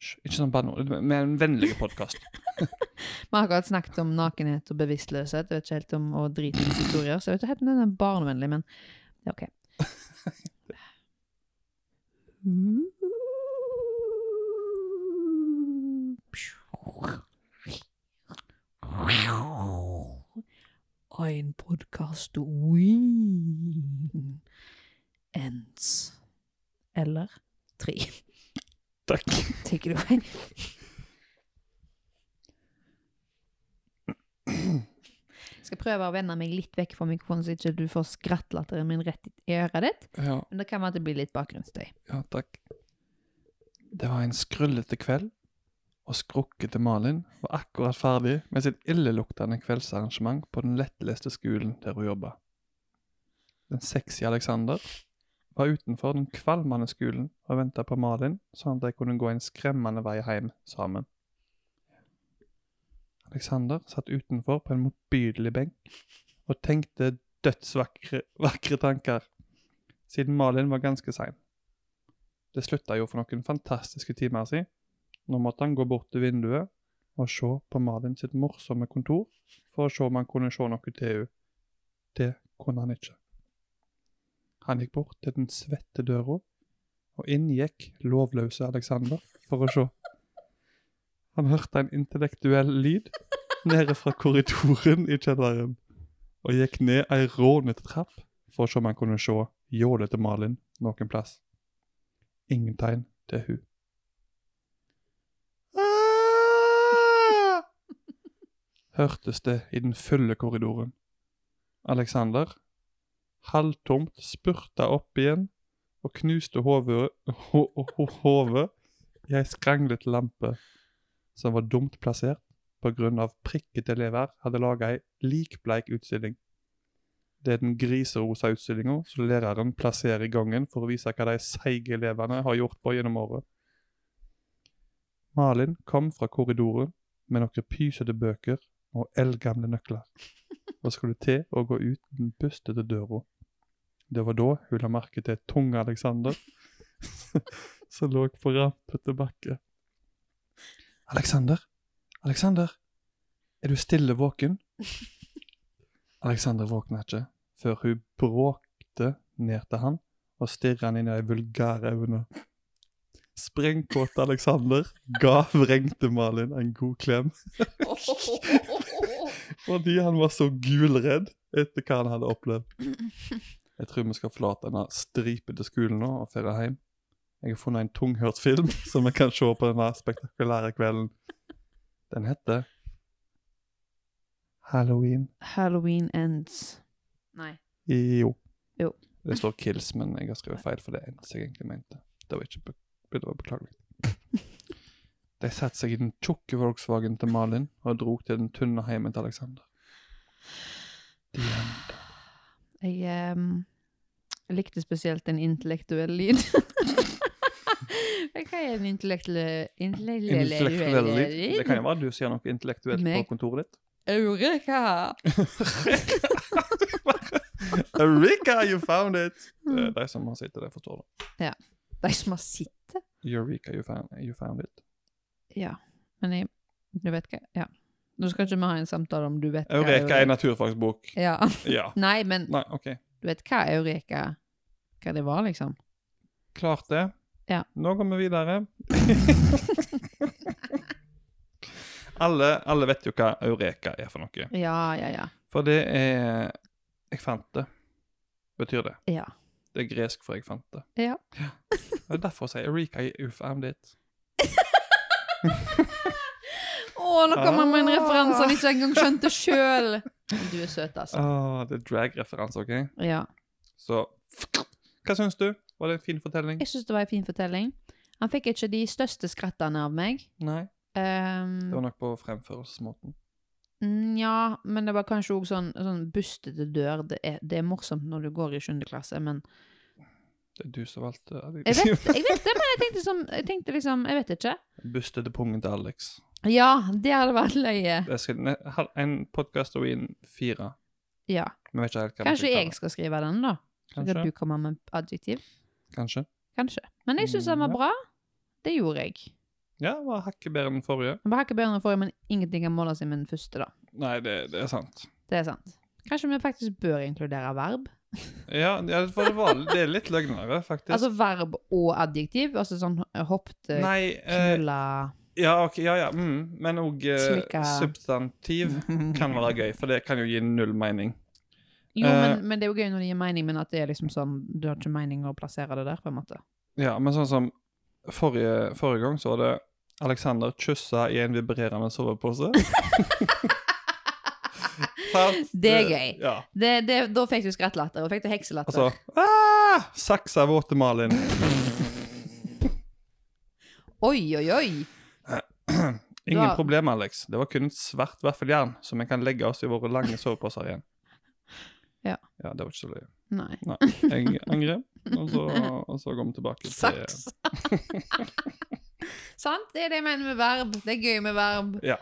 Speaker 1: Hysj, Ikke sånn banneord. Vi er en vennlig podkast.
Speaker 2: Vi har akkurat snakket om nakenhet og bevisstløshet, jeg vet ikke helt om å drite i historier, så jeg vet ikke helt om den er barnevennlig, men det er ok. Ein podkast ween ends. Eller tre.
Speaker 1: Takk.
Speaker 2: Take it away. Skal prøve å vende meg litt vekk fra mikrofonen, så ikke du får skrattlatteren min rett i øret ditt.
Speaker 1: Ja,
Speaker 2: Men det kan være at det blir litt bakgrunnsstøy.
Speaker 1: ja, takk. Det var en skrullete kveld, og skrukkete Malin var akkurat ferdig med sitt illeluktende kveldsarrangement på den lettleste skolen der hun jobba. Den sexy Alexander var utenfor den kvalmende skolen og venta på Malin, sånn at de kunne gå en skremmende vei hjem sammen. Alexander satt utenfor på en motbydelig benk og tenkte dødsvakre vakre tanker, siden Malin var ganske sein. Det slutta jo for noen fantastiske timer siden. Nå måtte han gå bort til vinduet og se på Malin sitt morsomme kontor for å se om han kunne se noe til henne. Det kunne han ikke. Han gikk bort til den svette døra, og inn gikk lovløse Alexander for å se. Han hørte en intellektuell lyd nede fra korridoren i kjelleren, og gikk ned ei rånete trapp for å se om han kunne se jålete Malin noen plass. Ingen tegn til hun. Hørtes det i den fulle korridoren. Alexander, halvtomt, spurta opp igjen og knuste hodet ho- ho- hodet i ei skranglet lampe som var dumt plassert på grunn av prikkete elever hadde laga ei likbleik utstilling. Det er den griserosa utstillinga som læreren plasserer i gangen for å vise hva de seige elevene har gjort på gjennom året. Malin kom fra korridoren med noen pysete bøker og eldgamle nøkler, og skulle til å gå ut den bustete døra. Det var da hun la merke til tunge Alexander, som lå på rampete bakke. Alexander, Alexander, er du stille våken? Alexander våkna ikke før hun bråkte ned til han og stirra han inn i de vulgære øynene. Sprengkåte Alexander ga vrengte Malin en god klem fordi han var så gulredd etter hva han hadde opplevd. Jeg tror vi skal forlate denne stripete skolen nå og feire hjem. Jeg har funnet en tunghørt film som vi kan se på denne spektakulære kvelden. Den heter Halloween
Speaker 2: Halloween ends. Nei.
Speaker 1: Jo.
Speaker 2: Jo.
Speaker 1: Det står Kills, men jeg har skrevet feil, for det er eneste jeg egentlig mente. Det var ikke be det var beklagelig. De satte seg i den tjukke Volkswagen til Malin og dro til den tynne heimen til Alexander. The end.
Speaker 2: Jeg ehm, likte spesielt en intellektuell lyd. Hva er en intellektuelle
Speaker 1: Intellektuelle
Speaker 2: Intellektuelle
Speaker 1: lyd. Det kan jo være du sier noe intellektuelt på
Speaker 2: Meg.
Speaker 1: kontoret ditt.
Speaker 2: Eureka!
Speaker 1: Eureka, you found it! Det er de som har sett det, forstår det.
Speaker 2: De som har sett
Speaker 1: Eureka, you found, you found it.
Speaker 2: Ja. Men jeg Du vet hva Ja. Nå skal ikke vi ha en samtale om du vet hva
Speaker 1: Eureka er en naturfagsbok.
Speaker 2: Ja.
Speaker 1: Ja.
Speaker 2: Nei, men
Speaker 1: Nei, OK.
Speaker 2: du vet hva eureka Hva det var, liksom?
Speaker 1: Klart det.
Speaker 2: Ja.
Speaker 1: Nå går vi videre. alle, alle vet jo hva eureka er for noe.
Speaker 2: Ja, ja, ja.
Speaker 1: For det er Jeg fant det, betyr det.
Speaker 2: Ja.
Speaker 1: Det er gresk for jeg fant det.
Speaker 2: Ja.
Speaker 1: Det er derfor jeg sier eureka i ufarm ditt.
Speaker 2: Å, nå kommer han med en referanse han ikke engang skjønte sjøl! Ah. Du er søt, altså.
Speaker 1: Åh, det er drag-referanse, OK?
Speaker 2: Ja.
Speaker 1: Så Hva syns du? Var det en fin fortelling?
Speaker 2: Jeg syns det var en fin fortelling. Han fikk ikke de største skrattene av meg.
Speaker 1: Nei. Det
Speaker 2: Um,
Speaker 1: var nok på fremførelsesmåten.
Speaker 2: Nja, men det var kanskje òg sånn, sånn bustete dør. Det er, det er morsomt når du går i sjuende klasse, men
Speaker 1: Det er du som valgte
Speaker 2: jeg vet, jeg vet det, men jeg tenkte, som, jeg tenkte liksom Jeg vet ikke.
Speaker 1: Bustete pungen til Alex.
Speaker 2: Ja, det hadde vært løye.
Speaker 1: Jeg skal, ne- ha- en podkast og inn fire.
Speaker 2: Ja.
Speaker 1: Vi vet ikke helt hva vi
Speaker 2: Kanskje
Speaker 1: skal
Speaker 2: jeg skal skrive den, da? Så
Speaker 1: kalle det.
Speaker 2: kan du komme med adjektiv.
Speaker 1: Kanskje. Kanskje.
Speaker 2: Kanskje. Men jeg syns den
Speaker 1: Mm,
Speaker 2: var
Speaker 1: ja.
Speaker 2: bra. Det gjorde jeg.
Speaker 1: Ja, det var hakket bedre enn forrige.
Speaker 2: Den var ikke bedre enn forrige, men ingenting kan måle seg med den første, da.
Speaker 1: Nei, det, det er sant.
Speaker 2: Det er sant. Kanskje vi faktisk bør inkludere verb?
Speaker 1: Ja, ja, for det, var, det er litt løgnere, faktisk.
Speaker 2: Altså verb og adjektiv? Altså sånn eh, hoppte,
Speaker 1: Nei eh,
Speaker 2: knulla
Speaker 1: Ja, ok, ja, ja. Mm, men òg eh,
Speaker 2: Slikka.
Speaker 1: substantiv
Speaker 2: Mm.
Speaker 1: kan være gøy, for det kan jo gi null mening.
Speaker 2: Jo,
Speaker 1: eh,
Speaker 2: men, men det er jo gøy når det gir mening, men at det er liksom sånn Du har ikke mening å plassere det der, på en måte.
Speaker 1: Ja, men sånn som forrige, forrige gang, så var det Alexander kyssa i en vibrerende sovepose.
Speaker 6: sant?
Speaker 2: Det
Speaker 1: eh,
Speaker 2: er gøy.
Speaker 6: Ja.
Speaker 2: Det, det, da fikk du skrattlatter, og fikk du hekselatter.
Speaker 1: Altså ah, Saksa våte Malin.
Speaker 2: Oi, oi, oi!
Speaker 1: Ingen
Speaker 2: Da-
Speaker 1: problem, Alex. Det var kun et svart vaffeljern som vi kan legge oss i våre lange soveposer igjen.
Speaker 2: Ja.
Speaker 1: ja. Det var ikke så løye.
Speaker 2: Nei.
Speaker 1: Nei. Jeg angrer, og så, og så går vi tilbake til
Speaker 2: Saks. Sant? Det er det jeg mener med verb. Det er gøy med verb.
Speaker 1: Ja.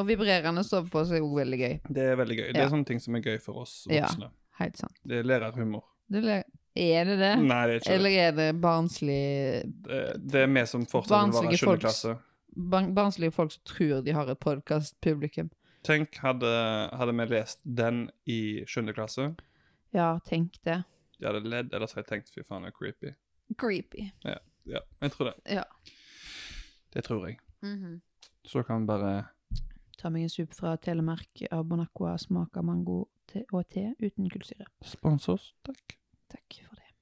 Speaker 2: Og vibrerende sovepose er også veldig gøy.
Speaker 1: Det er veldig gøy. Det
Speaker 2: Ja.
Speaker 1: er sånne ting som er gøy for oss
Speaker 2: Ja.
Speaker 1: voksne.
Speaker 2: Helt sant.
Speaker 1: Det er lærerhumor.
Speaker 2: Det er, er det det?
Speaker 1: Nei, det er ikke
Speaker 2: Eller er det barnslig
Speaker 1: det. Det er vi som fortsatt vil være
Speaker 2: Barnslige folks.
Speaker 1: sjuende klasse.
Speaker 2: barn, Barnslige folk som tror de har et podkastpublikum.
Speaker 1: Tenk, hadde, hadde vi lest den i sjuende klasse,
Speaker 2: Ja, tenk det.
Speaker 1: de hadde ledd, eller så hadde jeg tenkt fy faen, det er creepy.
Speaker 2: Creepy.
Speaker 1: Ja, jeg tror det.
Speaker 2: Ja.
Speaker 1: Det tror jeg. Så kan vi bare
Speaker 2: Ta meg en sup fra Telemark. Abonacqua smaker mango te og te uten kullsyre.
Speaker 1: sponse oss, takk.
Speaker 2: Takk for det.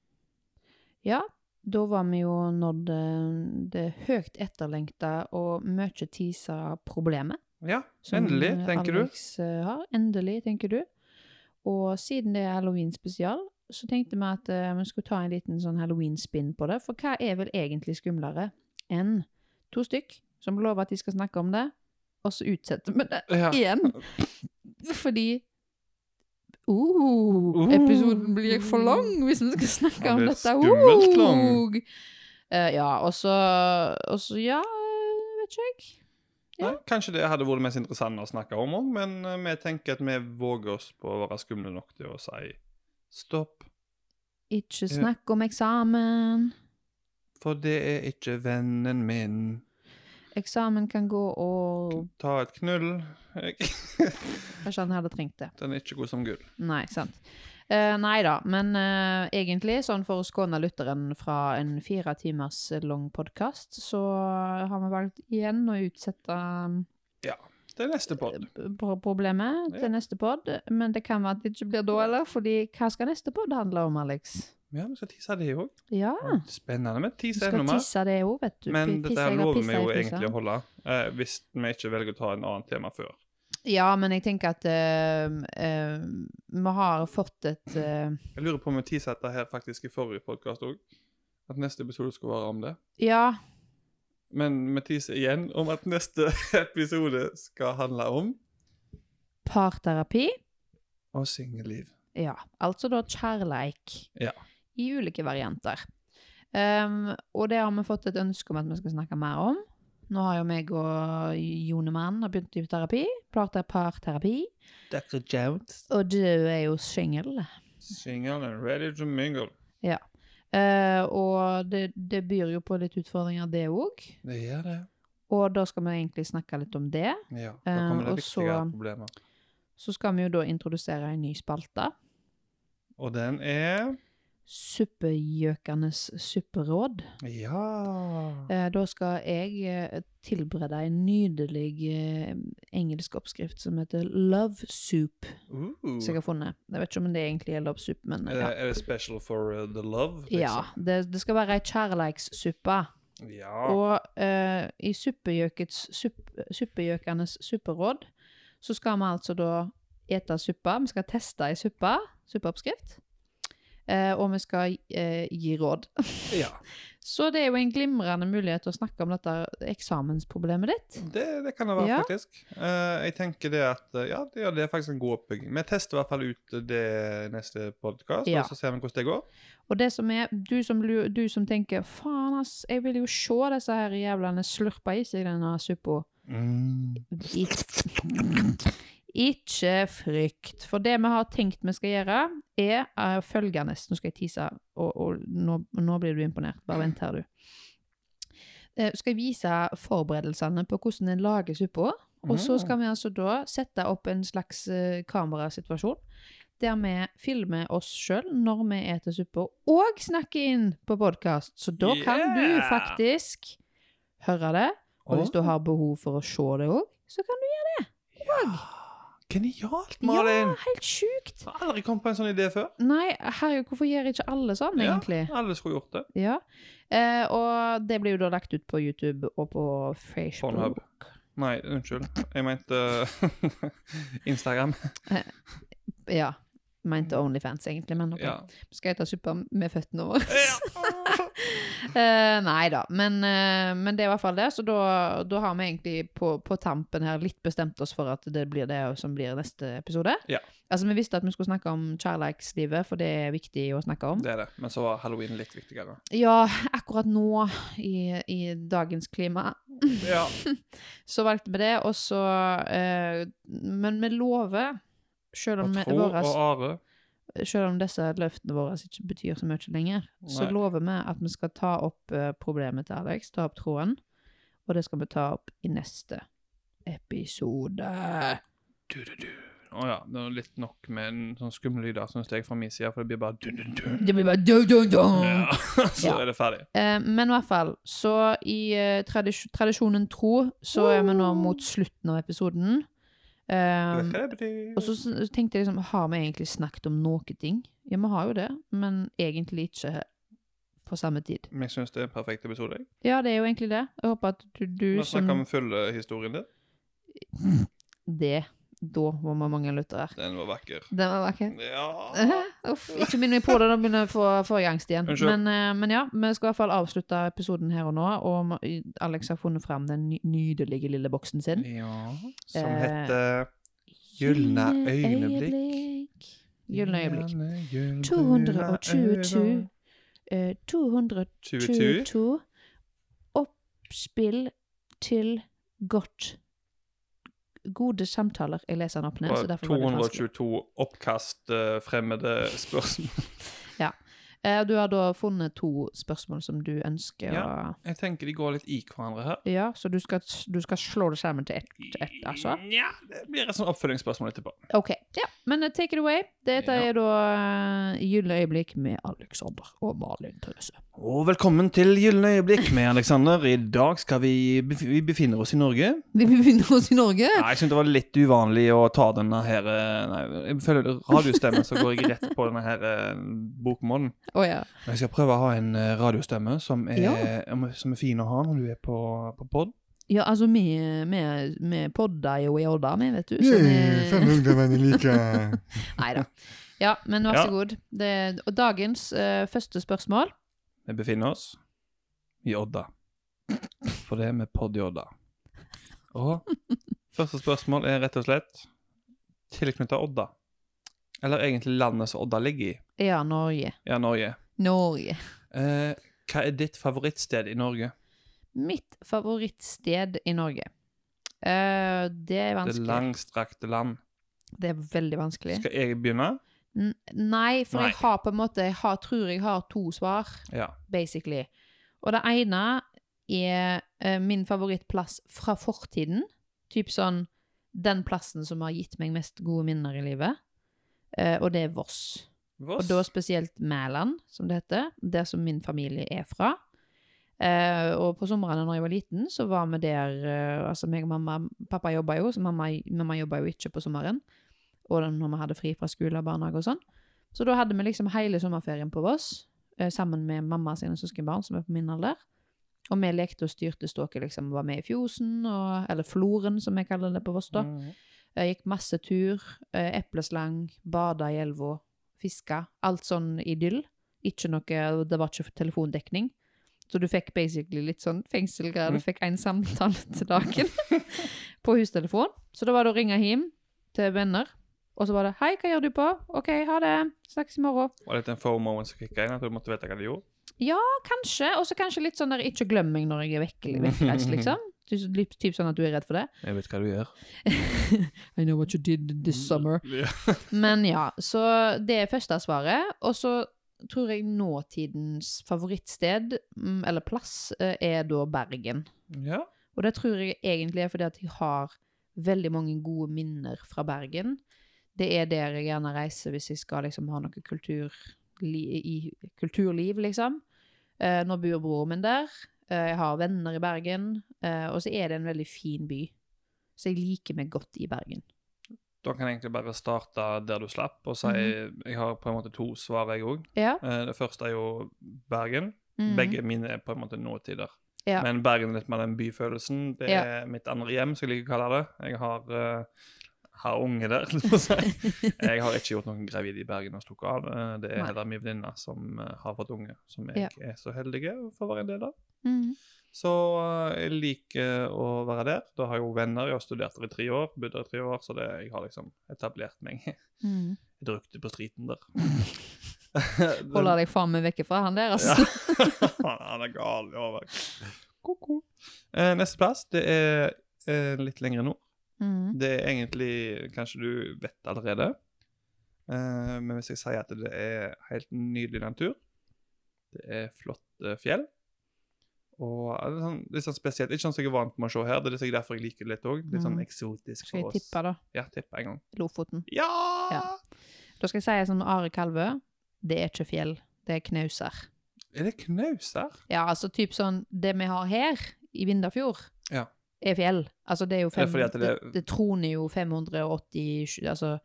Speaker 2: Ja, da var vi jo nådd eh, det høyt etterlengta og mye tisa problemet.
Speaker 1: Ja,
Speaker 2: som
Speaker 1: endelig, tenker du.
Speaker 2: Alex eh, har. Endelig, tenker du. Og siden det er halloween-spesial, så tenkte vi at eh, vi skulle ta en liten sånn halloween-spinn på det. For hva er vel egentlig skumlere enn to stykk som lover at de skal snakke om det, og så utsetter vi det
Speaker 1: Ja.
Speaker 2: igjen? Fordi Oh,
Speaker 1: Uh.
Speaker 2: episoden blir for lang hvis vi skal snakke om
Speaker 1: Den blir
Speaker 2: dette.
Speaker 1: skummelt lang.
Speaker 2: Oh. Eh, ja, og så Og så, ja eh, Vet ikke jeg.
Speaker 1: Nei, kanskje det hadde vært det mest interessante å snakke om òg, men eh, vi tenker at vi våger oss på å være skumle nok til å si stopp,
Speaker 2: Ikke snakk om eksamen.
Speaker 1: for det er ikke vennen min.
Speaker 2: Eksamen kan gå og
Speaker 1: Ta et knull.
Speaker 2: Kanskje han hadde trengt det.
Speaker 1: Den er ikke god som gull.
Speaker 2: Nei, sant. Eh, nei da, men eh, egentlig, sånn for å skåne lytteren fra en fire timers lang podkast, så har vi valgt igjen å utsette
Speaker 1: Det er neste pod.
Speaker 2: eh, pro- problemet
Speaker 1: Ja.
Speaker 2: til neste pod. Men det kan være at det ikke blir da, eller? Fordi hva skal neste pod handle om, Alex?
Speaker 1: Ja, vi skal tisse det òg.
Speaker 2: Ja.
Speaker 1: Spennende med
Speaker 2: Du
Speaker 1: tisse
Speaker 2: ah. skal
Speaker 1: ennå mer.
Speaker 2: tisse det òg, vet du.
Speaker 1: Men
Speaker 2: Pi-
Speaker 1: dette
Speaker 2: pisse,
Speaker 1: her
Speaker 2: jeg har
Speaker 1: lover
Speaker 2: pissa
Speaker 1: vi jo
Speaker 2: i fryseren.
Speaker 1: egentlig å holde, eh, hvis vi ikke velger å ta en annen tema før.
Speaker 2: Ja, men jeg tenker at eh, eh, vi har fått et eh,
Speaker 1: Jeg lurer på om vi tisa dette her faktisk i forrige podkast òg. At neste episode skulle være om det.
Speaker 2: Ja,
Speaker 1: Men vi teaser igjen om at neste episode skal handle om
Speaker 2: parterapi.
Speaker 1: å singelliv.
Speaker 2: Ja, altså da kjærleik.
Speaker 1: Ja.
Speaker 2: I ulike varianter. Ehm, og det har vi fått et ønske om at vi skal snakke mer om. Nå har jo meg og Jone Mann har begynt i terapi. Plata parterapi.
Speaker 1: Dr. Jones.
Speaker 2: Og du er jo singel.
Speaker 1: Single and ready to mingle.
Speaker 2: Eh, og det, det byr jo på litt utfordringer, det òg.
Speaker 1: Det gjør det.
Speaker 2: Og da skal vi egentlig snakke litt om det.
Speaker 1: Ja, da
Speaker 2: Eh,
Speaker 1: kommer det
Speaker 2: og
Speaker 1: viktige
Speaker 2: så-
Speaker 1: problemer.
Speaker 2: Så skal vi jo da introdusere en ny spalte.
Speaker 1: Og den er
Speaker 2: Suppegjøkernes supperåd.
Speaker 1: Ja.
Speaker 2: Eh, Da skal jeg eh, tilberede en nydelig eh, engelsk oppskrift som heter love soup,
Speaker 1: Uh.
Speaker 2: som jeg har funnet. Jeg vet ikke om det egentlig er love soup, men
Speaker 1: Er
Speaker 2: eh, ja.
Speaker 1: det- er det special for uh, the love?
Speaker 2: ja
Speaker 1: liksom?
Speaker 2: det, det skal være ei kjærleikssuppe.
Speaker 1: ja.
Speaker 2: Og eh, i suppegjøkets supp, suppegjøkernes supperåd så skal vi altså da ete suppa. Vi skal teste ei suppe, suppeoppskrift. Eh, og vi skal eh, gi råd.
Speaker 1: ja.
Speaker 2: Så det er jo en glimrende mulighet til å snakke om dette eksamensproblemet ditt.
Speaker 1: Det, det kan det være,
Speaker 2: Ja.
Speaker 1: faktisk. Eh, jeg tenker det at eh, Ja, det, ja, det er faktisk en god oppbygging. Vi tester i hvert fall ut det neste podkast,
Speaker 2: Ja.
Speaker 1: og så ser vi hvordan det går.
Speaker 2: Og det som er, du som, lu- du som tenker faen ass, jeg vil jo se disse her jævlene slurpe i seg denne suppa.
Speaker 1: Mm.
Speaker 2: Ik- Ikke frykt. For det vi har tenkt vi skal gjøre, er eh, følgende Nå skal jeg tise, og, og nå, nå blir du imponert. Bare vent her, du. Eh, skal jeg vise forberedelsene på hvordan en lager suppa.
Speaker 1: Ah.
Speaker 2: Og så skal vi altså da sette opp en slags eh, kamerasituasjon. Der vi filmer oss sjøl når vi eter suppa, og snakker inn på podkast. Så da kan du
Speaker 1: Yeah!
Speaker 2: faktisk høre det. Og hvis
Speaker 1: Åh,
Speaker 2: du har behov for å se det òg, så kan du
Speaker 1: Genialt,
Speaker 2: Ja,
Speaker 1: Malin!
Speaker 2: helt sjukt!
Speaker 1: Jeg har aldri kommet på en sånn idé før.
Speaker 2: Nei, herregud, hvorfor gjør ikke alle sånn,
Speaker 1: Ja.
Speaker 2: egentlig?
Speaker 1: Alle skulle gjort det.
Speaker 2: Ja. Eh, og det blir jo da lagt ut på YouTube og på Facebook.
Speaker 1: Pornhub. Nei, unnskyld. Jeg mente Instagram.
Speaker 2: Ja. Mente Onlyfans, egentlig, men ok.
Speaker 1: Mm. Ja.
Speaker 2: Skal jeg ta suppa med føttene over? Eh, nei da, men, eh, men det er i hvert fall det. Så da, da har vi egentlig på, på tampen her litt bestemt oss for at det blir det som blir neste episode.
Speaker 1: Ja.
Speaker 2: Altså, vi visste at vi skulle snakke om kjærleikslivet, for det er viktig å snakke om.
Speaker 1: Det er det. Men så var halloween litt viktigere.
Speaker 2: Ja, akkurat nå, i, i dagens klima,
Speaker 1: Ja.
Speaker 2: så valgte vi det, og så eh, Men vi lover, selv om,
Speaker 1: Og
Speaker 2: vi-
Speaker 1: tro og
Speaker 2: våres-
Speaker 1: are.
Speaker 2: selv om disse løftene våre ikke betyr så mye lenger, så
Speaker 1: Nei.
Speaker 2: lover vi at vi skal ta opp eh, problemet til Alex, ta opp tråden, og det skal vi ta opp i neste episode.
Speaker 1: Du-du-du. Å ja. Det er litt nok med en sånn skumle lyder, syns jeg, fra min side, for det blir bare du-du-du.
Speaker 2: Det blir bare dun, dun, dun.
Speaker 1: Ja. Så
Speaker 2: Mm. Ja.
Speaker 1: er det ferdig.
Speaker 2: Eh, men i hvert fall, så i eh, tradis tradisjonen tro, så er vi nå mot slutten av episoden.
Speaker 1: Du
Speaker 2: Um,
Speaker 1: vet hva det betyr.
Speaker 2: Og så s- tenkte jeg liksom, har vi egentlig snakket om noe ting? Ja, vi har jo det, men egentlig ikke på samme tid.
Speaker 1: Men jeg syns det er en perfekt episode. jeg.
Speaker 2: Ja, det er jo egentlig det. Jeg håper at du, du
Speaker 1: Vi
Speaker 2: som
Speaker 1: snakker om fulle historien din.
Speaker 2: Det. Da var vi mange lyttere.
Speaker 1: Den var vakker.
Speaker 2: Den var vakker.
Speaker 1: Ja.
Speaker 2: Uff, ikke minn meg på det, da begynner jeg å få forrige angst igjen.
Speaker 1: Unnskyld.
Speaker 2: Men, eh, men ja, vi skal i hvert fall avslutte episoden her og nå, og ma- Alex har funnet fram den ny- nydelige lille boksen sin.
Speaker 1: Ja, som
Speaker 2: Eh,
Speaker 1: heter Gylne øyeblikk.
Speaker 2: Gylne øyeblikk.
Speaker 1: Gylne
Speaker 2: 222
Speaker 1: øyeblikk.
Speaker 2: eh, 222
Speaker 1: 22.
Speaker 2: Oppspill til godt Gode samtaler. Jeg leser den opp ned, så
Speaker 1: Og
Speaker 2: derfor var det vanskelig.
Speaker 1: 222 oppkast eh, fremmede spørsmål.
Speaker 2: Eh, Du har da funnet to spørsmål som du ønsker å
Speaker 1: Ja. Jeg tenker de går litt i hverandre her.
Speaker 2: Ja, så du skal, du skal slå det sammen til ett, til ett altså?
Speaker 1: Nja, det blir et sånn oppfølgingsspørsmål etterpå.
Speaker 2: OK. Ja, men eh, take it away. Dette
Speaker 1: Ja.
Speaker 2: er da eh, Gylne øyeblikk med Alexander og Malin Therese.
Speaker 1: Og velkommen til Gylne øyeblikk med Alexander. I dag skal vi Vi befinner oss i Norge.
Speaker 2: Vi befinner oss i Norge.
Speaker 1: Nei, jeg syns det var litt uvanlig å ta denne her eh, Nei, jeg føler radiostemmen, så går jeg rett på denne her eh, bokmålen.
Speaker 2: Å ja.
Speaker 1: Men jeg skal prøve å ha en eh, radiostemme som er,
Speaker 2: Ja.
Speaker 1: om- som er fin å ha når du er på, på pod.
Speaker 2: Ja, altså, vi, vi, vi podder jo i Odda, vi, vet du. Så vi
Speaker 5: ungdommene liker
Speaker 2: Nei da. Ja, men vær så
Speaker 1: Ja.
Speaker 2: god. Det, og dagens eh, første spørsmål
Speaker 1: Vi befinner oss i Odda. For det er med pod i Odda. Og første spørsmål er rett og slett tilknyttet Odda. Eller egentlig landet som Odda ligger i.
Speaker 2: Ja, Norge.
Speaker 1: Ja, Norge.
Speaker 2: Norge.
Speaker 1: Eh, hva er ditt favorittsted i Norge?
Speaker 2: Mitt favorittsted i Norge. Eh, det er
Speaker 1: Det
Speaker 2: vanskelig.
Speaker 1: langstrakte land.
Speaker 2: Det er veldig vanskelig.
Speaker 1: Skal jeg begynne?
Speaker 2: N nei, for
Speaker 1: Nei.
Speaker 2: jeg har på en måte Jeg har, tror jeg har to svar,
Speaker 1: Ja.
Speaker 2: basically. Og det ene er eh, min favorittplass fra fortiden. Typ sånn den plassen som har gitt meg mest gode minner i livet. Eh, og det er Voss. Og
Speaker 1: Voss?
Speaker 2: da spesielt Mæland, som det heter. Der som min familie er fra. Eh, og på somrene når jeg var liten, så var vi der eh, Altså, meg og mamma Pappa jobba jo, så mamma, mamma jobba jo ikke på sommeren. Og da- når vi hadde fri fra skole og barnehage og sånn. Så da hadde vi liksom hele sommerferien på Voss, eh, sammen med mamma sine søskenbarn, som er på min alder. Og vi lekte og styrte ståket, liksom. Var med i Fjosen, og, eller Floren, som vi kaller det på Voss, da.
Speaker 1: Mm.
Speaker 2: Jeg gikk masse tur, eh, epleslang, bada i elva, fiska. Alt sånn idyll. Ikke noe, det var ikke telefondekning. Så du fikk basically litt sånn fengselgreier. Du fikk én samtale til dagen på hustelefon. Så da var det å ringe hjem til venner, og så var det 'Hei, hva gjør du på?' 'OK, ha det. Snakkes i morgen.'
Speaker 1: Var det en FOMO-en som kicka inn? At du måtte vite hva de gjorde?
Speaker 2: Kanskje. Og så kanskje litt sånn der 'ikke glem meg når jeg er vekke- vekkreist', liksom. Typ, typ sånn at du er redd for det.
Speaker 1: Jeg vet hva du gjør.
Speaker 2: I know what you did this summer.
Speaker 1: Ja.
Speaker 2: Men ja, så det er første svaret. Og så tror jeg nåtidens favorittsted, mm, eller plass, eh, er da Bergen.
Speaker 1: ja.
Speaker 2: Og det tror jeg egentlig er fordi at jeg har veldig mange gode minner fra Bergen. Det er der jeg gjerne reiser hvis jeg skal liksom ha noe kultur, i kulturliv, liksom. Eh, nå bor broren min der. Eh, jeg har venner i Bergen. Eh, og så er det en veldig fin by. Så jeg liker meg godt i Bergen.
Speaker 1: Da kan jeg egentlig bare starte der du
Speaker 2: Mhm.
Speaker 1: slapp, og si Jeg har på en måte to svar, jeg òg.
Speaker 2: Ja.
Speaker 1: Det første er jo Bergen.
Speaker 2: Mm.
Speaker 1: Begge mine er på en måte nåtider.
Speaker 2: Ja.
Speaker 1: Men Bergen er litt mer den byfølelsen. Det
Speaker 2: Ja.
Speaker 1: er mitt andre hjem, som jeg liker å kalle det. Jeg har, eh, har unge der, litt å si. Jeg har ikke gjort noen gravid i Bergen og stukket av. Eh, Det er
Speaker 2: Nei.
Speaker 1: heller min venninne som eh, har fått unge, som jeg er så heldig for å være en del av.
Speaker 2: Mm.
Speaker 1: Så eh, jeg liker å være der. Da har jeg jo venner. Jeg har studert der i tre år, bodd der i tre år, så det, jeg har liksom etablert meg.
Speaker 2: Mm.
Speaker 1: Jeg drukte på striten der. Den-
Speaker 2: Holder deg faen meg vekk fra han der,
Speaker 1: ja.
Speaker 2: altså.
Speaker 1: Han er gal i over. Ko-ko. Eh, neste plass, det er eh, litt lenger nord.
Speaker 2: Mm.
Speaker 1: Det er egentlig Kanskje du vet allerede. Eh, men hvis jeg sier at det er helt nydelig natur Det er flotte fjell. Og er litt sånn, litt sånn spesielt. Ikke sånn som jeg er vant med å se her. Det er sikkert derfor jeg liker det litt òg. Litt sånn
Speaker 2: Mhm.
Speaker 1: eksotisk
Speaker 2: Skal
Speaker 1: for
Speaker 2: jeg
Speaker 1: oss.
Speaker 2: tippe, da?
Speaker 1: Ja, tipp en gang.
Speaker 2: Lofoten.
Speaker 1: Ja!
Speaker 2: Ja. Da skal jeg si som Are Kalvø, det er ikke fjell, det er knauser.
Speaker 1: Er det knaus her?
Speaker 2: Ja, altså typ sånn, det vi har her i Vindafjord,
Speaker 1: Ja.
Speaker 2: er fjell. Altså det er jo
Speaker 1: Er
Speaker 2: fem,
Speaker 1: det fordi at
Speaker 2: det,
Speaker 1: det-
Speaker 2: det, troner jo 587, altså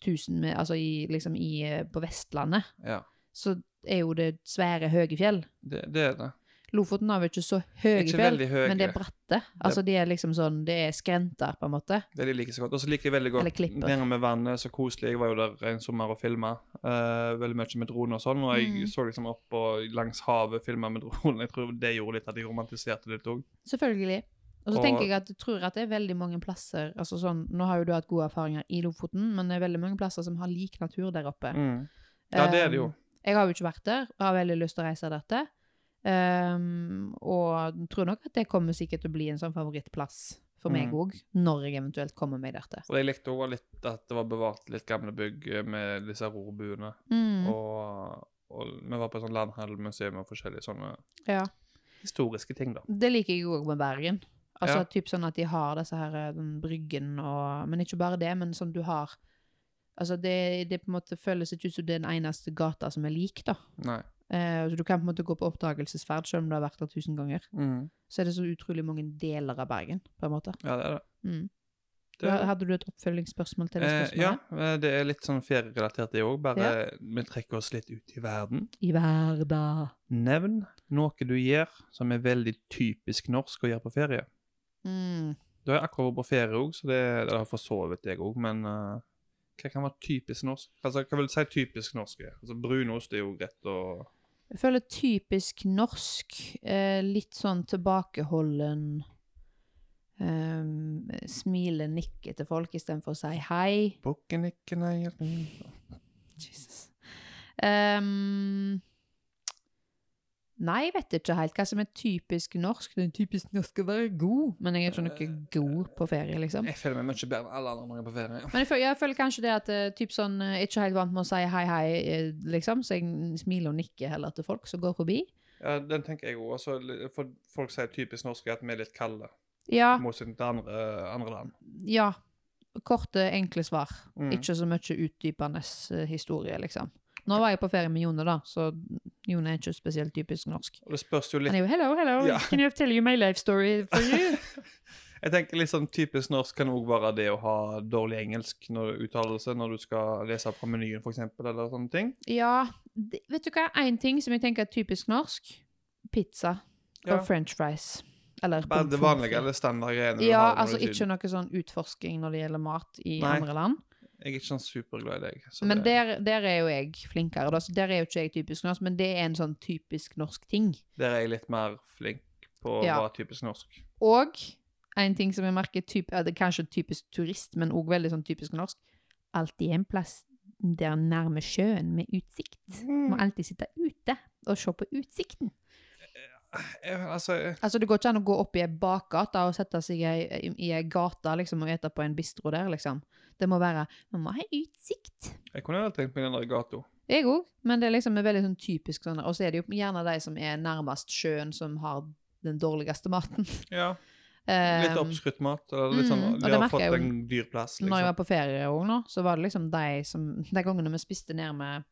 Speaker 2: 1000, med, altså i, liksom i, eh, på Vestlandet,
Speaker 1: Ja.
Speaker 2: så er jo det svære høye fjell.
Speaker 1: Det, det er det.
Speaker 2: Lofoten har jo ikke så høye
Speaker 1: Ikke
Speaker 2: fjell,
Speaker 1: veldig høye.
Speaker 2: men det er bratte. Altså de er liksom sånn, det er skrenter på en måte.
Speaker 1: Det er de liker så godt. Og så liker jeg veldig
Speaker 2: Eller
Speaker 1: godt
Speaker 2: klipper.
Speaker 1: nede med vannet. Så koselig. Jeg var jo der en sommer og filma veldig mye med drone og sånn. Og jeg
Speaker 2: Mm.
Speaker 1: så liksom opp og langs havet filma med drone. Jeg tror det gjorde litt at jeg romantiserte det litt òg.
Speaker 2: Selvfølgelig. Og så
Speaker 1: Og-
Speaker 2: tenker jeg at jeg tror at det er veldig mange plasser altså sånn, Nå har jo du hatt gode erfaringer i Lofoten, men det er veldig mange plasser som har lik natur der oppe.
Speaker 1: Mm. Ja, det er det jo.
Speaker 2: Um, Jeg har jo ikke vært der, og har veldig lyst til å reise der til. Um, og tror nok at det kommer sikkert til å bli en sånn favorittplass for meg
Speaker 1: Mm.
Speaker 2: òg, når jeg eventuelt kommer meg der til.
Speaker 1: Og jeg likte òg litt at det var bevart litt gamle bygg med disse rorbuene.
Speaker 2: Mm,
Speaker 1: Og, og vi var på et sånt landhandelmuseum og forskjellige sånne
Speaker 2: ja.
Speaker 1: historiske ting, da.
Speaker 2: Mm. Det liker jeg òg med Bergen. Altså
Speaker 1: Ja.
Speaker 2: typ sånn at de har disse her eh, den bryggen og Men ikke bare det, men sånn du har Altså det, det på en måte føles ikke ut som det er den eneste gata som er lik, da.
Speaker 1: Nei.
Speaker 2: Eh, så du kan på en måte gå på oppdagelsesferd selv om du har vært der tusen ganger.
Speaker 1: Mm.
Speaker 2: Så er det så utrolig mange deler av Bergen, på en måte.
Speaker 1: Ja, det er det.
Speaker 2: Mm.
Speaker 1: det er det.
Speaker 2: Hadde du et oppfølgingsspørsmål til det
Speaker 1: Eh, ja,
Speaker 2: spørsmålet?
Speaker 1: eh, det er litt sånn ferierelatert, det òg. Bare vi trekker oss litt ut i verden.
Speaker 2: I hverdag.
Speaker 1: Nevn noe du gjør som er veldig typisk norsk å gjøre på ferie.
Speaker 2: Mm.
Speaker 1: Du har jeg akkurat vært på ferie òg, så det, det har forsovet jeg òg, men eh, hva kan være typisk norsk? Altså, hva vil du si typisk norsk er? Altså, Brunost er jo greit å
Speaker 2: Jeg føler typisk norsk, eh, litt sånn tilbakeholden eh, Smile, nikke til folk istedenfor å si hei.
Speaker 1: Bukken ikke nei
Speaker 2: Jesus. Ehm, nei, jeg vet ikke helt hva som er typisk norsk. Det er typisk norsk å være god, men jeg er ikke noe god på ferie, liksom.
Speaker 1: Jeg føler meg mye bedre enn alle andre når jeg er på ferie.
Speaker 2: Men jeg føler, jeg føler kanskje det at eh, typ sånn, eh, ikke helt vant med å si hei, hei, eh, liksom, så jeg smiler og nikker heller til folk som går forbi.
Speaker 1: Ja, Den tenker jeg òg. Altså, li- for folk sier typisk norsk er at vi er litt kalde,
Speaker 2: Ja,
Speaker 1: i motsetning til andre, andre land.
Speaker 2: ja. Korte, enkle svar.
Speaker 1: Mm.
Speaker 2: Ikke så mye utdypende eh, historie, liksom. Nå var jeg på ferie med Jone, da, så Jone er ikke spesielt typisk norsk.
Speaker 1: Og det spørs jo litt
Speaker 2: Han er jo 'hello, hello,
Speaker 1: Ja.
Speaker 2: can you tell you my life story for you?'
Speaker 1: Jeg tenker litt sånn Typisk norsk kan òg være det å ha dårlig engelsk når uttalelse når du skal lese fra menyen, for eksempel, eller sånne ting.
Speaker 2: Ja, det, vet du hva? En ting som jeg tenker er typisk norsk. Pizza
Speaker 1: Ja.
Speaker 2: og french fries. Eller
Speaker 1: Bare
Speaker 2: pommes
Speaker 1: det
Speaker 2: frites.
Speaker 1: vanlige eller standardgreiene. du
Speaker 2: Ja,
Speaker 1: har når
Speaker 2: altså
Speaker 1: du er i
Speaker 2: ikke
Speaker 1: Syden.
Speaker 2: noe sånn utforsking når det gjelder mat i
Speaker 1: Nei.
Speaker 2: andre land.
Speaker 1: Jeg er ikke sånn superglad i deg. så
Speaker 2: Men
Speaker 1: det,
Speaker 2: der, der er jo jeg flinkere, da, så der er jo ikke jeg typisk norsk, men det er en sånn typisk norsk ting.
Speaker 1: der er jeg litt mer flink på å
Speaker 2: Ja.
Speaker 1: være typisk norsk.
Speaker 2: Og en ting som jeg merker typ, er det er kanskje typisk turist, men også veldig sånn typisk norsk, alltid en plass der nærme sjøen med utsikt. Må alltid sitte ute og se på utsikten.
Speaker 1: Jeg, altså, jeg-
Speaker 2: Altså, det går ikke an å gå opp i ei bakgate og sette seg i ei- i- i ei gate liksom, og ete på en bistro der, liksom. Det må være Man må ha utsikt.
Speaker 1: jeg kunne jo tenkt meg den der gata.
Speaker 2: Jeg òg, men det er liksom en veldig sånn typisk sånn Og så er det jo gjerne de som er nærmest sjøen, som har den dårligste maten.
Speaker 1: Ja,
Speaker 2: Eh,
Speaker 1: litt oppskrytt mat. Eller litt sånn,
Speaker 2: mm, og
Speaker 1: de
Speaker 2: det
Speaker 1: har
Speaker 2: merker
Speaker 1: fått
Speaker 2: jeg jo
Speaker 1: en dyr plass,
Speaker 2: Når jeg var
Speaker 1: liksom.
Speaker 2: på ferie òg nå, så var det liksom de som De gangene vi spiste ned med,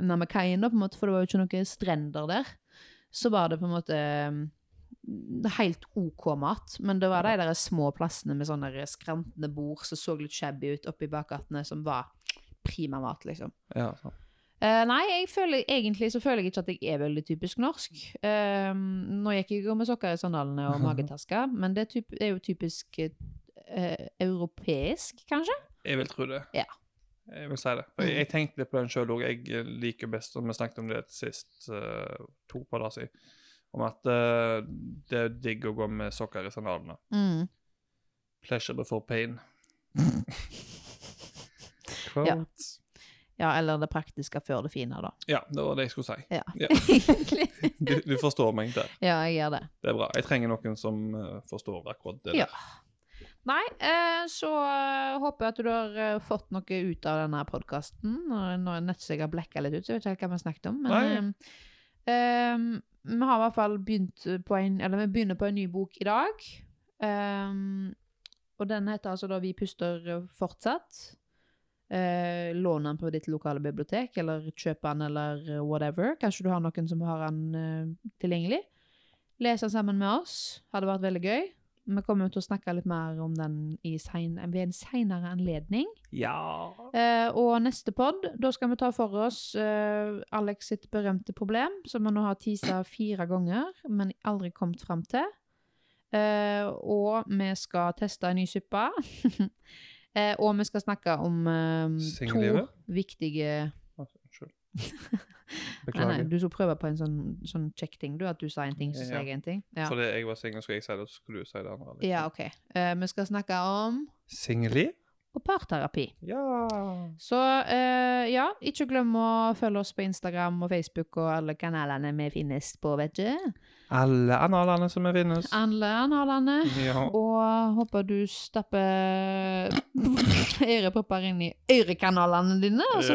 Speaker 2: ned med kaien, da, på en måte, for det var jo ikke noen strender der, så var det på en måte mm, helt OK mat. Men det var de der små plassene med sånne der skrantende bord som så litt shabby ut oppi bakgatene, som var prima mat, liksom.
Speaker 1: Ja, sånn.
Speaker 2: Eh, nei, jeg føler, egentlig så føler jeg ikke at jeg er veldig typisk norsk. Eh, nå gikk jeg jo med sokker i sandalene og magetasker, men det er, typ, er jo typisk eh, europeisk, kanskje?
Speaker 1: Jeg vil tro det.
Speaker 2: Ja. Mm.
Speaker 1: Jeg vil si det. For jeg, jeg tenkte litt på den sjøl òg. Jeg eh, liker best, og vi snakket om det sist eh, to par dager siden, om at eh, det er digg å gå med sokker i sandalene.
Speaker 2: Mm.
Speaker 1: Pleasure before pain.
Speaker 2: Ja.
Speaker 1: Quote.
Speaker 2: Ja, eller det praktiske før det fine, da.
Speaker 1: Ja. det var det jeg skulle si.
Speaker 2: Ja.
Speaker 1: Ja.
Speaker 2: Egentlig.
Speaker 1: Du, du forstår meg der.
Speaker 2: Ja, jeg gjør det.
Speaker 1: Det er bra. Jeg trenger noen som eh, forstår akkurat det.
Speaker 2: Ja. Nei, eh, så eh, håper jeg at du har eh, fått noe ut av denne podkasten. Nå er nødt til jeg har blekka litt ut, så jeg vet ikke hva vi har snakket om. Men eh, eh, vi har i hvert fall begynt på en, eller vi begynner på en ny bok i dag. Eh, og den heter altså da 'Vi puster fortsatt'. Eh, lån den på ditt lokale bibliotek, eller kjøp den, eller eh, whatever. Kanskje du har noen som har den eh, tilgjengelig. Les den sammen med oss. Hadde vært veldig gøy. Vi kommer jo til å snakke litt mer om den i sein, ved en seinere anledning. Eh, og neste pod, da skal vi ta for oss eh, Alex sitt berømte problem, som han nå har teasa fire ganger, men aldri kommet fram til. Eh, og vi skal teste en ny suppe. eh, og vi skal snakke om eh, to
Speaker 1: Singellivet?
Speaker 2: viktige
Speaker 1: Ah, Unnskyld.
Speaker 2: Nei, nei,
Speaker 1: Beklager.
Speaker 2: du skulle prøve på en sånn, sånn kjekk-ting, du, at du sa en ting, så
Speaker 1: Ja.
Speaker 2: sa jeg en ting. Ja,
Speaker 1: Fordi jeg var singel, skulle jeg si det, og så skulle du si det andre. liksom.
Speaker 2: ja ok. Eh, vi skal snakke om
Speaker 1: Singeli?
Speaker 2: og parterapi.
Speaker 1: Ja.
Speaker 2: Så eh, ja, ikke glem å følge oss på Instagram og Facebook og alle kanalene vi finnes på, vet du.
Speaker 1: Alle analene som er finnes.
Speaker 2: Alle analene.
Speaker 1: Ja.
Speaker 2: Og håper du stapper ørepropper inn i ørekanalene dine, og så